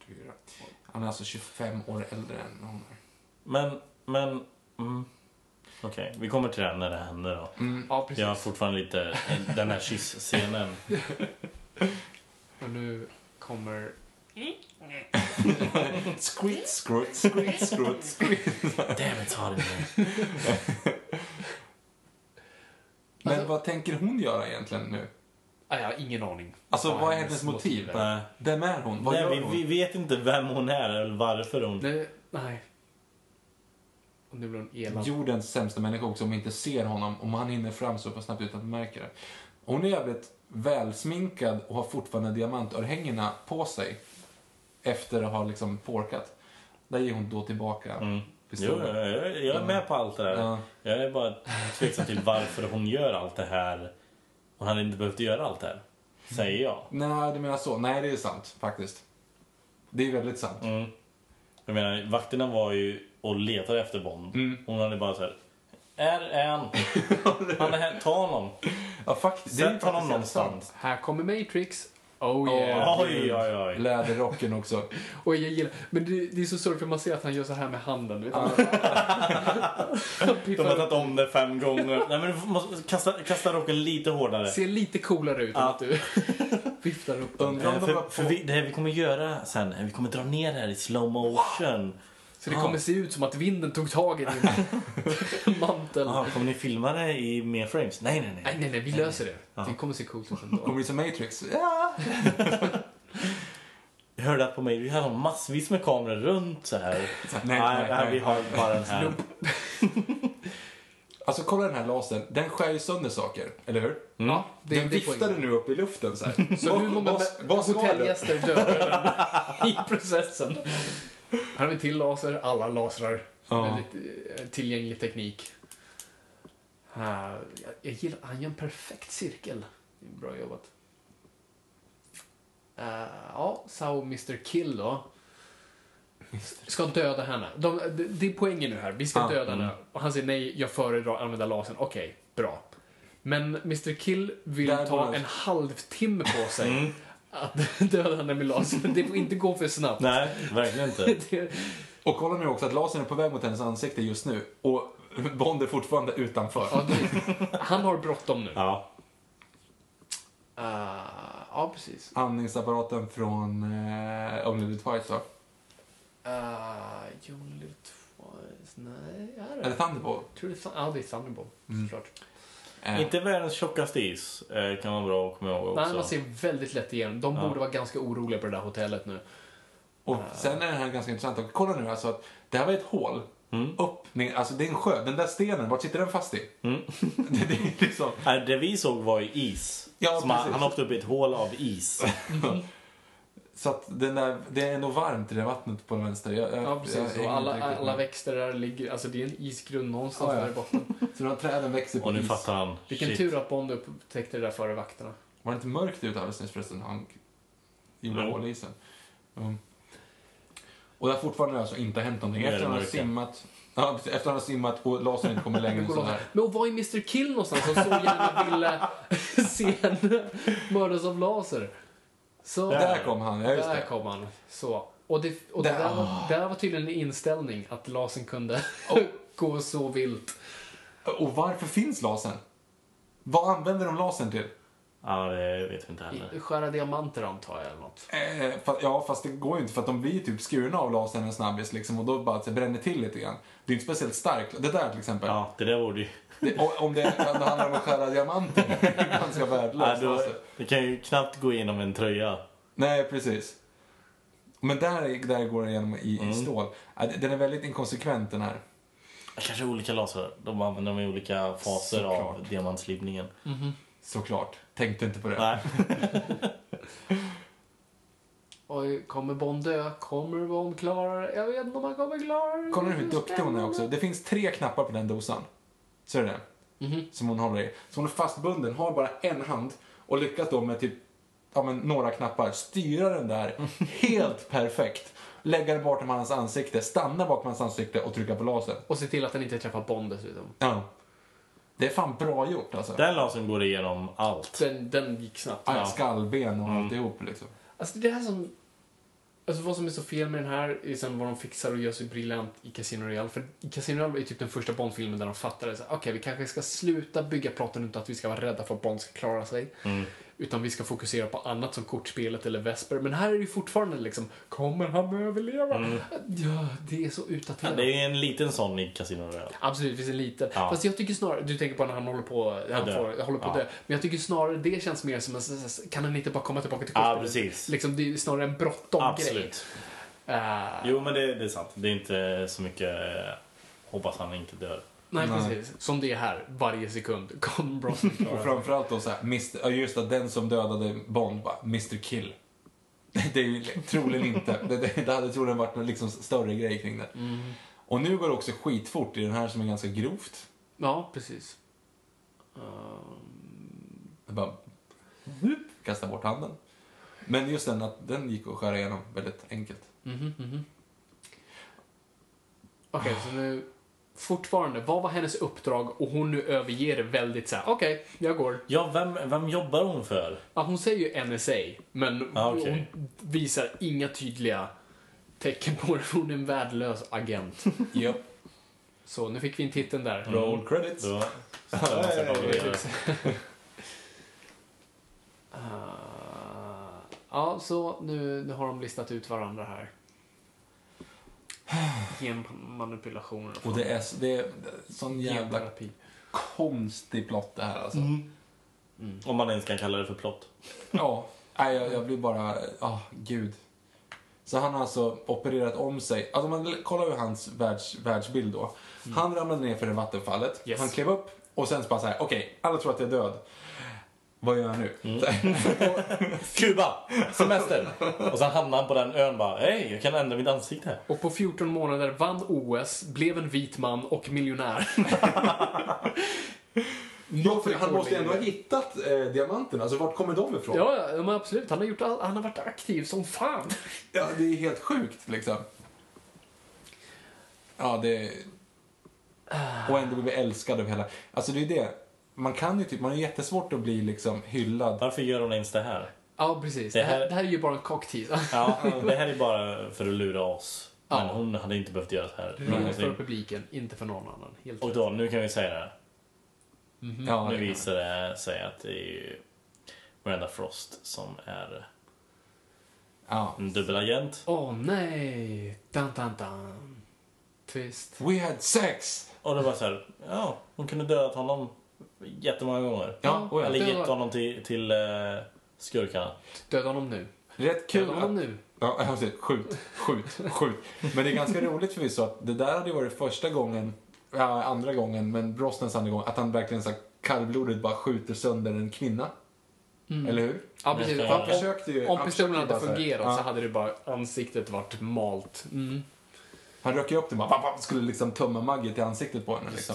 A: 44. Han är alltså 25 år äldre än hon är.
C: Men, men... Mm. Okej, vi kommer till det här när det händer då.
B: Ja, precis.
C: Jag har fortfarande lite den här kyss-scenen.
B: Och nu kommer...
A: Squirt, squirt, squirt, squirt, squirt.
C: Damn it, har det
A: Men
B: Alltså-
A: vad tänker hon göra egentligen nu?
B: Ah, jag har ingen aning.
A: Alltså
B: Vad
A: vad är hennes motiv?
B: är.
C: Nej.
A: Vem är hon? Vad
C: Nej,
A: gör
C: vi,
A: hon?
C: vi vet inte vem hon är eller varför hon...
B: Nej, nej. Och nu blir hon elak.
A: Jordens sämsta människa också om vi inte ser honom. Om han hinner fram så pass snabbt utan att vi märker det. Hon är jävligt välsminkad och har fortfarande diamantörhängena på sig. Efter att ha liksom porkat. Där ger hon då tillbaka
C: Mm. Jo,
A: pistolen.
C: jag, jag jag är med på allt det där.
A: Ja.
C: Jag är bara tveksam till varför hon gör allt det här. Hon hade inte behövt göra allt det här. Säger jag.
A: Nej, du menar så. Nej, det är sant faktiskt. Det är väldigt sant.
C: Mm. Jag menar, vakterna var ju och letade efter Bond. Hon hade bara så här. Är är (laughs) han? Han är här, ta honom.
A: Ja, faktiskt. Det är
C: Sätt
A: faktiskt
C: honom
A: helt sant.
C: någonstans.
B: Här kommer Matrix. Oh yeah.
C: Oj, oj, oj.
A: Läderrocken också.
B: Och jag gillar, men det, det är så sorgligt för man ser att han gör så här med handen. Vet (laughs) du?
C: De har tagit om det fem gånger. Nej, men du måste kasta, kasta rocken lite hårdare.
B: Ser lite coolare ut än
C: Ja.
B: att du (laughs) viftar upp den.
A: Undrar
C: Eh,
A: om de var
C: För,
A: på...
C: för vi, det här vi kommer göra sen, eh, vi kommer dra ner det här i slow motion.
B: Så det kommer se ut som att vinden tog tag i din mantel.
C: Jaha, kommer ni filma det i mer frames? Nej, nej,
B: Nej,
C: nej.
B: nej, nej, vi löser det. Det kommer se coolt ut ändå.
A: Kommer vi som Matrix? Ja!
C: Jag hörde att på mig, vi hade massvis med kameror runt så här.
A: nej, nej.
C: vi har
A: (laughs)
C: bara den här.
A: Alltså kolla den här lasern. Den skär ju sönder saker, eller hur?
C: Mm.
B: Ja, det,
A: den
B: det är
A: viftade
B: poängen.
A: nu upp i luften så här.
B: (laughs) Så hur många
A: vad, vad ska det?
B: hotellgäster dör i (laughs) processen? Här har vi en till laser, alla lasrar.
A: Ja.
B: Väldigt eh, tillgänglig teknik. Här, jag, jag gillar, han gör en perfekt cirkel. Det är Bra jobbat. Eh, ja, Sao Mr Kill då. Ska döda henne. De, det- det är poängen nu här. Vi ska
A: Ja. Mm.
B: döda henne. Och han säger nej, jag föredrar att använda lasern. Okej, bra. Men Mr Kill vill
A: Där går
B: ta
A: det.
B: en halvtimme på sig
C: Mm.
B: att (laughs) döda henne med lasern. Det får inte gå för snabbt.
C: Nej, verkligen inte.
B: Det,
A: Och kolla nu också att lasern är på väg mot hennes ansikte just nu. Och Bond är fortfarande utanför.
B: ja, det, han har bråttom nu.
C: Ja.
B: Ah, ja, precis.
A: Andningsapparaten från eh, Only Live Twice då.
B: Uh, you only live twice. Nej, är det?
A: Eller Thunderbolt.
B: Tror det är Thun- ja, det är Thunderbolt,
C: Mm.
B: såklart.
A: Eh,
C: Inte världens tjockaste is eh, kan vara bra att komma ihåg också.
B: Nej, man ser väldigt lätt igenom. De borde vara ganska oroliga på det där hotellet nu.
A: Och sen är den här ganska intressant. Och kolla nu alltså att det här var ett hål.
B: Mm.
A: Upp, ner, alltså det är en sjö. Den där stenen, vart sitter den fast i?
B: Mm.
A: (laughs) det, det är liksom...
C: Nej, Eh, Det vi såg var ju is.
A: Ja,
C: Som han,
A: precis.
C: han hoppade upp i ett hål av
A: (laughs)
C: is.
A: Så att den där, det är nog varmt i det vattnet på den vänster. Jag, jag,
B: Ja, precis.
A: jag
B: Och
A: hänger
B: alla,
A: inte riktigt
B: alla
A: med.
B: växter där ligger, alltså det är en isgrund någonstans
A: Ja, ja.
B: där i botten.
A: Så de här träden växer på
C: Och nu
A: is.
C: fattar han.
B: Vilken
C: shit.
B: tur att Bond upptäckte det där före vakterna.
A: Var det inte mörkt ute alldeles nyss förresten? Han gjorde
C: Jo.
A: hål i isen. Mm. Och det har fortfarande alltså inte hänt någonting.
C: Nu är
A: Efter
C: det
A: han har
C: mörkt.
A: simmat, ja, precis, efter han har simmat och lasern inte kommer längre.
B: Det
A: och
B: går
A: sådär.
B: långt. Men och var är Mr Kill någonstans som så gärna ville (laughs) se henne mördas av laser? Så,
A: Där kom han, ja just
B: (laughs) där
A: det.
B: kom han. Så. Och det, och det
A: Där. Ah.
B: där, var, där var tydligen en inställning att lasern kunde (laughs) gå så vilt.
A: Och varför finns lasern? Vad använder de lasern till?
C: Ja, det vet vi inte heller.
B: Skära diamanter antar jag eller något.
A: Eh, fa- ja, fast det går ju inte för att de blir typ skurna av lasern en snabbis liksom och då bara att det bränner till lite grann. Det är inte speciellt starkt. Det där till exempel.
C: Ja, det där vore ju...
A: Det, o- om det om det handlar om att skära diamanter. (laughs) det är Ganska
C: Ja,
A: värdelöst. Alltså.
C: då,
A: laser.
C: det kan ju knappt gå igenom en tröja.
A: Nej, precis. Men där, där går den igenom i, i stål. Ja, d- Den är väldigt inkonsekvent den här.
C: Kanske olika laser. De använder dem i olika faser av
A: Såklart.
C: diamantslipningen.
A: Såklart. Tänkte inte på det.
C: Nej.
B: Oj, kommer Bond dö? Kommer Bond klara det? Jag vet inte om han kommer klara det.
A: Kolla nu hur duktig hon är också. Det finns tre knappar på den dosan. Ser du det? Som hon håller i. Så hon är fastbunden, har bara en hand och lyckas då med typ ja, men några knappar styra den där helt perfekt. Lägga den bakom hans ansikte, stanna bakom hans ansikte och trycka på lasern.
B: Och se till att den inte träffar Bond dessutom.
A: Ja. Det är fan bra gjort alltså.
C: Den lasern går igenom allt.
B: Den, den gick snabbt.
A: Ah, Ja, Skallben och alltihop liksom.
B: Alltså det här som... Alltså vad som är så fel med den här är sen vad de fixar och gör så briljant i Casino Royale. För i Casino Royale är typ den första Bond-filmen där de fattade att okej, vi kanske ska sluta bygga plotten utan att vi ska vara rädda för att Bond ska klara sig.
C: Mm.
B: Utan vi ska fokusera på annat som kortspelet eller Vesper. Men här är det ju fortfarande liksom, kommer han överleva? Ja, det är så
C: Mm. Ja,
B: utdaterat.
C: det är en liten sån i Casino Royale.
B: Absolut, finns en liten.
C: Ja.
B: Fast jag tycker snarare, du tänker på när han håller på, han
C: dö.
B: får, håller på
C: Ja.
B: att dö. Men jag tycker snarare det känns mer som en, sån- sån- kan han inte bara komma tillbaka till
C: Ja,
B: kortspelet?
C: precis.
B: Liksom, det är snarare en bråttom-grej.
C: Absolut.
B: Eh,
C: Jo, men det, det är sant. Det är inte så mycket... eh, Hoppas han inte dör.
B: nej, precis. Som det är här, varje sekund. Kom Brosnan
A: Och
B: klara.
A: framförallt då såhär, Mr- ja, just att den som dödade Bond bara, Mr Kill. (laughs) Det är ju troligen inte, det, det, det hade troligen varit en liksom större grej kring det. Och nu går det också skitfort i den här som är ganska grovt.
B: Ja, precis. Ehm, Eh,
A: Det bara, whoop, kasta bort handen. Men just den att den gick att skära igenom väldigt enkelt.
B: mhm, mhm. Okej, så nu... Fortfarande, vad var hennes uppdrag och hon nu överger det väldigt så här. okej, jag går.
C: Ja, vem, vem jobbar hon för?
B: Ja, hon säger ju NSA, men
C: Ja, Ah, okej.
B: hon visar inga tydliga tecken på att hon är en värdelös agent.
A: Japp,
B: Så nu fick vi in titeln där.
A: roll credits.
C: Då, så tar man sig
A: Ja,
C: av det.
B: Ah, ja, så nu, nu har de listat ut varandra här. Genmanipulationer
A: Och det är, så- det är sån jävla
B: genterapi.
A: konstig plott det här alltså.
C: Om man ens kan kalla det för plott.
A: Ja, nej, jag, jag blir bara... Ja, gud. Så han har alltså opererat om sig. Alltså om man kollar hur hans världs, världsbild då. Han ramlade ner för det vattenfallet.
B: Mm. Yes.
A: Han klev upp och sen så bara så här, okej, alla tror att jag är död. Vad gör jag nu?
B: Mm.
C: Kuba! Semester! Och sen hamnar han på den ön bara, hej, jag kan ändra mitt ansikte.
B: Och på 14 månader vann OS, blev en vit man och miljonär.
A: (laughs) ja, för han måste ju
B: (laughs)
A: ändå ha hittat eh, diamanterna. Alltså vart kommer de ifrån?
B: (laughs) ja, ja, men absolut. Han har, gjort all, han har varit aktiv som fan.
A: Ja, det är helt sjukt liksom. Ja, det... Och ändå blir vi älskade av hela... Alltså det är ju det. Man kan ju typ, man är jättesvårt att bli liksom hyllad
C: Varför gör hon ens det här?
B: Ja, precis.
C: Det
B: Det
C: här-
B: här, det här är ju bara en (laughs) cocktease.
C: Ja, det här är bara för att lura oss. Men
B: Ja.
C: hon hade inte behövt göra det här.
B: Ringet
C: någonsin.
B: för publiken, inte för någon annan. Helt
C: Och
B: rätt.
C: då, nu kan vi säga det här.
A: Ja,
C: Nu
A: det-
C: visar det sig att det är ju Miranda Frost som är
A: ja.
C: en dubbelagent.
B: Åh nej! Dun, dun, dun. Twist.
A: We had sex!
C: Och det var så här, ja, hon kunde dödat honom jättemånga gånger.
A: Ja, och
C: Eller
A: jag.
B: det
C: gett
B: var-
C: honom till, till eh, skurkarna.
B: Döda honom nu.
A: Rätt
B: Döda
A: kul
B: honom
A: att,
B: nu.
A: Ja, jag säger, skjut, skjut, skjut. Men det är ganska roligt förvisso att det där hade ju varit första gången, ja, andra gången, men Brostens andra gång, att han verkligen så här kallblodigt bara skjuter sönder en kvinna. Eller hur?
B: Ja, precis.
C: Ja,
B: Om-
C: han
A: försökte ju-
B: om
A: han
B: pistolen
A: försökte
B: hade
A: bara så här.
B: fungerat så
A: Ja.
B: hade det bara ansiktet varit malt. Mm.
A: Han röker ju upp den bara, "Vapp, vapp", skulle liksom tömma Maggie i ansiktet på henne. Liksom.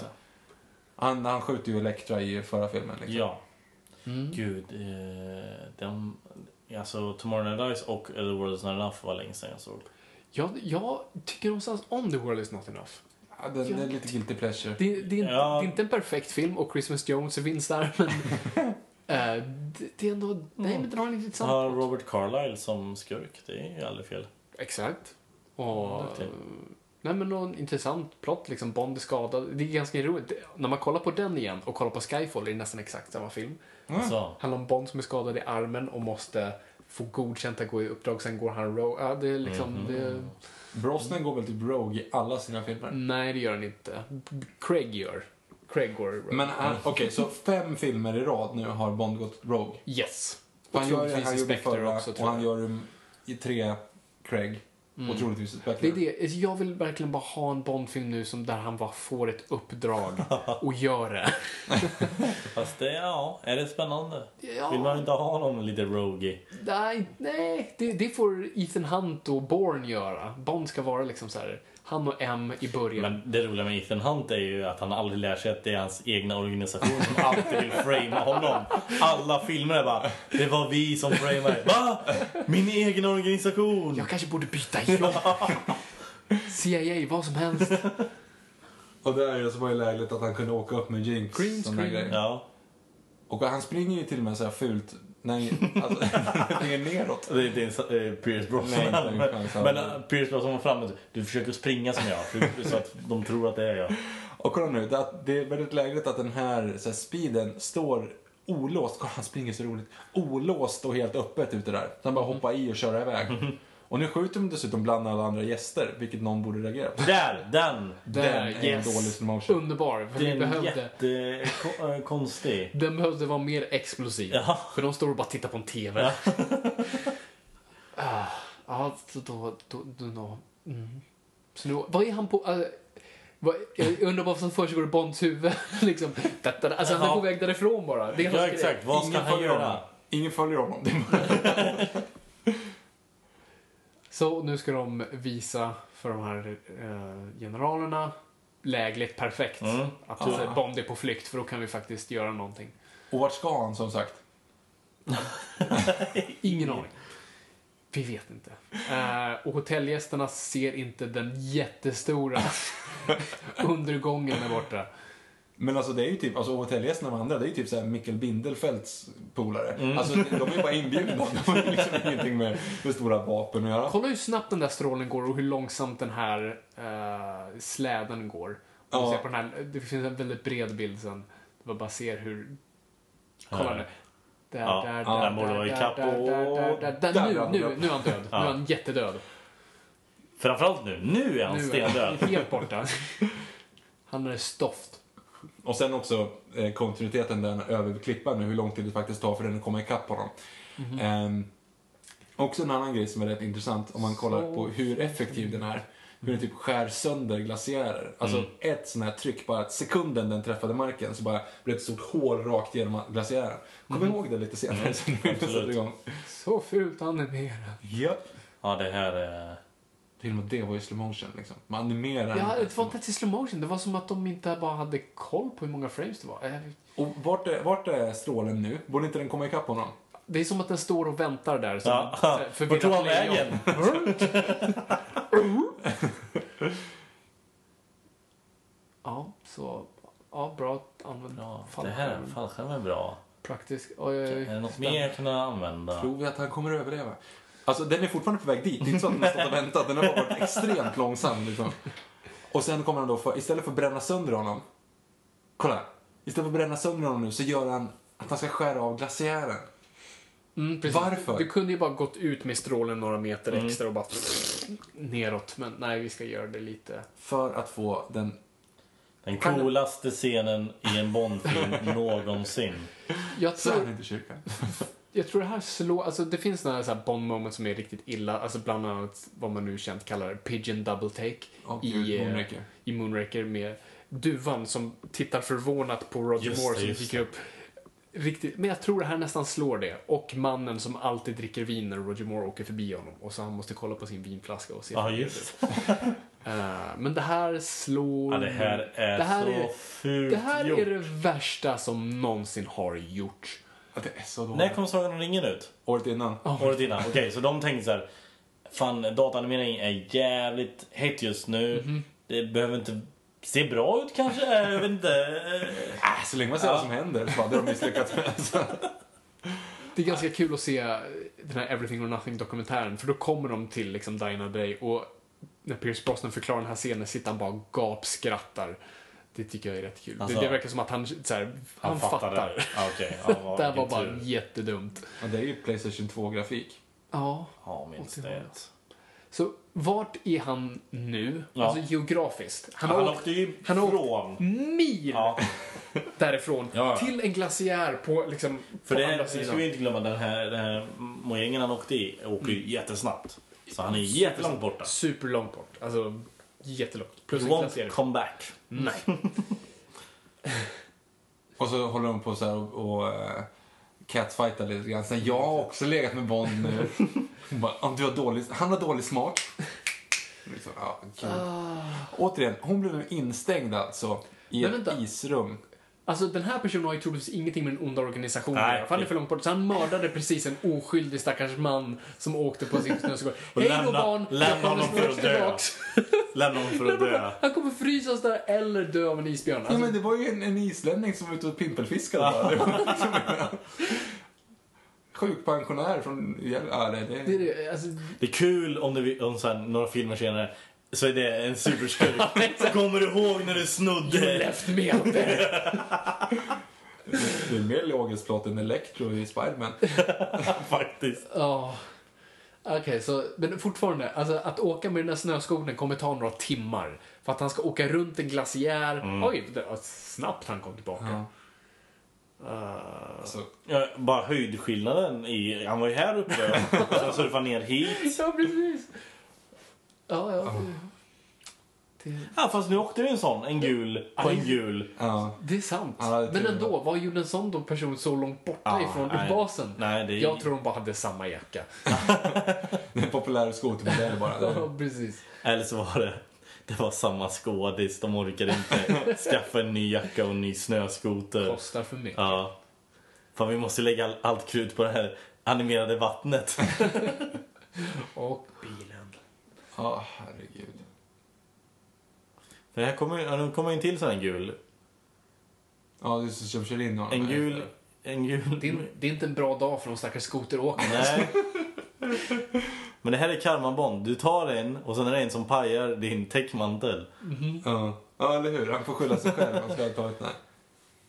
A: Han, han skjuter ju Elektra i förra filmen. Liksom.
C: Ja.
B: Mm.
C: Gud, eh, de, alltså Tomorrow Night Dies och The World Is Not Enough var länge sedan jag såg.
B: Jag, jag tycker någonstans om The World Is Not Enough.
A: Ja, den, den är lite guilty pleasure.
B: Det, det, är, inte-
C: Ja.
B: det är inte en perfekt film och Christmas Jones finns där, men... (laughs) eh, det, det är ändå... Nej,
A: Mm.
B: men den har en intressant...
C: Har Robert Carlyle som skurk, det är ju aldrig fel. Typ.
B: Exakt. Och,
C: Duktig.
B: nej men någon intressant plott liksom. Bond är skadad. Det är ganska roligt. Det- När man kollar på den igen och kollar på Skyfall är det nästan exakt samma film.
C: Så,
B: Handlar om Bond som är skadad i armen och måste få godkänt att gå i uppdrag. Sen går han rogue. Ja, det är liksom...
A: Mhm.
B: Det,
A: Brosnan går väl typ rogue i alla sina filmer.
B: nej, det gör han inte. Craig gör. Craig går rogue.
A: Men han, okej, så fem filmer i rad nu har Bond gått rogue.
B: yes. Och
A: Han gör det
B: troligtvis
A: han
B: i
A: gjorde
B: Spectre
A: förra
B: också,
A: och
B: tror
A: han
B: jag. Mm.
A: gör det i tre Craig. Och troligtvis i Spectre.
B: Det är det. Alltså, Jag vill verkligen bara ha en Bond-film nu som där han bara får ett
A: (laughs)
B: uppdrag och gör det.
C: fast det, ja, är det spännande?
B: Ja.
C: Vill man inte ha någon lite rogue
B: Nej, nej det, det får Ethan Hunt och Bourne göra. Bond ska vara liksom så här, han och M i början.
C: Men det roliga med Ethan Hunt är ju att han aldrig lär sig att det är hans egna organisation som alltid vill framea honom. Alla filmer är bara, det var vi som frameade. Va? Min egen organisation!
B: Jag kanske borde
A: (laughs)
B: byta jobb. CIA, vad som helst.
A: Och där är det så var ju lägligt att han kunde åka upp med Jinx.
B: Green
A: sån där
B: screen.
A: grej.
C: Ja,
A: Och han springer ju till och med så här fult. Nej, alltså, (laughs) springer neråt.
C: det är inte ens eh, Pierce
A: Nej,
C: Brosnan.
A: inte en
C: men
A: chans.
C: men eh, Pierce Brosnan var framme och sa, du försöker springa som jag för- så att de tror att det är jag.
A: Och kolla nu, det, det är väldigt lägligt att den här, så här speeden står olåst. Kolla, han springer så roligt. Olåst och helt öppet ute där. Så han bara hoppar i och kör
B: Mm.
A: iväg. Och nu skjuter de dessutom bland alla andra gäster, vilket någon borde reagera på.
C: Där! Den!
B: Där,
A: är en
B: yes.
A: dålig slow motion.
B: Underbar, för vi
C: Den är eh,
B: behövde.
C: jättekonstig.
B: Den behövde vara mer explosiv.
C: Ja.
B: För de står och bara tittar på en TV. Ja, (laughs) ah, ja, så då... då, då, då. Mm. Så nu, vad är han på... eh, vad, jag undrar vad som försiggår i Bonds huvud. (laughs) liksom. Da, da, da. Alltså, han är
C: Ja.
B: på väg därifrån bara. Det är hans
C: Ja
B: grej.
C: exakt, vad ska
A: Ingen
C: han
A: följer honom.
C: göra?
A: Ingen följer honom. Det är bara-
B: Så nu ska de visa för de här eh, generalerna lägligt perfekt
C: Mm.
B: att alltså, Bond är på flykt för då kan vi faktiskt göra någonting.
A: Och vart ska han som sagt?
B: Ingen aning. Vi vet inte. Eh, och hotellgästerna ser inte den jättestora undergången där borta.
A: Men alltså det är ju typ, alltså hotellgästerna med andra, det är ju typ såhär Mikael Bindelfelds polare. Alltså de är ju bara inbjudna, de har ju liksom ingenting med, med stora vapen att göra.
B: Kolla hur snabbt den där strålen går och hur långsamt den här eh, släden går. Om du
A: Ja.
B: ser på den här, det finns en väldigt bred bild sen. Du bara ser hur... Kolla nu. Där,
C: Ja,
B: där,
C: ja,
B: där,
C: den borde vara
B: där,
C: ikapp
B: där,
C: och-
B: där, där,
A: Där
B: där, där.
A: är
B: Nu,
A: han
B: nu,
A: uppe.
B: nu är han död. Nu är han jättedöd.
C: Framförallt nu, nu är han
B: Nu är
C: stendöd.
B: han helt borta. Han är stoft.
A: Och sen också eh, kontinuiteten där över klippan nu, hur lång tid det faktiskt tar för den att komma ikapp honom. Ehm, också en annan grej som är rätt intressant om man kollar på hur effektiv den är. Hur den typ skär sönder glaciärer. Alltså ett sånt här tryck, bara att sekunden den träffade marken så bara blev ett stort hål rakt genom glaciären. Kom ihåg det lite senare sen när vi
C: absolut.
A: sätter igång.
B: Så fult animerad.
A: Japp.
C: Ja det här är...
A: Till och med det var ju slow motion liksom. Man animerar
B: Ja,
C: Eh,
A: inte.
B: det var inte till slow motion. Det var som att de inte bara hade koll på hur många frames det var. Eh,
A: Och vart är, vart är strålen nu? Borde inte den komma ikapp honom?
B: Det är som att den står och väntar där. Som eh,
C: Ja.
B: ett förvirrat
C: Vart tog han
B: lejon.
C: vägen?
B: (laughs) ja, så... Ja, bra använd
C: Ja, det
B: fallskärm.
C: här fallskärmen är bra.
B: Praktisk. eh, Oj, oj,
C: Är det
B: oj.
C: något mer jag kunde använda?
A: Tror vi att han kommer att överleva? Alltså den är fortfarande på väg dit. Det är inte så att den har stått och väntat. Den har bara varit extremt långsam liksom. Och sen kommer han då, för, istället för att bränna sönder honom. Kolla. Istället för att bränna sönder honom nu så gör han att han ska skära av glaciären.
B: Mm, precis.
A: Varför?
B: Du kunde ju bara gått ut med strålen några meter
C: Mm.
B: extra och
C: (laughs)
B: bara neråt. Men nej, vi ska göra det lite.
A: För att få den...
C: Den
B: (laughs)
C: coolaste scenen i en Bondfilm någonsin.
B: Jag
A: Så är
B: tror,
A: det inte i kyrkan.
B: jag tror det här slår, alltså det finns några så här Bond moments som är riktigt illa, alltså bland annat vad man nu känt kallar pigeon double take
A: Ja,
B: i,
A: i
B: eh,
A: Moonraker.
B: i Moonraker med duvan som tittar förvånat på Roger
C: Just det,
B: Moore som
C: just
B: dyker upp. Riktigt, men jag tror det här nästan slår det. Och mannen som alltid dricker vin när Roger Moore åker förbi honom och så han måste kolla på sin vinflaska och se
C: Ja,
B: hur det
C: just
B: ser ut. Eh, Men det här slår...
C: Ja, det här är
B: Det här
C: så
B: är-
C: fult
B: Det här
C: gjort.
B: är det värsta som någonsin har gjorts.
A: Ja, det är så dåligt.
C: När kom Sagan om ringen ut?
A: Året innan.
C: Året innan. Okej, så de tänkte så här. Fan, dataanimering är jävligt hett just nu.
B: Mhm.
C: Det behöver inte se bra ut kanske. Eh, Jag vet inte. Eh,
A: Äh, så länge man ser vad som händer så hade de misslyckats med. Alltså.
B: Det är ganska kul att se den här Everything or Nothing-dokumentären för då kommer de till liksom Diana Day och när Pierce Brosnan förklarar den här scenen sitter han bara och gapskrattar. Det tycker jag är rätt kul.
C: Alltså,
B: det, det verkar som att han, så här, (laughs) han,
C: Han
B: fattar. (laughs)
C: fattade. Ja, Okej. Ja, vad-
B: det här var
C: vilken
B: bara
C: tur.
B: jättedumt.
A: Ja, det är ju Playstation 2-grafik.
B: Ja.
C: Ja, minst
B: åt det
C: det.
B: hållet. Så vart är han nu?
C: Ja.
B: Alltså geografiskt. Han
C: Han
B: har åkt
C: åkte ju
B: han Mm. har åkt-
C: ifrån.
B: mil
C: Ja,
B: därifrån
C: Ja, ja.
B: till en glaciär på, liksom,
C: för
B: på
C: det,
B: andra
C: det ska
B: sidan.
C: vi inte glömma. Den här, den här mojängen han åkte i åker
B: Mm.
C: ju jättesnabbt. Så han är jättelångt borta.
B: Superlångt bort. Alltså jättelångt. Plus
C: You
B: en
C: won't
B: glaciär.
C: come back.
B: Nej.
A: Och så håller de på så här och, och eh, catfightar lite grann. Sen, jag har också legat med Bond
B: (laughs)
A: nu. Hon bara, "Ah, du har dålig, han har dålig smak. Liksom, ja, kul. Återigen, hon blev nu instängd alltså i
B: Ah. Men
A: ett
B: vänta.
A: isrum.
B: Alltså den här personen har ju troligtvis ingenting med den onda organisationen
C: Nej.
B: att göra, för han är för långt bort. Så han mördade precis en oskyldig stackars man som åkte på sin snöskoter.
C: (laughs) Och
B: Hej då
C: lämna-
B: barn!
C: lämna
B: jag kommer
C: honom för
B: snart
C: att dö.
B: tillbaks.
C: (laughs) Lämna honom för att dö.
B: (laughs) Han kommer frysas där eller dö av en isbjörn.
A: Ja,
B: Alltså, Ah.
A: men det var ju en, en islänning som var ute och pimpelfiskade. bara. Det var liksom, en (laughs) Sjukpensionär från... Ja, det, det,
B: det, är det, alltså,
C: Det är kul om, det, om så här, några filmer senare så är det
B: (laughs)
C: en superskurk. Kommer du ihåg när du
B: you
C: snodde?
B: left me out
C: (laughs)
B: there.
A: det är mer logiskt plåt än Electro i Spiderman.
C: Faktiskt.
B: Ja. Okej, så, men fortfarande, alltså, att åka med den där snöskotern kommer ta några timmar. För att han ska åka runt en glaciär.
C: Mm.
B: Oj, det, vad snabbt han kom tillbaka. Ah.
A: Alltså,
C: Ja, bara höjdskillnaden i... Han var ju här uppe
B: (laughs)
C: och sen surfade han ner hit.
B: Ja, precis. Ja, ja. Det, det,
C: Ja, fast nu åkte det en sån. En gul på en gul.
A: ja.
B: det är sant.
A: Ja, det tror
B: Men
A: jag.
B: ändå, vad gjorde en sån då person så långt borta
C: Ja,
B: ifrån
C: nej.
B: basen?
C: Nej, det är-
B: Jag tror de bara hade samma jacka.
A: En populär skotermodell bara.
B: (laughs) Ja, precis.
C: Eller så var det... Det var samma skådis. De orkade
B: (laughs)
C: inte skaffa en ny jacka och en ny snöskoter.
B: Kostar för mycket.
C: Ja. Fan, vi måste lägga all- allt krut på det här
B: (laughs)
C: animerade vattnet.
B: Och bilen.
A: Ja, herregud.
C: För här kommer, ja, nu kommer en till sån här gul.
A: Ja, det är så som kör in honom.
C: En gul... En gul...
B: Det är, det är inte en bra dag för de stackars skoteråkarna.
C: Nej. Men det här är karmabond. Du tar en och sen är det en som pajar din täckmantel.
A: Ja. ja, eller hur? Han får skylla sig själv. Han skulle ha tagit den. här.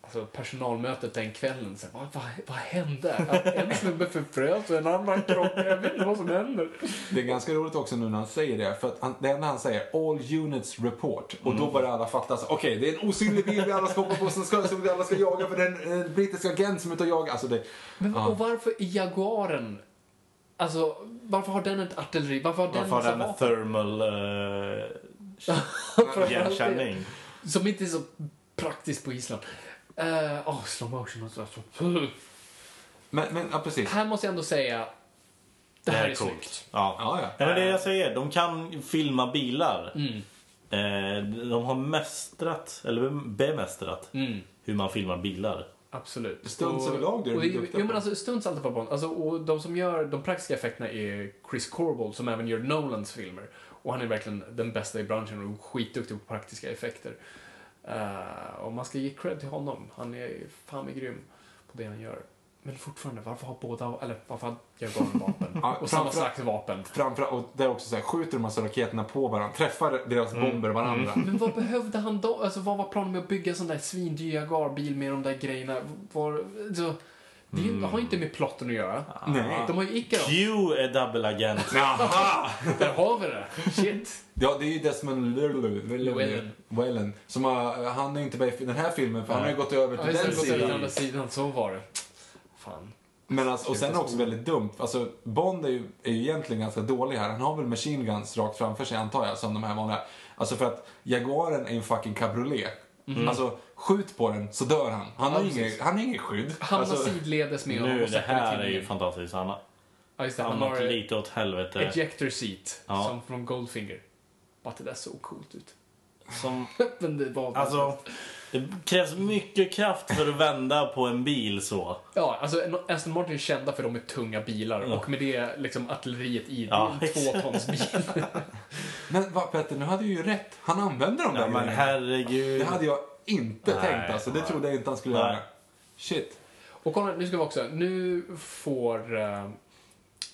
B: Alltså personalmötet den kvällen, så här, vad, vad, vad hände? Att En snubbe förfrös och en annan krockade. Jag vet inte vad som händer.
A: Det är ganska roligt också nu när han säger det. För att han, det enda han säger all units report. Och då börjar alla fatta. så, Okej, det är en osynlig bil vi alla ska hoppa på. Som, ska, som vi alla ska jaga. För det är en, en brittisk agent som är ute och jagar. Alltså det,
B: Men och varför i Jaguaren? Alltså, varför har den ett artilleri? Varför har den
C: Varför har
B: massa
C: den en
B: vapen?
C: thermal
B: (laughs)
C: uh, igenkänning?
B: Som inte är så praktiskt på Island. Eh, Åh, slow motion och så. så-
A: men, men ja, precis.
B: Här måste jag ändå säga, det här är snyggt.
C: Ja.
A: Ja, ja.
C: Nej, men det jag säger, de kan filma bilar.
B: Mm.
C: Eh, de har mästrat, eller bemästrat,
B: Mm.
C: hur man filmar bilar.
B: Absolut.
A: Stunts överlag är de
B: och det är ju-
A: duktiga på.
B: Jo men alltså stunts alltid på Bond. Alltså, och de som gör de praktiska effekterna är Chris Corbold som även gör Nolans filmer. Och han är verkligen den bästa i branschen och skitduktig på praktiska effekter. Eh, och man ska ge cred till honom. Han är fan mig grym på det han gör. Men fortfarande, varför har båda, eller varför har Jaguaren vapen?
A: Ja,
B: och samma
A: framförallt-
B: slags vapen.
A: Framför, och där också så här, skjuter de massa raketerna på varandra. Träffar deras bomber varandra.
B: Men vad behövde han då? Alltså vad var planen med att bygga en sån där svindyr Jaguarbil med de där grejerna? Var, så, det är
C: Mm.
B: ju- har ju inte med plotten att göra.
C: Ah.
A: Nej.
B: De har ju Icaro.
C: Q är dubbelagent.
B: (laughs)
A: Jaha!
B: Där har vi det. Shit.
A: Ja, det är ju Desmond Llewellyn.
B: Llewellyn.
A: Llewellyn. Som har, han är inte med i den här filmen för han har ju gått över
B: Ja,
A: till
B: just det,
A: den
B: gått över till
A: sidan.
B: andra sidan. Så var det. Fan.
A: Men alltså, och sen är det också väldigt dumt. Alltså, Bond är ju, är ju egentligen ganska dålig här. Han har väl machine guns rakt framför sig antar jag, som de här vanliga. Alltså för att Jaguaren är en fucking cabriolet. Alltså, skjut på den så dör han. Han har, inget, han har inget skydd.
B: Hamnar
A: Alltså,
B: sidledes med honom
C: Nu,
B: och
C: det
B: sätter det
C: här
B: till
C: är ju
B: igen.
C: fantastiskt Anna.
B: Ja, just det. Han
C: Annat
B: har
C: lite åt helvete.
B: ejector seat,
C: Ja.
B: som från Goldfinger. Bara att det där såg coolt ut. (laughs)
C: Som,
B: Men det var...
C: alltså, det krävs mycket kraft för att vända på en bil så.
B: Ja, alltså Aston Martin är kända för de med tunga bilar och med det liksom artilleriet i
C: Ja,
B: en tvåtonsbil.
A: Men va, Petter, nu hade jag ju rätt. Han använde de där
C: Ja, men
A: grejerna.
C: herregud.
A: Det hade jag inte tänkt alltså. Det trodde jag inte han skulle
C: Nej.
A: göra. Shit.
B: Och kolla, nu ska vi också, nu får... eh,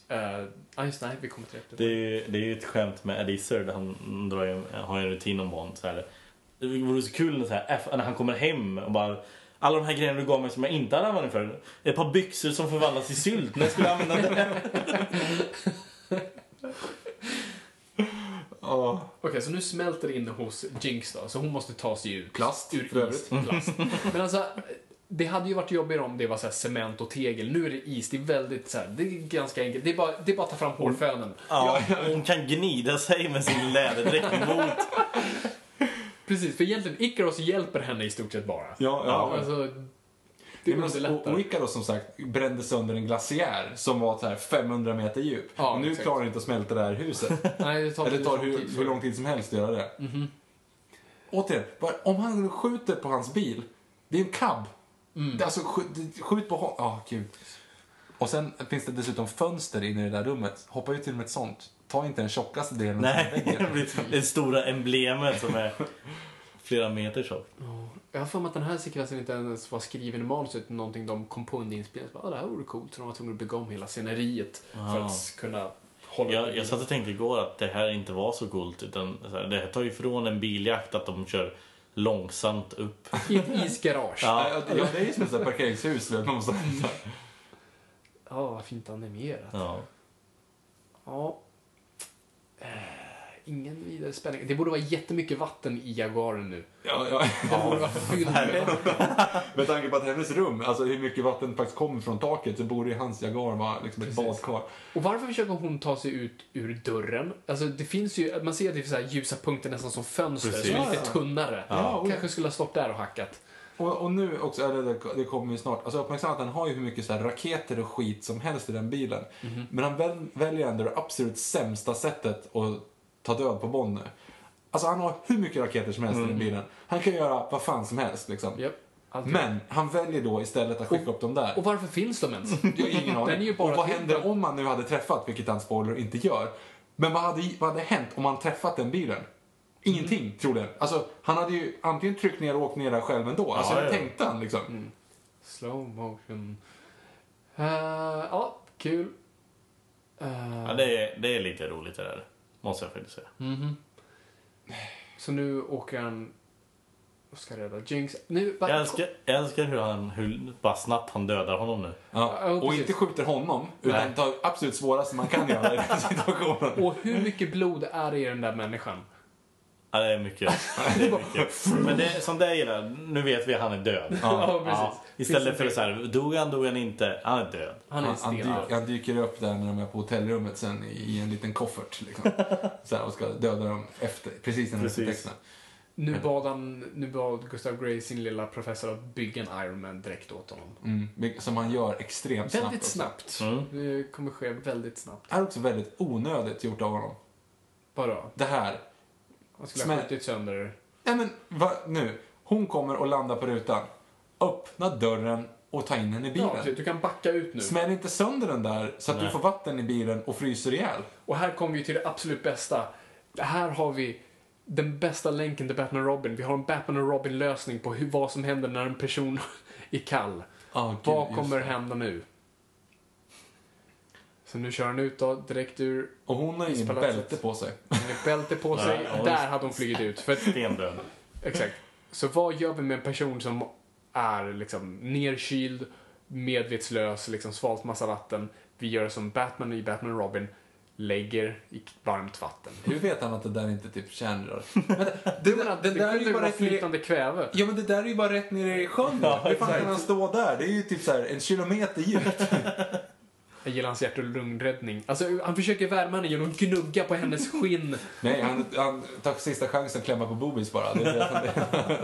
B: eh, Ja, just det, nej, vi kommer till det.
C: Det är, ju, det är ju ett skämt med Eddie Izzard, han drar ju, har ju en rutin om Bond. Så här. Det vore så kul när, så här, F, när han kommer hem och bara alla de här grejerna du gav mig som jag inte hade användning för. Ett par byxor som förvandlas till sylt. När skulle jag använda dem?
B: Okej, så nu smälter det in hos Jinx då, så hon måste ta sig ur
A: Plast,
B: ur
A: för övrigt.
B: is- plast. Men alltså, det hade ju varit jobbigare om det var så här cement och tegel. Nu är det is, det är väldigt så här, det är ganska enkelt. Det är bara, det är bara att ta fram hårfönen.
C: Ja, hon kan gnida sig med sin läderdräkt mot.
B: Precis, för egentligen Icaros hjälper henne i stort sett bara.
A: Ja, ja.
B: Alltså, det
A: Det måste, alltså, och
B: underlättar.
A: och Ica då som sagt brände sönder en glaciär som var så här 500 meter djup.
B: Ja,
A: och nu
B: exakt.
A: klarar det inte att smälta det här huset.
B: (laughs) Nej, det Mhm. tar,
A: Eller det tar
B: lång
A: hur,
B: tid för-
A: hur lång tid som helst att göra det. Återigen, bara, om han skjuter på hans bil, det är en cab.
B: Mm.
A: Det är alltså, skjut, skjut på honom. Ja, gud. Och sen finns det dessutom fönster inne i det där rummet. Hoppa ut genom ett sånt. Ta inte den tjockaste delen av
C: Nej,
A: väggen.
C: (laughs) det stora emblemet som är flera meter tjockt.
B: Jag har för mig att den här sekvensen inte ens var skriven i manus utan någonting de kom på under inspelningen. Så bara, "Ah, Det här vore coolt. Så de var tvungna att bygga om hela sceneriet för
C: Ah.
B: att kunna hålla
C: Jag, jag satt och tänkte igår att det här inte var så coolt. Utan så här, det här tar ju ifrån en biljakt att de kör långsamt upp.
B: (laughs) i ett isgarage. Ja,
C: (laughs) Ja.
A: Ja, ja, det är ju som ett sånt här parkeringshus. vet man måste-
B: Mm. vad fint animerat.
C: Ja.
B: Ja. Eh, Ingen vidare spänning. Det borde vara jättemycket vatten i Jaguaren nu.
A: Ja, ja.
B: Den borde vara fylld med vatten.
A: Med tanke på att hennes rum, alltså hur mycket vatten faktiskt kommer från taket så borde ju hans Jaguar vara liksom ett
B: Precis.
A: badkar.
B: Och varför försöker hon ta sig ut ur dörren? Alltså det finns ju, man ser att det är så här ljusa punkter nästan som fönster
C: Precis.
B: som är lite tunnare.
A: Ja, och-
B: Kanske skulle ha stått där och hackat.
A: Och, och nu också, eller det, det kommer ju snart, alltså uppmärksamma att han har ju hur mycket så här raketer och skit som helst i den bilen.
B: Mhm.
A: Men han väl, väljer ändå det absolut sämsta sättet att ta död på Bond nu. Alltså han har hur mycket raketer som helst i den bilen. Han kan göra vad fan som helst liksom.
B: Mm. Japp. Allt-
A: Men han väljer då istället att skicka upp dem där.
B: Och varför finns de ens?
A: Jag har ingen aning.
B: Den är ju bara
A: och vad
B: till
A: händer
B: för-
A: om man nu hade träffat, vilket han spoiler inte gör. Men vad hade, vad hade hänt om man träffat den bilen? Ingenting,
B: Mm.
A: troligen. Alltså, han hade ju antingen tryckt ner och åkt ner där själv ändå. Alltså,
C: Ja,
A: det
C: ja.
A: tänkte han liksom.
B: Mm. Slow motion. Eh, ja, kul. Eh,
C: Ja, det, är, det är lite roligt det där. Måste jag faktiskt säga.
B: Så nu åker han och ska rädda Jinx. Nu, va-
C: Jag, älskar, jag älskar hur, han, hur bara snabbt han dödar honom nu.
A: Ja.
B: Ja,
A: och
B: precis.
A: inte skjuter honom, utan
C: Nej.
A: tar absolut svåraste man kan göra i den situationen.
B: Och hur mycket blod är det i den där människan?
C: Ja, det är mycket. (laughs) Det är mycket. Men det, som det gillar, nu vet vi att han är död.
B: (laughs) Ja, precis.
C: Istället
B: Finns
C: för
B: det-
C: så här, dog han, dog han inte, han är död.
B: Han är
A: Han, han,
B: stenad.
A: dyker, han dyker upp där när de är på hotellrummet sen i, i en liten koffert.
B: (laughs)
A: Liksom. Så här, och ska döda dem efter, precis innan de ska
C: Precis.
A: teckna.
B: Nu bad, han, nu bad Gustav Gray sin lilla professor att bygga en Iron Man direkt åt honom.
A: Mm. Som han gör extremt snabbt.
B: Väldigt
A: också.
B: snabbt. Det kommer ske väldigt snabbt.
A: Det här är också väldigt onödigt gjort av honom.
B: Vadå?
A: Det här,
B: Han skulle ha
A: Smäll-
B: skjutit sönder...
A: Nej men va, nu, hon kommer och landar på rutan. Öppna dörren och ta in henne i
B: Ja,
A: bilen.
B: precis. du kan backa ut nu.
A: Smäll inte sönder den där så att du får vatten i bilen och fryser ihjäl.
B: Och här kommer vi till det absolut bästa. Här har vi den bästa länken till Batman och Robin. Vi har en Batman och Robin-lösning på hur, vad som händer när en person (laughs) är kall.
A: Ja, gud,
B: vad
A: just
B: kommer
A: det.
B: hända nu? Så nu kör han ut då, direkt ur...
A: Och hon har inget
B: Palatset.
A: bälte på sig.
B: Med
A: (laughs)
B: bälte på sig.
C: Ja, ja,
B: Där
C: just-
B: hade hon flugit ut. För,
C: Stendöd.
B: exakt. Så vad gör vi med en person som är liksom nerkyld, medvetslös, liksom svalt massa vatten. Vi gör som Batman i Batman och Robin. lägger i varmt vatten.
A: Hur vet han att det där inte typ
B: (laughs)
A: kärnrör? Vänta, det,
B: Men att
A: det,
B: det,
A: där är
B: kunde
A: ju
B: ju
A: bara
B: vara
A: rätt ner,
B: flytande kväve.
A: ja, men det där är ju bara rätt nere i sjön. Ja, Hur fan kan han stå där? Det är ju typ så här en kilometer djupt.
B: Jag gillar hans hjärt och lungräddning. Alltså, han försöker värma henne genom att gnugga på hennes (laughs) skinn.
A: Nej, han, han tar sista chansen att klämma på bobis bara. Det är det han-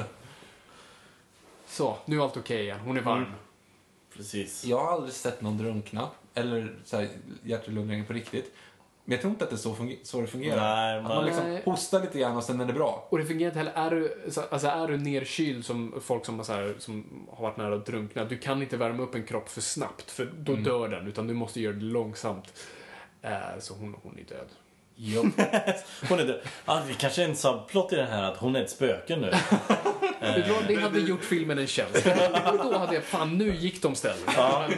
B: Så, nu är allt okej igen. Hon är varm.
C: Precis.
A: Jag har aldrig sett någon drunkna eller så här, hjärt och lungräddning på riktigt. Men jag tror inte att det är så, funge- så det fungerar.
C: Nej,
A: Att man
C: man,
A: liksom
B: Nej.
A: hostar lite grann och sen är det bra.
B: Och det fungerar inte heller. Är du, så- alltså, är du nerkyld som folk som, har så här, som har varit nära att drunkna, du kan inte värma upp en kropp för snabbt för då dör den. Utan du måste göra det långsamt. Eh, så hon, hon är död. (laughs)
A: Jo.
C: hon är död. Ah, vi kanske är en subplot i den här att hon är ett spöke nu.
B: Vet du vad? Det hade gjort filmen en tjänst. Då hade jag, fan nu gick de ställen.
C: Ja.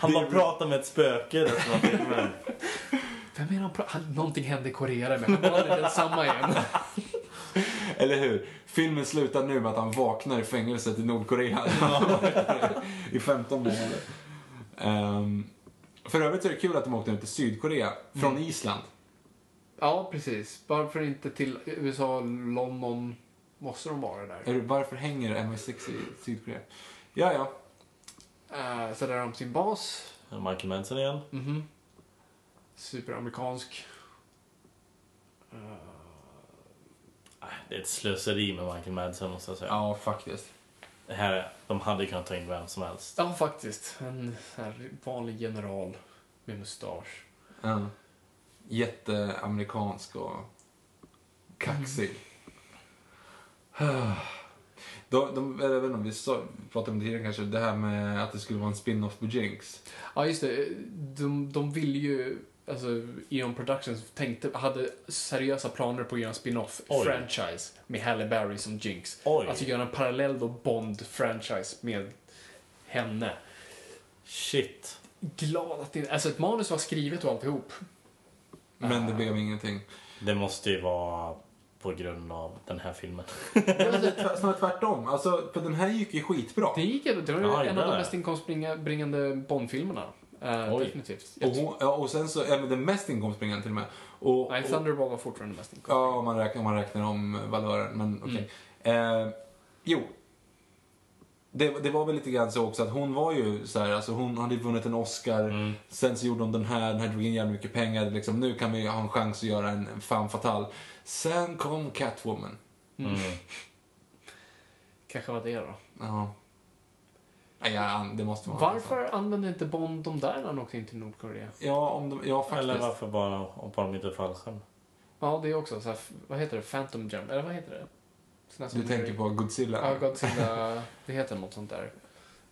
C: Han bara pratar med ett spöke resten av filmen.
B: Vem är han pra- han? Någonting hände i Korea där med. Han var aldrig densamma igen.
A: Eller hur? Filmen slutar nu med att han vaknar i fängelset i Nordkorea. I 15 månader. Ehm, för övrigt så är det kul att de åkte ut till Sydkorea från Island.
B: Ja, precis. Varför inte till USA, London? Måste de vara där?
A: Är du, varför hänger MI6 i Sydkorea? Ja, ja.
B: Eh, så där har de sin bas. Mhm.
C: Michael Manson igen.
B: Superamerikansk.
C: Ah, Det är ett slöseri med Michael Madsen måste jag säga.
A: Ja, faktiskt.
C: Det här, de hade kunnat ta in vem som helst.
B: Ja, faktiskt. En så här vanlig general med mustasch.
A: Ja. Jätteamerikansk och kaxig. (sighs) De, de, jag vet inte om vi sa, pratade om det tidigare kanske, det här med att det skulle vara en spin-off på Jinx.
B: Ja, just det. De, de ville ju... Alltså, Eon Productions tänkte, hade seriösa planer på att göra en spin-off
C: Oj.
B: franchise med Halle Berry som Jinx.
C: Oj.
B: Alltså göra en parallell då Bond-franchise med henne.
C: Shit.
B: Glad att det... Alltså ett manus var skrivet och alltihop.
A: Men det blev ingenting.
C: Det måste ju vara på grund av den här filmen.
A: Nej, men det är tvärt- Snarare tvärtom. Alltså, för den här gick ju skitbra.
B: Det gick ändå. Det var ju
C: Ja,
B: en
C: det
B: av de
C: där.
B: mest inkomstbringande Bond-filmerna. Eh,
C: Oj.
B: definitivt.
A: Och, hon, ja, och sen så, även den mest inkomstbringande till och med. Och,
B: Nej,
A: och,
B: Thunderball var fortfarande mest inkomst.
A: ja, om man räknar, om man räknar om eh, valören, men okej. Eh, jo. Det, det var väl lite grann så också att hon var ju så här, alltså hon hade ju vunnit en Oscar, sen så gjorde hon den här, den här drog in jävligt mycket pengar, liksom, nu kan vi ha en chans att göra en, en femme fatale. Sen kom Catwoman.
B: Kanske var det då.
A: Ja. Nej, ja, det måste vara
B: Varför använde inte Bond de där när han åkte in till Nordkorea?
A: Ja, om de, ja faktiskt.
C: Eller varför bara hoppar de inte fallskärm?
B: Ja, det är också så här, vad heter det, Phantom Jump, eller vad heter det? Såna som-
A: Du tänker på Godzilla?
B: Ja, Godzilla, (laughs) det heter något sånt där.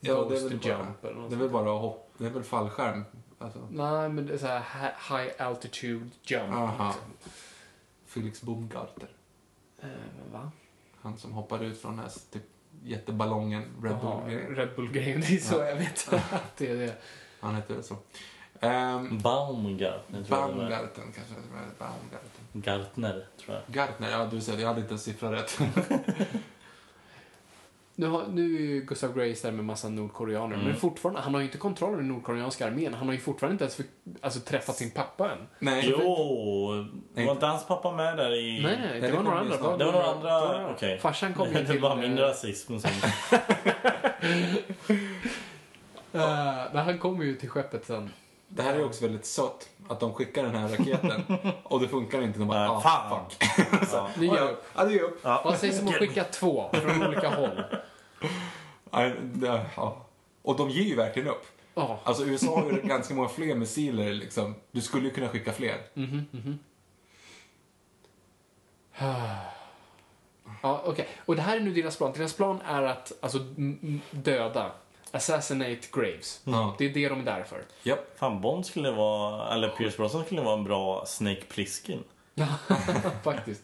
A: Ja, det är
B: Ghost
A: väl
B: Jump
A: bara,
B: eller något
A: det är väl bara hopp, det är väl fallskärm. Alltså,
B: Nej, men det är så här hi- High Altitude Jump.
A: Aha.
B: liksom.
A: Felix Baumgartner,
B: Eh, va?
A: han som hoppade ut från den här typ, jätteballongen, Red
B: Jaha,
A: Bull.
B: Red Bull-grejen, (laughs) det är så jag vet att det är det.
A: Han hette väl så. Um,
C: Baumgartner tror jag det var.
A: Baumgarten kanske det var. Baumgarten.
C: Gartner tror jag.
A: Gartner, ja du ser, jag hade inte en siffra rätt. (laughs)
B: Nu, har, nu är ju Gustav Grace där med massa nordkoreaner,
C: Mm.
B: men fortfarande, han har ju inte kontroll över den nordkoreanska armén. Han har ju fortfarande inte ens för, alltså, träffat sin pappa än.
A: Nej,
C: Jo! Var inte hans pappa med där i...
B: Nej, nej, det,
A: det
B: var några
A: kommer ju
B: andra.
A: snart.
C: Det var några
B: det var
C: andra...
B: några-
C: Okej.
B: Farsan
C: (laughs)
B: kom ju
C: Det
B: till...
C: var min
B: eh,
C: rasism som...
B: eh, men han kom ju till skeppet sen.
A: Det här är också väldigt sött, att de skickar den här
C: (laughs)
A: raketen och det funkar inte. De bara,
C: Nej,
A: ah,
C: fan!
A: fuck.
B: Nu
A: Ja,
B: gör
A: ja. Ja, det är upp.
C: Ja.
B: Vad sägs om att skicka två från olika håll?
A: Ja, det- ja. Och de ger ju verkligen upp.
B: Ja.
A: Alltså USA har ju (laughs) ganska många fler missiler liksom. Du skulle ju kunna skicka fler.
B: Ja, okej. Och det här är nu deras plan. Deras plan är att alltså, m- m- döda. Assassinate Graves.
A: Ja.
B: Det är det de är där för.
A: Japp.
C: Fan, Bond skulle vara... Eller Pierce Brosnan skulle vara en bra Snake Plissken.
B: (laughs) Faktiskt.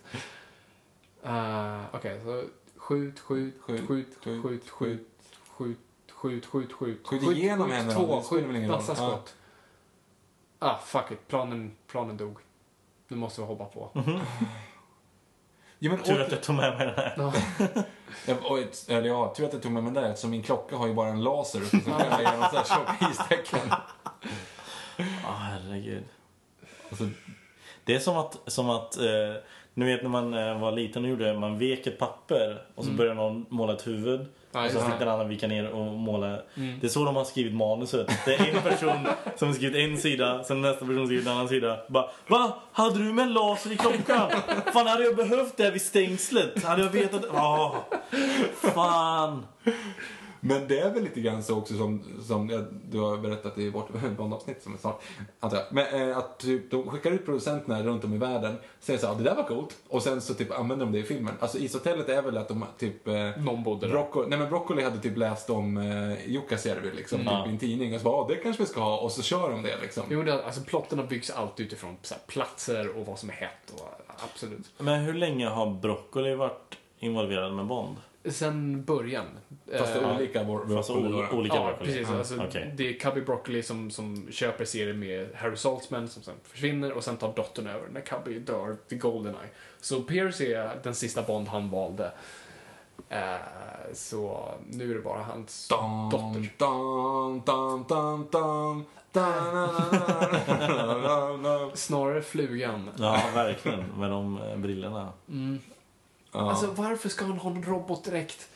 B: Uh, okej, så skjut, skjut, skjut,
A: Skjut, skjut,
B: skjut, skjut, skjut, skjut, skjut, skjut, skjut.
A: Skjut igenom henne då,
B: Två,
A: det spelar väl
B: skjut,
A: ingen roll.
B: massa
A: Ja.
B: skott. Ah, fuck it. Planen, planen dog. Nu måste vi hoppa på.
A: Mhm. Ja, men,
C: Tur att
A: och,
C: jag tog med mig den här.
B: Ja.
A: ja, och, ett- eller ja, tur att jag tog med mig den där eftersom min klocka har ju bara en laser (laughs) uppe som kan lägga någon sån här tjock istecken.
C: Ja, Ah, herregud. Alltså, det är som att, som att eh, ni vet när man eh, var liten och gjorde det, man vek ett papper och så började någon måla ett huvud.
B: Mm. Ja, Mm.
C: och så
B: just
C: fick
B: det.
C: den andra vika ner och måla. Det är så de har skrivit manuset. Det är en person som har skrivit en sida, sen nästa person har skrivit en annan sida. Bara, Va? Hade du med laser i klockan? Fan, hade jag behövt det vid stängslet? Hade jag vetat? Ja. Fan.
A: Men det är väl lite grann så också som, som jag, du har berättat i vårt Bond-avsnitt som är snart, antar jag. Men eh, att typ, de skickar ut producenterna runt om i världen, säger så här, det där var coolt, och sen så typ använder de det i filmen. Alltså ishotellet är väl att de typ... Eh,
B: Någon bodde där.
A: Brocco- Nej men Broccoli hade typ läst om eh, Jukkasjärvi liksom, typ i en tidning och så bara, "Ah, det kanske vi ska ha, och så kör de det liksom.
B: Jo, det, alltså plotterna byggs alltid utifrån så här, platser och vad som är hett och absolut.
C: Men hur länge har Broccoli varit involverad med Bond?
B: Sen början.
A: Fast det
B: eh,
A: är olika vår, vår
C: Alltså o- olika
B: ja,
C: Broccoli?
B: precis.
C: Ja,
B: Alltså,
C: Mm, okej.
B: Det är Cubby Broccoli som, som köper serien med Harry Saltzman som sen försvinner och sen tar dottern över när Cubby dör vid Goldeneye. Så Pierce är den sista Bond han valde. Eh, så nu är det bara hans
A: Dam,
B: dotter.
A: dam, dam, dam, dam, da-na-na-na-na-na-na-na.
B: Snarare flugan.
C: Ja, verkligen. Med de eh, brillorna.
B: Alltså varför ska han ha en robot direkt?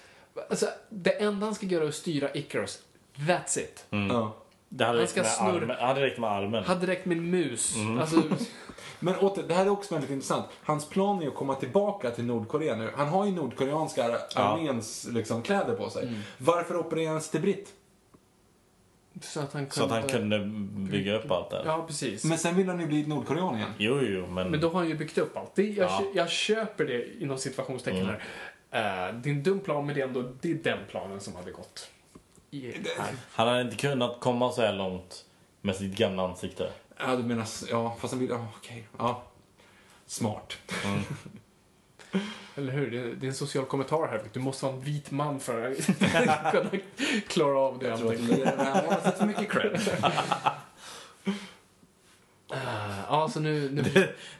B: Alltså, det enda han ska göra är att styra Icarus. That's it.
C: Mm.
A: Ja.
C: Det hade
B: Han
C: räckt
B: ska
C: med
B: snurra-
C: armen. Det hade räckt med armen.
B: Hade direkt med en mus.
C: Mm. (laughs)
B: Alltså,
A: Men åter, det här är också väldigt intressant. Hans plan är att komma tillbaka till Nordkorea nu. Han har ju nordkoreanska ar- arméns liksom, kläder på sig. Varför opererar han sig till britt?
B: så att han kunde...
C: Så att han kunde bygga upp allt där.
B: Ja, precis.
A: Men sen vill han ju bli nordkorean igen.
C: Jo, jo, men...
B: Men då har han ju byggt upp allt. Det, jag,
C: Ja.
B: kö- jag köper det inom situationstecken
A: Mm.
B: här. Eh, det är en dum plan, men det är ändå det är den planen som hade gått. i- här.
C: Han hade inte kunnat komma så här långt med sitt gamla ansikte.
A: Ja, du menar... s- Ja, fast han vill... Ja, okej. Ja. Smart.
B: Eller hur? Det, det är en social kommentar här. Du måste vara en vit man för att (laughs) kunna klara av det.
A: Jag tror att det är- han har fått för mycket cred.
B: (laughs) Eh, ja, så nu... nu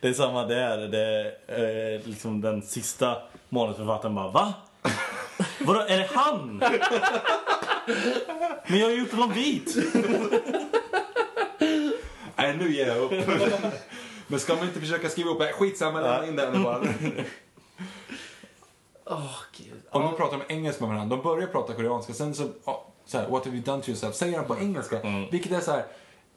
C: Det är samma där. Det är, eh, liksom den sista manusförfattaren bara va? Vadå, är det
B: (laughs)
C: han? Men jag har ju gjort honom vit!
A: Nej, nu ger jag
B: (laughs)
A: upp. Men ska man inte försöka skriva upp... Nej, Skitsamma, lämna in det här nu bara.
B: (laughs) Åh, gud.
A: Och
B: Ja.
A: nu pratar de engelska med varandra. De börjar prata koreanska, sen så, ja, så här, what have you done to yourself, säger han på
B: Mm.
A: engelska. Vilket är så här,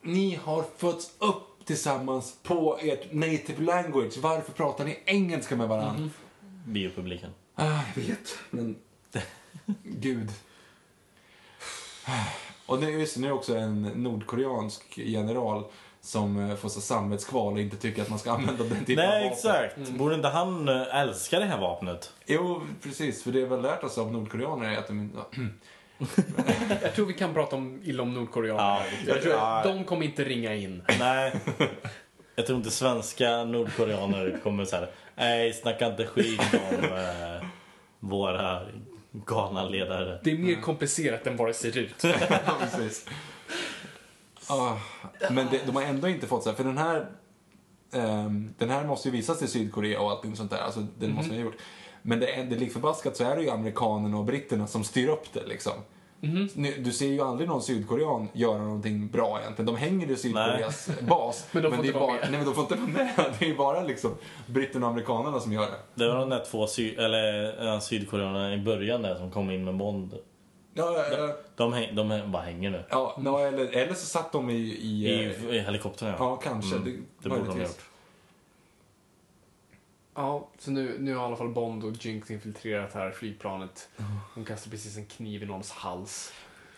A: ni har fötts upp tillsammans på ert native language. Varför pratar ni engelska med varandra?
B: Mm-hmm.
C: Biopubliken.
A: Ah, jag vet,
C: (laughs)
A: men gud. Och nu, just, det, nu är det också en nordkoreansk general som eh, får så samvetskval och inte tycker att man ska använda den typen typ av
C: Nej,
A: vapen. Mm.
C: exakt. Borde inte han eh, älska det här vapnet?
A: Jo, precis, för det vi har lärt oss av nordkoreaner är att de inte...
B: Jag tror vi kan prata om illa om nordkoreaner.
C: Ja,
B: här.
C: jag
B: jag tror
C: tror-
B: att de kommer inte ringa in.
A: (laughs)
C: Nej. Jag tror inte svenska nordkoreaner kommer så här. Nej, snacka inte skit om eh, våra galna ledare.
B: Det är
A: Mm.
B: mer komplicerat än vad det ser ut.
A: (laughs) Ja, precis. Ah, men det, de har ändå inte fått så här, för den här ehm, den här måste ju visas i Sydkorea och allting sånt där, alltså den måste
B: Mhm.
A: man ha gjort. Men det, är- det är likförbaskat så är det ju amerikanerna och britterna som styr upp det liksom.
B: Mhm.
A: Nu- Du ser ju aldrig någon sydkorean göra någonting bra egentligen. De hänger i Sydkoreas
B: (laughs)
A: bas.
B: Men de får
A: det är
B: inte vara
A: bara,
B: med.
A: Nej, men de får inte vara med. (laughs) Det är ju bara liksom britterna och amerikanerna som gör det.
C: Det var de där två sy- eller, eh, sydkoreanerna i början där som kom in med Bond.
A: Ja, ja, ja.
C: De, häng, de häng, bara hänger nu.
A: ja no, eller, eller så satt de i... i,
C: I,
A: eh,
C: i helikoptern ja.
A: ja, kanske.
C: Mm,
A: det
C: det borde de ha
A: möjligtvis.
C: gjort.
B: Ja, så nu, nu har i alla fall Bond och Jinx infiltrerat här flygplanet. Hon kastar precis en kniv i någons hals.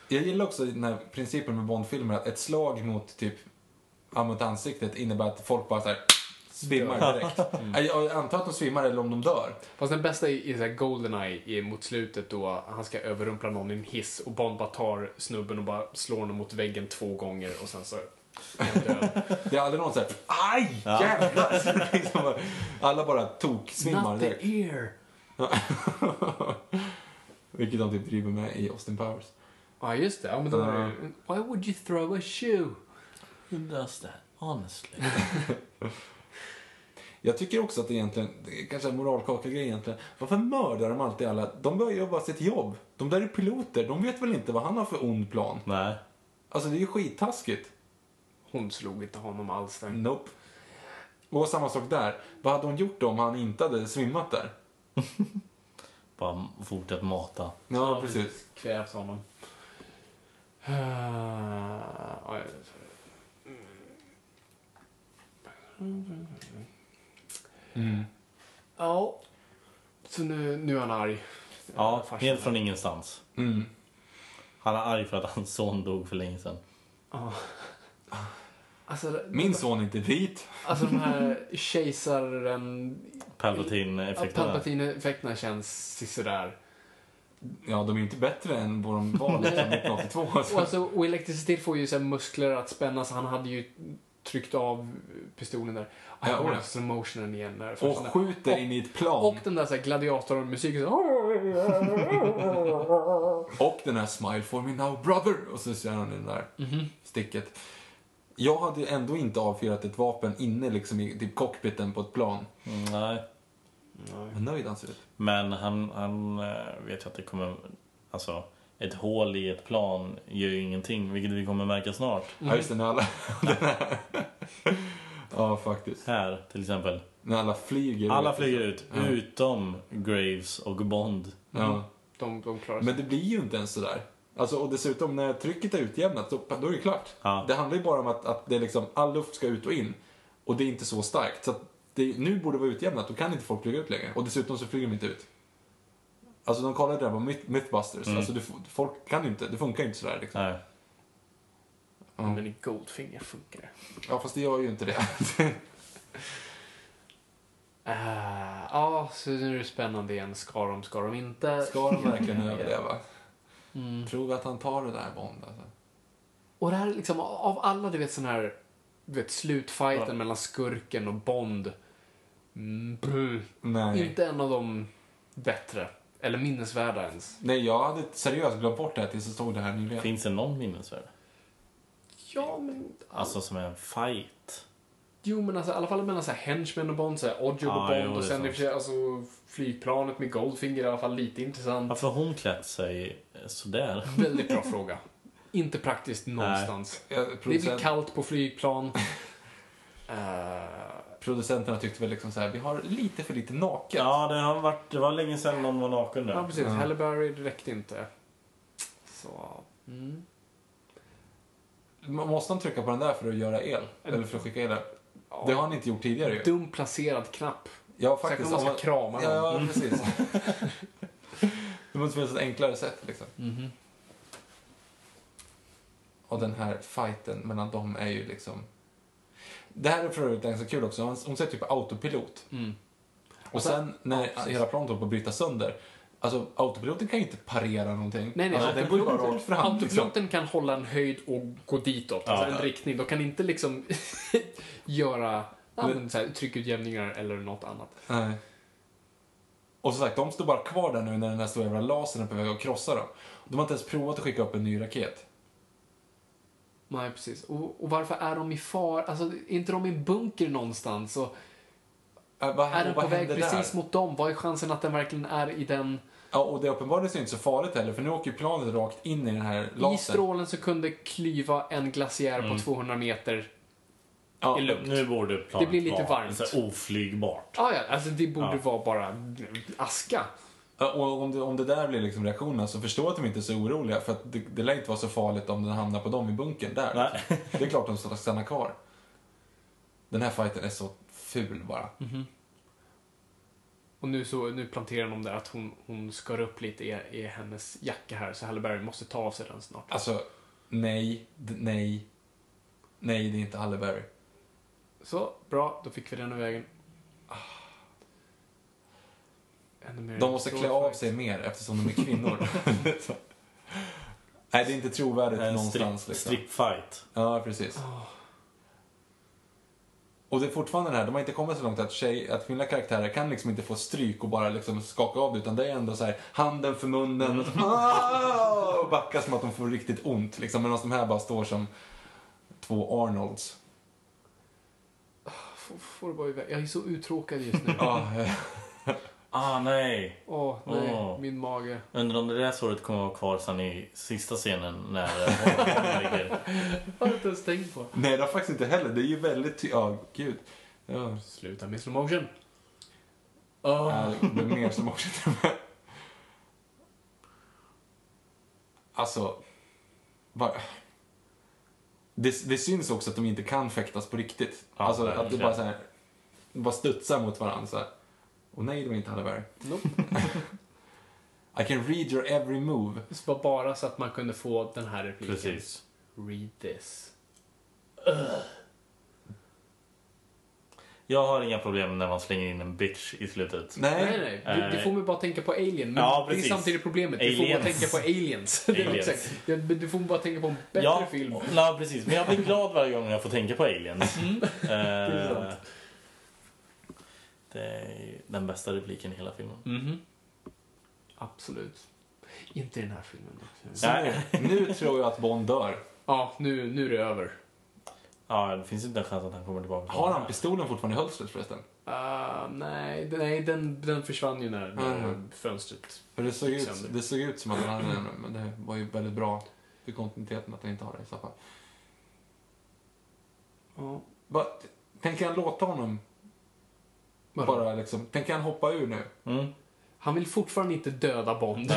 A: Jag gillar också den här principen med Bondfilmer att ett slag mot typ ja, mot ansiktet innebär att folk bara så här svimmar direkt. Jag antar att de svimmar eller om de dör.
B: Fast den bästa är, är så här Goldeneye är mot slutet då han ska överrumpla någon i en hiss och Bond bara tar snubben och bara slår honom mot väggen två gånger och sen så är han död.
A: Det är aldrig någon såhär aj jävlar. (laughs) Liksom bara- Alla bara toksvimmar
B: Not
A: direkt. (laughs)
B: the ear!
A: Vilket de typ driver med i Austin Powers.
B: Ja, just det. Ja, men då är det, ju- Why would you throw a shoe?
C: Who does that? Honestly.
A: Jag tycker också att det egentligen, det är kanske en moralkaka-grej egentligen. Varför mördar de alltid alla? De börjar ju bara sitt jobb. De där är piloter, de vet väl inte vad han har för ond plan?
C: Nej.
A: Alltså det är ju skittaskigt. Mm.
B: Hon slog inte honom alls. Där.
A: Nope. Och samma sak där. Vad hade hon gjort om han inte hade svimmat där?
C: Bara fortsätt mata.
A: Ja, precis.
B: Kvävt honom. Uh, ja, jag vet. Ja. Så nu, nu är han arg.
C: Ja,
B: farsan.
C: helt från ingenstans.
A: Mm.
C: Han är arg för att hans son dog för länge sedan.
B: Alltså,
A: Min son är inte vit.
B: alltså de här kejsaren...
C: Palpatine-effekten. där.
B: Palpatine-effekterna känns sådär.
A: Ja, de är ju inte bättre än vad de var liksom 1982.
B: Och,
A: Alltså.
B: alltså, och elektricitet får ju så här muskler att spännas. Han hade ju tryckt av pistolen där. Och
A: Ja,
B: jag
A: ja.
B: kommer slow motionen igen där.
A: Och
B: Först-
A: skjuter in i ett plan.
B: Och
A: Och,
B: den där så här gladiatormusiken. Så...
A: den här smile for me now brother. Och så kör han den där sticket. Jag hade ju ändå inte avfyrat ett vapen inne liksom i typ cockpiten på ett plan.
C: Mm, Nej.
A: Vad nöjd han ser ut.
C: Men han, han eh, vet ju att det kommer... Alltså, ett hål i ett plan gör ju ingenting, vilket vi kommer märka snart.
A: Ja, just det, när alla... den här- (laughs) ja, faktiskt.
C: Här, till exempel.
A: När alla flyger.
C: Alla
A: vet du.
C: flyger ut, utom Graves och Bond.
A: Ja.
B: De, de klarar sig.
A: Men det blir ju inte ens sådär. Alltså, och dessutom när trycket är utjämnat, då, då är det klart.
C: Ja.
A: Det handlar ju bara om att, att det är liksom, all luft ska ut och in. Och det är inte så starkt. Så att det, nu borde det vara utjämnat, då kan inte folk flyga ut längre. Och dessutom så flyger de inte ut. Alltså de kollade det där på Myth- Mythbusters. Alltså det, f- folk kan ju inte, det funkar ju inte sådär liksom.
C: Mm. Nej.
B: Men i Goldfinger funkar det.
A: Ja fast det gör ju inte
C: (laughs)
A: det.
B: Ah, Ja, så nu är det spännande igen. Ska de, ska de inte?
A: Ska de
B: (laughs)
A: verkligen överleva? Tror vi att han tar det där Bond alltså.
B: Och det här är liksom, av alla du vet sån här, du vet slutfighten mellan skurken och Bond. Mm, brr.
A: Nej.
B: Inte en av de bättre. Eller minnesvärda ens.
A: Nej, jag hade seriöst glömt bort det här tills jag såg det här nyligen.
C: Finns det någon minnesvärd?
B: Ja, men...
C: Alltså som en fight?
B: Jo, men alltså, i alla fall mellan så här henchmen och Bond, så här Odd Job och
C: Ja,
B: Bond
C: jo, det är
B: och sen i och för sig alltså, flygplanet med Goldfinger är i alla fall lite intressant.
C: Varför har hon klätt sig eh, sådär?
B: Väldigt bra fråga. Inte praktiskt någonstans.
A: Jag-
B: Det är väl
A: producent-
B: kallt
A: (laughs)
B: på flygplan. Eh,
A: Producenterna tyckte väl liksom så här, vi har lite för lite naket.
C: Ja, det, har varit, det var länge sedan någon var naken
B: ja,
C: där.
B: precis. Halle Berry räckte inte. Så... Mm.
A: Man måste han trycka på den där för att göra el? Eller för att skicka el? Det har han inte gjort tidigare ju.
B: Dum placerad knapp.
A: Ja,
B: Sen
A: faktiskt.
B: kommer man
A: om
B: ska krama Mm.
A: ja,
B: någon.
A: ja,
B: (laughs)
A: precis. det måste finnas ett enklare sätt liksom.
B: Mhm.
A: Och den här fighten mellan dem är ju liksom... Det här är för övrigt ganska kul också. Hon, hon säger typ autopilot.
B: Mm.
A: Och
B: Alltså-
A: sen när hela planet håller på att bryta sönder. Alltså autopiloten kan ju inte parera någonting.
B: Nej, nej.
A: alltså, den går ju bara rakt fram. liksom.
B: Autopiloten kan hålla en höjd och gå ditåt, alltså en riktning. De kan inte liksom (laughs) göra ja, men, så här, tryckutjämningar eller något annat.
A: Nej. Och som sagt, de står bara kvar där nu när den här stora jävla lasern är på väg att krossa dem. De har inte ens provat att skicka upp en ny raket.
B: Nej, precis. Och, och varför är de i far? Alltså, är inte de i en bunker någonstans? Och
A: Äh, vad
B: är den
A: vad
B: på väg
A: händer
B: precis
A: där?
B: mot dem? Vad är chansen att den verkligen är i den?
A: Ja, och det är uppenbarligen så inte så farligt heller, för nu åker ju planet rakt in i den här
B: I
A: lasern.
B: strålen så kunde klyva en glaciär på 200 meter.
A: Ja,
B: i lugnt.
C: Nu borde planet
B: Det blir lite
C: vara
B: varmt.
C: Så här oflygbart.
B: Ah, ja, alltså det borde vara bara aska.
A: Ja, Och om det, om det där blir liksom reaktionen så förstår jag att de inte är så oroliga, för att det, det lär inte vara så farligt om den hamnar på dem i bunkern där.
C: Nej.
A: (laughs) Det är klart de ska stanna kvar. Den här fighten är så ful bara.
B: Mm. Och nu, så, nu planterar de där att hon, hon skar upp lite i, i hennes jacka här, så Halle Berry måste ta av sig den snart.
A: Alltså, nej, d- nej, nej, det är inte Halle Berry.
B: Så, bra, då fick vi den ur vägen. Ah. Ännu mer
A: De måste
B: strål
A: klä av
B: faktiskt.
A: sig mer eftersom de är (laughs) kvinnor. Nej, det är inte trovärdigt
C: En
A: någonstans.
C: strip,
A: liksom.
C: stripfight.
A: Ja, precis. Och det är fortfarande det här, de har inte kommit så långt att, tjej, att kvinnliga karaktärer kan liksom inte få stryk och bara liksom skaka av det, utan det är ändå så här handen för munnen och, (laughs) "Ah!" och backar som att de får riktigt ont. Liksom. Medan de här bara står som två Arnolds.
B: Får, får det bara iväg. Jag är så uttråkad just nu. Åh,
A: (laughs) Ja, eh,
C: Ah, nej.
B: nej,
C: Åh.
B: min mage.
C: Undrar om det där såret kommer att vara kvar sen i sista scenen när eh, hon ligger.
B: Jag har inte ens tänkt på.
A: Nej, det har faktiskt inte heller. Det är ju väldigt... Ty- ja, gud. Ja.
B: Sluta med slow motion. Åh.
A: Ja, Det blir mer slow motion till och med. Alltså... Bara. Det, det syns också att de inte kan fäktas på riktigt.
C: Ja,
A: alltså att det
C: verkligen.
A: bara så här, de bara studsar mot varandra så här. Och nej, det var inte Halle Berry.
B: Nope.
A: (laughs) I can read your every move.
B: Det var bara så att man kunde få den här repliken.
C: Precis.
B: Read this.
C: Jag har inga problem när man slänger in en bitch i slutet.
A: Nej,
B: Nej, nej, nej. Det, det får mig bara tänka på alien. Men
C: Ja,
B: det är
C: precis.
B: samtidigt problemet. Du får bara
C: Aliens.
B: tänka på aliens. (laughs) Det är
C: Aliens.
B: exakt. Ja, men Du får bara tänka på en bättre
C: ja,
B: film.
C: Ja, precis. Men jag blir glad varje gång jag får tänka på aliens.
B: Mm. (laughs) är
C: Eh,
B: sant.
C: det är den bästa repliken i hela filmen.
B: Absolut. Inte i den här filmen. också.
A: Så nu, nu tror jag att Bond dör.
B: Ja, nu, nu är det över.
C: Ja, det finns inte en chans att han kommer tillbaka.
A: Har han pistolen fortfarande i hölstret förresten?
B: Ah, nej, den- nej den, den försvann ju när, när
A: Mm.
B: fönstret...
A: För det såg, ut,
C: Liksom.
B: Sönder.
A: det såg ut som att han hade den, men det var ju väldigt bra för kontinuiteten att han inte har det i så fall.
B: Ja.
A: Va, tänker han låta honom
B: Vadå?
A: bara liksom, tänker han hoppa ur nu?
C: Mm.
B: Han vill fortfarande inte döda Bond.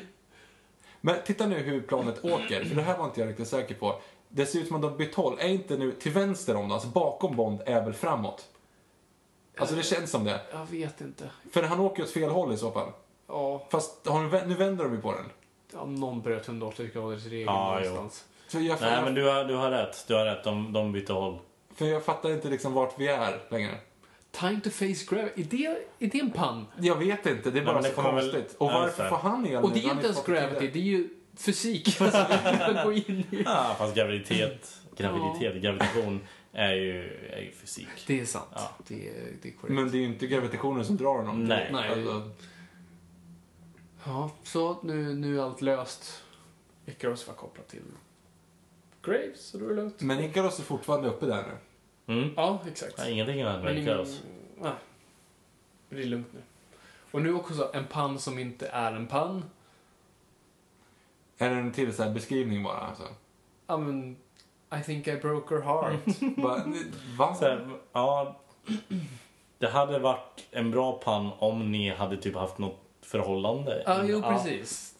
A: (laughs) Men titta nu hur planet åker, för det här var inte jag riktigt säker på. Det ser ut som att de bytt håll. Är inte nu till vänster om dem, alltså bakom Bond, är väl framåt? Alltså det känns som det.
B: (laughs) Jag vet inte.
A: För han åker åt fel håll i så fall.
B: Ja,
A: Fast har de, vä- nu vänder de ju på den.
B: ja någon bröt 180 graders regeln
C: Ja, jo.
B: någonstans.
A: Så jag,
C: Nej,
A: jag,
C: men du har, du har rätt. Du har rätt. De, de bytte håll.
A: För jag fattar inte liksom vart vi är längre.
B: Time to face gravity. Är det, är det en pann?
A: Jag vet inte, det är bara
C: men det
A: så
C: kommer väl-
A: konstigt. Och
C: Ja,
A: varför
C: så.
A: får han el
B: Och
A: nu?
B: det är
A: Han
B: inte ens
A: kopplad till
B: gravity,
A: det.
B: det är ju (laughs) fysik. Alltså, man går in i.
C: Ah, fast graviditet, graviditet, gravitation är ju, är ju fysik.
B: Det är sant.
C: Ja.
B: Det, är- det är korrekt.
A: Men det är ju inte gravitationen som drar honom.
C: Nej.
B: Nej.
A: Alltså,
B: Ja, så nu, nu är allt löst. Icarus var kopplat till Graves, så då är det lugnt.
A: men Icaros är fortfarande uppe där nu.
C: Mm.
B: Ja, exakt.
C: Nej, ingenting har hänt med
B: ingen-
C: Icarus.
B: Nej. Men Det är lugnt nu. Och nu också så, en pann som inte är en pann.
A: Är det en till så här beskrivning bara? Alltså.
B: Ja, men... I think I broke her heart. (laughs)
A: Bara, va?
C: Så här, ja, det hade varit en bra pann om ni hade typ haft något förhållande.
B: ja, jo
C: Ja.
B: precis.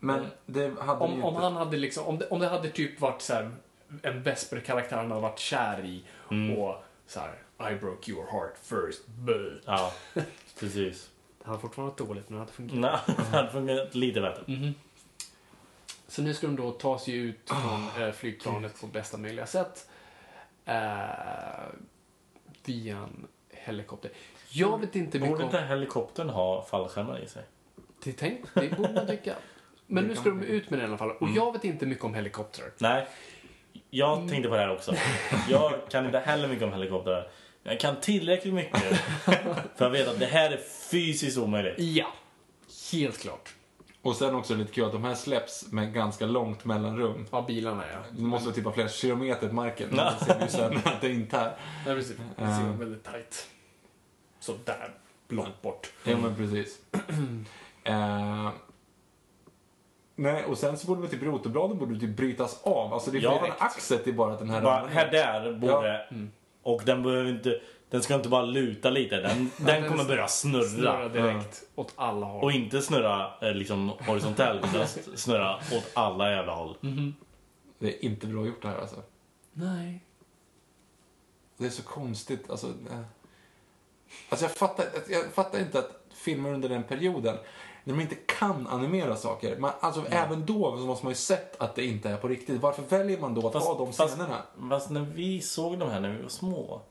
A: Men det hade vi
B: Om,
A: ju
B: om
A: inte.
B: han hade liksom, om det, om det hade typ varit så här, en Vesper-karaktär han hade varit kär i och så här, I broke your heart first, but.
C: Ja, precis.
B: Det hade fortfarande varit dåligt, men det hade fungerat.
C: Nej, (laughs) det hade fungerat lite bättre.
B: Så nu ska de då ta sig ut från eh, flygplanet på bästa möjliga sätt. Eh, via en helikopter. Jag vet inte mycket
C: Borde
B: om...
C: inte helikoptern ha fallskärmar i sig?
B: Det är tänkt, det borde man tycka. Men nu ska de ut med den i alla fall. Och jag vet inte mycket om helikoptrar.
C: Nej,
B: Mm.
C: jag tänkte på det här också. Jag kan inte heller mycket om helikoptrar. Men Jag kan
B: (laughs)
C: tillräckligt mycket för att veta att det här är fysiskt omöjligt.
B: Ja, helt klart.
A: Och sen också lite kul att de här släpps med ganska långt mellanrum.
B: Ja, bilarna ja.
A: Det måste vara typ vara flera kilometer till marken. Men det ser vi ju sen att det inte är.
B: Nej, precis. Det ser väldigt tajt. Så där, långt bort.
A: Ja men
B: (clears throat)
A: precis. Eh, nej, och sen så borde väl typ rotorbladen borde typ brytas av. Alltså det är
C: Ja,
A: fortfarande
C: direkt.
A: axet i bara att den här...
C: Bara, här där borde... Och den behöver inte... Den ska inte bara luta lite. (laughs) Den, den kommer börja snurra.
B: Snurra direkt åt alla håll.
C: Och inte snurra eh, liksom horisontellt. utan s- snurra åt alla jävla håll.
A: Det är inte bra gjort det här alltså.
B: Nej.
A: Det är så konstigt. Alltså, eh. alltså jag, fattar, jag fattar inte att filmer under den perioden, när man inte kan animera saker. Man, alltså,
C: Mm.
A: Även då så måste man ju sett att det inte är på riktigt. Varför väljer man då att ha de
C: fast,
A: scenerna?
C: fast när vi såg de här när vi var små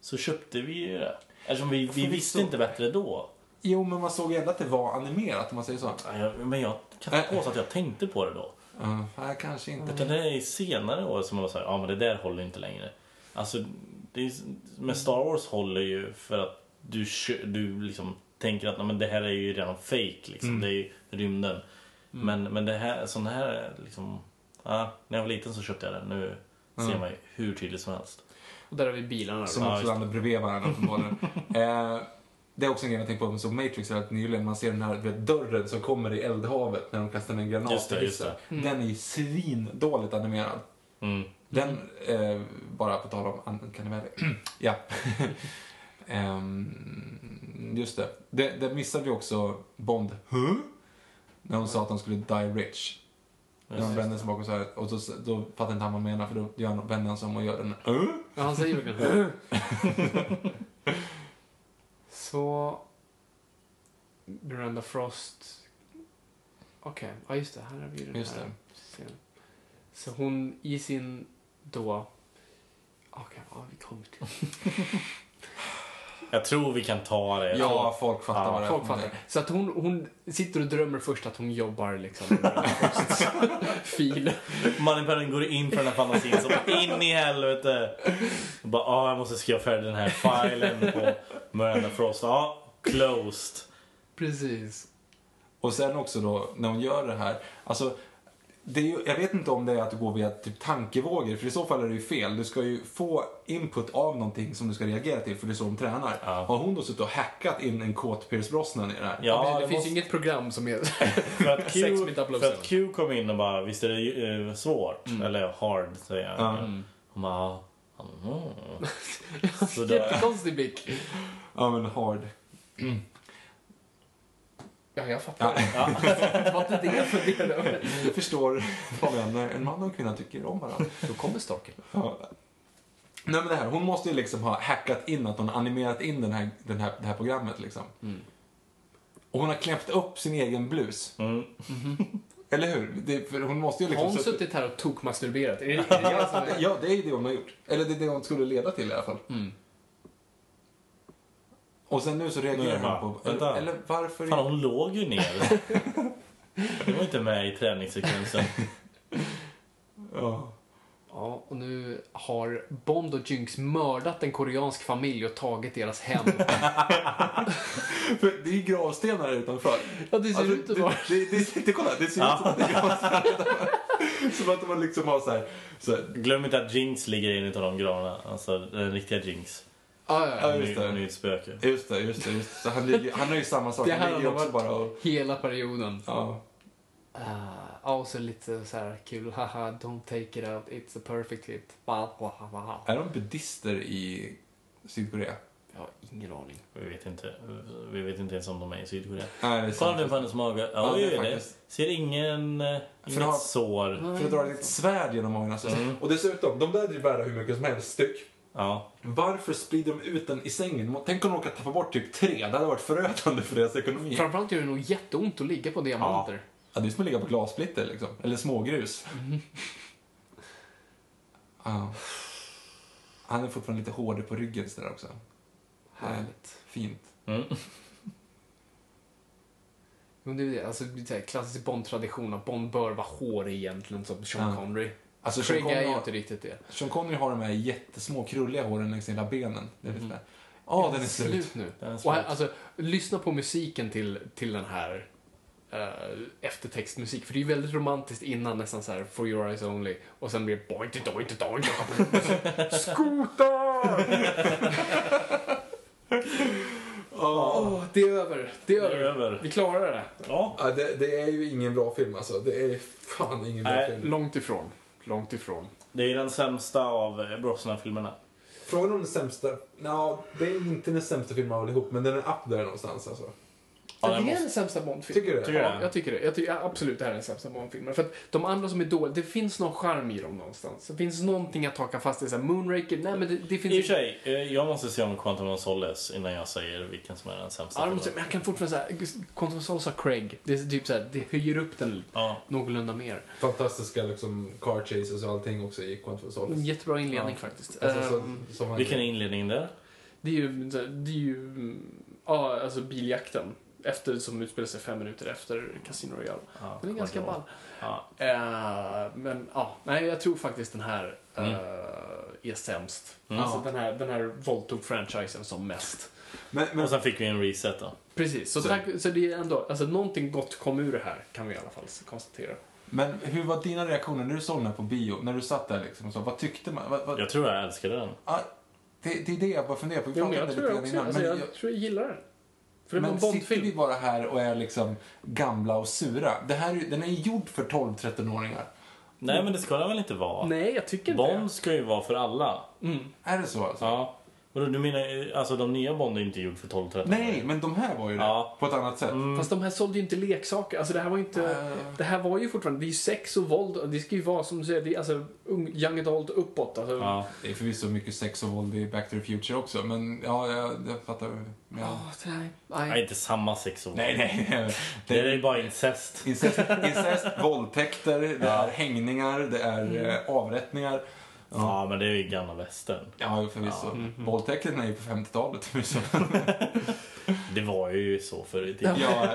C: så köpte vi ju det. Eftersom vi, vi visste inte bättre då.
A: Jo, men man såg ju ändå att det var animerat om man säger så.
C: Ja, jag- Men jag
A: Äh.
C: kan inte påstå att jag tänkte på det då.
A: Uh, nej, kanske inte.
C: Utan det är i senare år som man säger, ja men det där håller inte längre. Alltså, det är, men Star Wars håller ju för att du, kö- du liksom tänker att nej, men det här är ju redan fake liksom.
A: Mm.
C: Det är ju rymden. Men, men det här, sån här är liksom, ja, när jag var liten så köpte jag den. Nu
A: Mm.
C: ser man ju hur tydligt som helst.
B: Och där har vi bilarna
A: Som
B: då.
C: Ja,
A: också
C: just
A: landar bredvid varandra
C: (laughs)
A: uppenbarligen. eh, det är också en grej jag tänkte på som såg Matrix rätt nyligen. Man ser den här du vet, dörren som kommer i eldhavet när de kastar en granat
C: Just det,
A: i hissen. Den är ju svindåligt animerad.
C: Mm.
A: Den, eh, bara på tal om Uncanny Valley. ja. (laughs) Ehm, just det. det. Där missade vi också Bond. Huh? När hon sa att de skulle die rich. När de vände sig bakom så här. Och så, då fattar inte han vad han menar för då gör han, vänder han sig om och gör den. Huh?
B: Ja, han säger verkligen Så... Miranda Frost. Okej, ja just det. Här har vi ju den
A: Just
B: här
A: det.
B: scenen. Så hon i sin då... Okej, ja vi kommer till
C: Jag tror vi kan ta det.
A: Ja, folk fattar
C: Ja,
A: vad det är
B: Folk
A: för någonting.
B: fattar. Så att hon, hon sitter och drömmer först att hon jobbar liksom med Miranda Frosts fil.
C: Manipularen går in för den här fantasin som in i helvete. Och bara, ah, jag måste skriva färdigt den här filen på Miranda Frost. Ja, closed.
B: Precis.
A: Och sen också då när hon gör det här. Alltså, det är ju, jag vet inte om det är att du går via typ tankevågor, för i så fall är det ju fel. Du ska ju få input av någonting som du ska reagera till, för det är så de tränar.
C: Ja.
A: Har hon då suttit och hackat in en kåt Pierce Brosnan i det här?
C: Ja,
B: det
C: det
B: finns ju
C: måste-
B: inget program som är...
C: För att, Q,
B: Sex med double
C: för att
B: seven.
C: Q kom in och bara, visst är det eh, svårt? Eller hard, säger jag. Hon bara, ah, mm.
B: (laughs)
C: Sådär.
B: Jättekonstig blick.
A: Ja, men hard.
B: Ja, jag fattar. det var inte det jag funderade över.
A: Jag förstår (laughs) vad en, en man och en kvinna tycker om varandra.
B: Då kommer storken.
A: Ja. Nej men det här, hon måste ju liksom ha hackat in att hon har animerat in den här, den här, det här programmet liksom.
C: Mm.
A: Och hon har klämt upp sin egen blus.
C: Mm.
A: Mm-hmm. Eller hur? Det, för hon måste ju
B: Har
A: liksom...
B: hon suttit här och tokmasturberat? Är det, är det jag som är...
A: Ja, det är ju det hon har gjort. Eller det är det hon skulle leda till i alla fall.
B: Mm.
A: Och sen nu så
C: Nu
A: reagerar
C: är jag
A: hon
C: bara,
A: på... Eller,
C: vänta.
A: eller varför...
C: Fan, hon låg ju ner. Det var inte med i träningssekvensen.
A: ja.
B: Ja, och nu har Bond och Jinx mördat en koreansk familj och tagit
A: (laughs)
B: deras hem.
A: För (laughs) det är ju gravstenar här utanför.
B: Ja, det ser ut att
A: Alltså, det,
B: vara-
A: det, det, det, kolla, det ser ut som att det är gravstenar utanför. (laughs) Som att man liksom har så här... Så här
C: Glöm inte att Jinx ligger i en utav de granarna. Alltså den riktiga Jinx.
B: Ja, ja, ja.
A: ja,
C: Hon är
A: just
C: ju- hon är ju
A: det.
C: ett spöke.
A: Just det, just det. Just det. Så han, ligger, han har ju samma sak.
B: Det
A: Han
B: här
A: ligger
B: har
A: också
B: varit
A: bara och...
B: hela perioden.
A: Ja.
B: Ah, Ja, och så lite så här kul. Haha, don't take it out, it's a perfect hit. Ba, ba, ba, ba.
A: Är de buddister i Sydkorea?
B: Jag har ingen aning.
C: Vi vet inte, vi vet inte ens om de är i Sydkorea.
A: Nej, det är sant.
C: Kolla nu på hennes mage. Ja,
A: Ja, det är
C: det är det.
A: faktiskt-
C: Ser ingen, eh, inget
A: har-
C: sår.
A: För att dra ett litet svärd genom magen. Alltså.
B: Mm.
A: Och dessutom, de där är ju värda hur mycket som helst styck.
C: Ja.
A: Varför sprider de ut den i sängen? Tänk om de råkar tappa bort typ tre. Det hade varit förödande för deras ekonomi.
B: Framförallt gör det nog jätteont att ligga på diamanter.
A: Ja, det är som att ligga på glassplitter liksom. Eller smågrus.
B: Mhm.
A: Ja. Han är fortfarande lite hård på ryggen sådär också. Eh,
B: Härligt.
A: Fint.
C: Mm.
B: Jo, det är det. Alltså, det är så här, klassisk Bond-tradition att Bond bör vara hårig egentligen, som Sean
A: Ja.
B: Connery.
A: Alltså, Sean
B: Craig
A: Connery
B: är ju typ-
A: har-
B: inte riktigt det.
A: Sean Connery har de här jättesmå krulliga håren längs hela benen. Det är lite
B: Mhm.
A: sådär. Ja, den är slut.
B: nu.
C: Den är
B: Och
C: slut.
B: här, alltså, lyssna på musiken till, till den här eh, eftertextmusik. För det är ju väldigt romantiskt innan, nästan så här For your eyes only. Och sen blir det bointy, dointy, dointy. Skoter! Åh, det är över. Det är
C: Det är
B: över.
C: över.
B: Vi klarar det.
C: Ja.
A: Ja, det, det är ju ingen bra film alltså. Det är fan ingen bra
C: Nej.
A: film.
B: Långt ifrån. Långt ifrån.
C: Det är den sämsta av eh, Brosnan-filmerna.
A: Frågan om den sämsta. Nå, det är inte den sämsta filmen allihop, men den är up där någonstans alltså.
C: Ja,
B: det är
C: den måste-
B: den sämsta Bondfilmen.
A: Tycker du det?
C: Tycker
B: Ja,
C: jag.
B: jag tycker det. Jag tycker absolut det här är den sämsta Bond-filmen. För att de andra som är dåliga, det finns någon charm i dem någonstans. Det finns någonting att haka fast i. Så här, Moonraker, nej men det, det
C: I och
B: finns...
C: för sig, eh, jag måste se om Quantum of Solace innan jag säger vilken som är den sämsta
B: Ja, de måste-
C: filmen.
B: men typ- jag kan fortfarande säga, eh, Quantum of Solace har Craig. Det är typ så här, det höjer upp den
C: Ja.
B: någorlunda mer.
A: Fantastiska liksom car chases och allting också i Quantum of Solace.
B: En jättebra inledning faktiskt.
A: Alltså, så,
B: Ehm,
A: som han-
C: Vilken är inledningen där?
B: det är ju, det är ju, mm, ja alltså biljakten. Efter, som utspelar sig fem minuter efter Casino Royale.
C: Ja,
B: Den är ganska
C: kommer
B: ball.
C: inte ihåg. Ja.
B: Eh, men ja, nej jag tror faktiskt den här eh,
C: Mm.
B: är sämst. Alltså den här, den här våldtog franchisen som mest.
A: Men, men
C: Och sen fick vi en reset då.
B: Precis, så, tack, så det är ändå, alltså någonting gott kom ur det här kan vi i alla fall konstatera.
A: Men hur var dina reaktioner när du såg den här på bio? När du satt där liksom och så, vad tyckte man? Vad, vad,
C: Jag tror jag älskade den.
A: ah, det, det är det jag bara funderar på. Vi
B: Jo, men
A: pratade
B: jag
A: om det
B: tror
A: lite
B: jag
A: grann innan.
B: också, alltså,
A: men
B: jag,
A: jag-
B: tror jag gillar den. För det var en
A: Men sitter vi
B: Bondfilm.
A: bara här och är liksom gamla och sura? Det här, är ju- den är ju gjord för 12-13-åringar.
C: Nej men det ska det väl inte vara?
B: Nej, jag tycker inte
C: Bond ska ju vara för alla.
A: Är det så alltså?
C: Ja. Vadå, du menar ju- alltså de nya Bond är ju inte gjord för 12-13
A: Nej, men de här var ju det.
C: Ja. Mm.
A: På ett annat sätt.
B: det. Fast de här sålde ju inte leksaker. Alltså det här var ju inte... Det här var ju fortfarande... Det är ju sex och våld. och Det ska ju vara som du säger, det är alltså ung, young adult uppåt. Alltså,
C: Ja.
A: Det är förvisso mycket sex och våld i Back to the Future också, men ja, jag, jag fattar. Ja.
B: Åh, det här-
C: Nej,
B: nej.
C: inte samma sex och
A: Nej, nej. (laughs)
C: Det är ju bara incest.
A: Incest, incest våldtäkter, det är hängningar, det är eh, avrättningar.
C: Ja, men det är ju gamla västern.
A: Ja, Mm-hmm. förvisso. Våldtäkterna är ju på 50-talet (laughs) förvisso.
C: Det var ju så förr i tiden.
A: ja,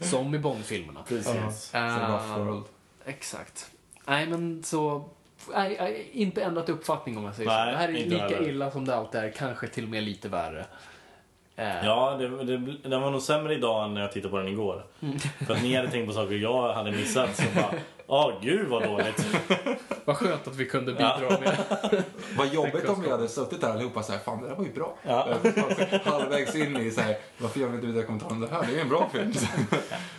B: Som i Bond-filmerna.
C: Precis.
A: så det var
B: Eh,
A: förld.
B: Exakt. Nej, men så... Nej, nej, inte ändrat uppfattning om jag säger så.
C: Nej,
B: Det här är
C: inte
B: lika
C: heller.
B: illa som det alltid är, kanske till och med lite värre. Eh,
C: Ja, det, det, den var nog sämre idag än när jag tittade på den igår.
A: Mm.
C: För att ni hade tänkt på saker jag hade missat. Så bara,
A: (laughs)
C: åh gud vad dåligt.
B: Vad skönt att vi kunde bidra
C: (laughs)
B: med.
A: Vad jobbigt
B: Tänk oss
A: om vi hade suttit där allihopa såhär, fan det där var ju bra.
C: Ja.
A: Halvvägs in i såhär, varför gör vi inte vidare kommentarer om det här? Det är ju en bra (laughs) film.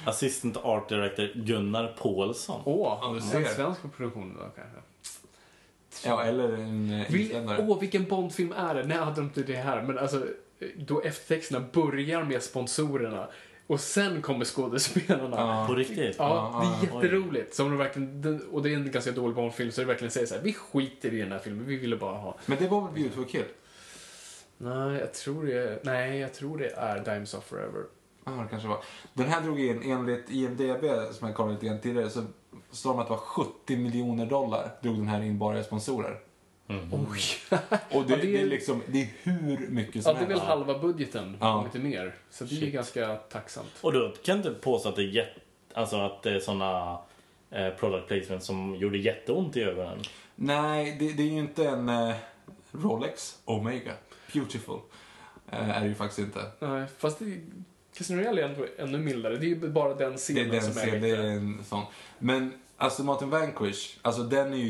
C: Assistant Art Director Gunnar Paulsson.
B: Åh,
A: Ja, du ser.
B: en svensk produktion då kanske.
A: ja, eller en eh,
B: Vil-
A: insändare.
B: Åh, vilken Bondfilm är det? Nej, jag hade inte det här. Men alltså, då eftertexterna börjar med sponsorerna och sen kommer skådespelarna.
C: På riktigt?
B: Ja,
A: Ja,
B: det är jätteroligt. Som de verkligen, den- och det är en ganska dålig barnfilm så det verkligen säger så här, vi skiter i den här filmen, vi ville bara ha.
A: Men det var väl Beautiful Kid?
B: Nej, jag tror det, nej, jag tror det är Dimes of Forever.
A: Ja, det kanske var. Den här drog in, enligt IMDB, som jag kollade lite grann tidigare, så sa de att det var 70 miljoner dollar drog den här in bara i sponsorer.
B: Oj!
A: Och det,
B: Ja,
A: det,
B: det är-
A: är liksom, det är hur mycket
B: Ja,
A: som
B: det är väl
A: helst.
B: halva budgeten,
A: Ja.
B: om inte mer. Så det är ju ganska tacksamt.
C: Och då kan jag inte påstå att det är, jätte, alltså att det är såna eh, product placement som gjorde jätteont i ögonen.
A: Nej, det, det är ju inte en eh, Rolex Omega. Beautiful. Eh, är det ju faktiskt inte.
B: Nej, fast det, Casino Royale är ändå ännu mildare. Det är ju bara den
A: Det
B: scenen
A: är den
B: som
A: scenen, det
B: lite-
A: är en sån. Men alltså Martin Vanquish, alltså den är ju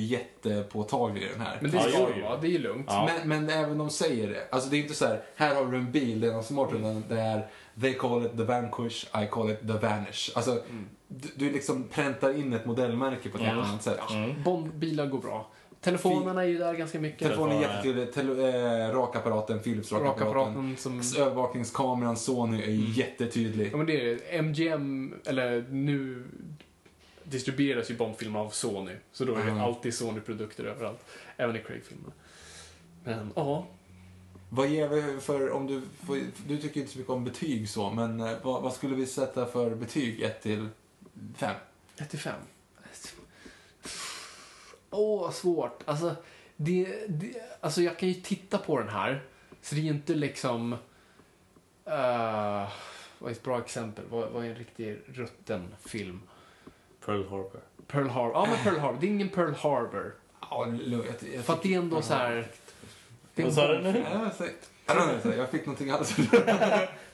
A: jättepåtaglig i den här.
B: Men det
C: Ja,
B: ska
C: jo,
B: det
C: jo.
B: vara, det är ju lugnt.
A: Men, men även de säger det. Alltså det är inte så här, här har du en bil, det är någon smart utan det är they call it the vanquish, I call it the vanish. Alltså du, du liksom präntar in ett modellmärke på ett helt annat sätt.
B: Mm. Bondbilar går bra. Telefonerna är ju där ganska mycket.
A: Telefonen är jättetydlig, tele, eh, rakapparaten, Philips rakapparaten.
B: Rakapparaten som...
A: S- Övervakningskameran Sony är jättetydlig.
B: Ja men det är det. MGM, eller nu distribueras ju Bondfilmer av Sony. Så då är det
A: Mm.
B: alltid Sony-produkter överallt. Även i Craig-filmerna. Men ja,
A: Vad ger vi för, om du, får, du tycker inte så mycket om betyg så, men eh, vad, vad skulle vi sätta för betyg 1 till 5?
B: 35. Åh, svårt. Alltså, det, det, alltså, jag kan ju titta på den här. Så det är ju inte liksom... eh, vad är ett bra exempel? Vad, vad är en riktig rutten film?
C: Pearl Harbor.
B: Pearl Harbor. Ja, men Pearl Harbor. Det är ingen Pearl Harbor.
A: Ja, lugnt. jag- jag
B: För att det
A: tycker-
B: är ändå så här... det är
C: Vad
B: en
C: sa du
B: bra-
C: nu?
A: Ja, jag säger- Jag vet inte, jag fick någonting alldeles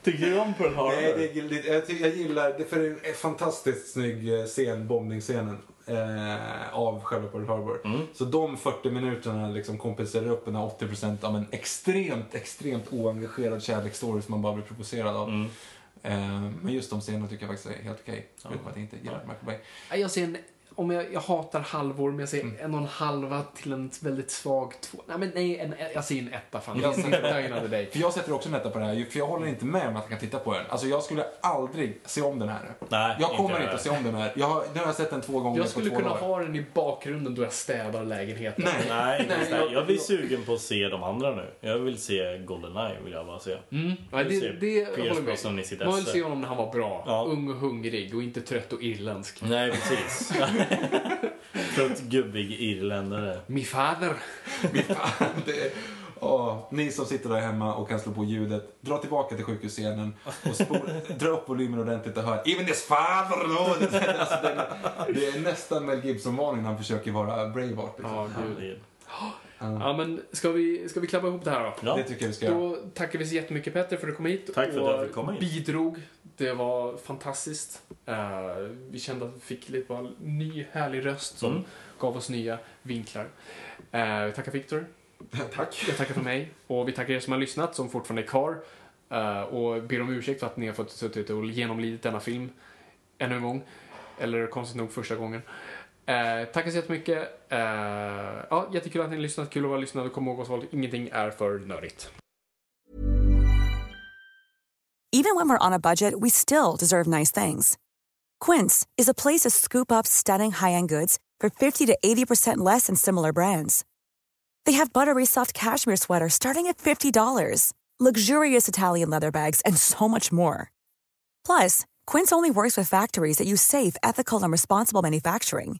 C: Tycker du om Pearl Harbor?
A: Nej, det är giltigt. Jag, ty- jag gillar det, för det är en fantastiskt snygg eh, scen, bombningsscenen eh, av själva Pearl Harbor. Så de 40 minuterna liksom kompenserar upp den här 80% av en extremt, extremt oengagerad kärleksstory som man bara blir provocerad av. Eh, men just de scenerna tycker jag faktiskt är helt okej. Förutom att jag inte gillar Michael Bay.
B: Nej, Jag ser en, om jag, jag hatar halvor, men jag ser
A: Mm.
B: en och en halva till en väldigt svag två. Nej, men nej, en, jag ser en etta fan. Jag ser inte Dine Another Day.
A: För Mm. jag sätter också en etta på det här, ju- för jag håller inte med om att jag kan titta på den. Alltså jag skulle aldrig se om den här.
C: Nej,
A: jag kommer
C: inte
A: inte att se om den här. Jag har, nu har jag sett den två gånger
B: Jag skulle
A: på två
B: kunna
A: dagar.
B: ha den i bakgrunden då jag städar lägenheten.
A: Nej.
C: Nej,
A: Nej,
C: just det.
A: jag-
C: jag blir sugen på att se de andra nu. Jag vill se Goldeneye vill jag bara se.
B: Nej,
C: Du
B: det,
C: ser
B: det
C: Pierce
B: håller jag
C: Brosnan i
B: med
C: sitt
B: om. Man vill
C: esse.
B: se honom när han var bra.
C: Ja. Mm.
B: Ung och hungrig och inte trött och irländsk.
C: Nej, precis. (laughs) Trött gubbig irländare.
B: Mi fader.
A: Fy fan, (laughs) det, åh, ni som sitter där hemma och kan slå på ljudet, dra tillbaka till sjukhusscenen och spol, dra upp volymen ordentligt och hör Even this father Lord." (laughs) alltså, det, är- det är nästan Mel Gibson-varning när han försöker vara Braveheart. Liksom.
B: Ja, gud.
C: Herregud.
B: Ja, men ska vi, ska vi klappa ihop det här då?
C: Ja.
A: Det tycker jag vi ska göra.
B: Då tackar vi så jättemycket Petter för att du kom hit.
C: Tack för att
B: och
C: jag fick komma hit.
B: bidrog. Det var fantastiskt. Eh, vi kände att vi fick lite bara ny härlig röst som
C: Mm.
B: gav oss nya vinklar. Eh, vi tackar Viktor. Tack. Jag tackar för mig. Och vi tackar er som har lyssnat, som fortfarande är kvar. Eh, och ber om ursäkt för att ni har fått suttit och genomlidit denna film ännu en gång. Eller konstigt nog första gången. Eh, tack så jättemycket. Eh, ja, jättekul att ni har lyssnat. Kul att vara lyssnade. Kom ihåg Osvald, ingenting är för nördigt.
E: Even when we're on a budget, we still deserve nice things. Quince is a place to scoop up stunning high-end goods for 50 to 80% less than similar brands. They have buttery soft cashmere sweaters starting at $50, luxurious Italian leather bags, and so much more. Plus, Quince only works with factories that use safe, ethical, and responsible manufacturing.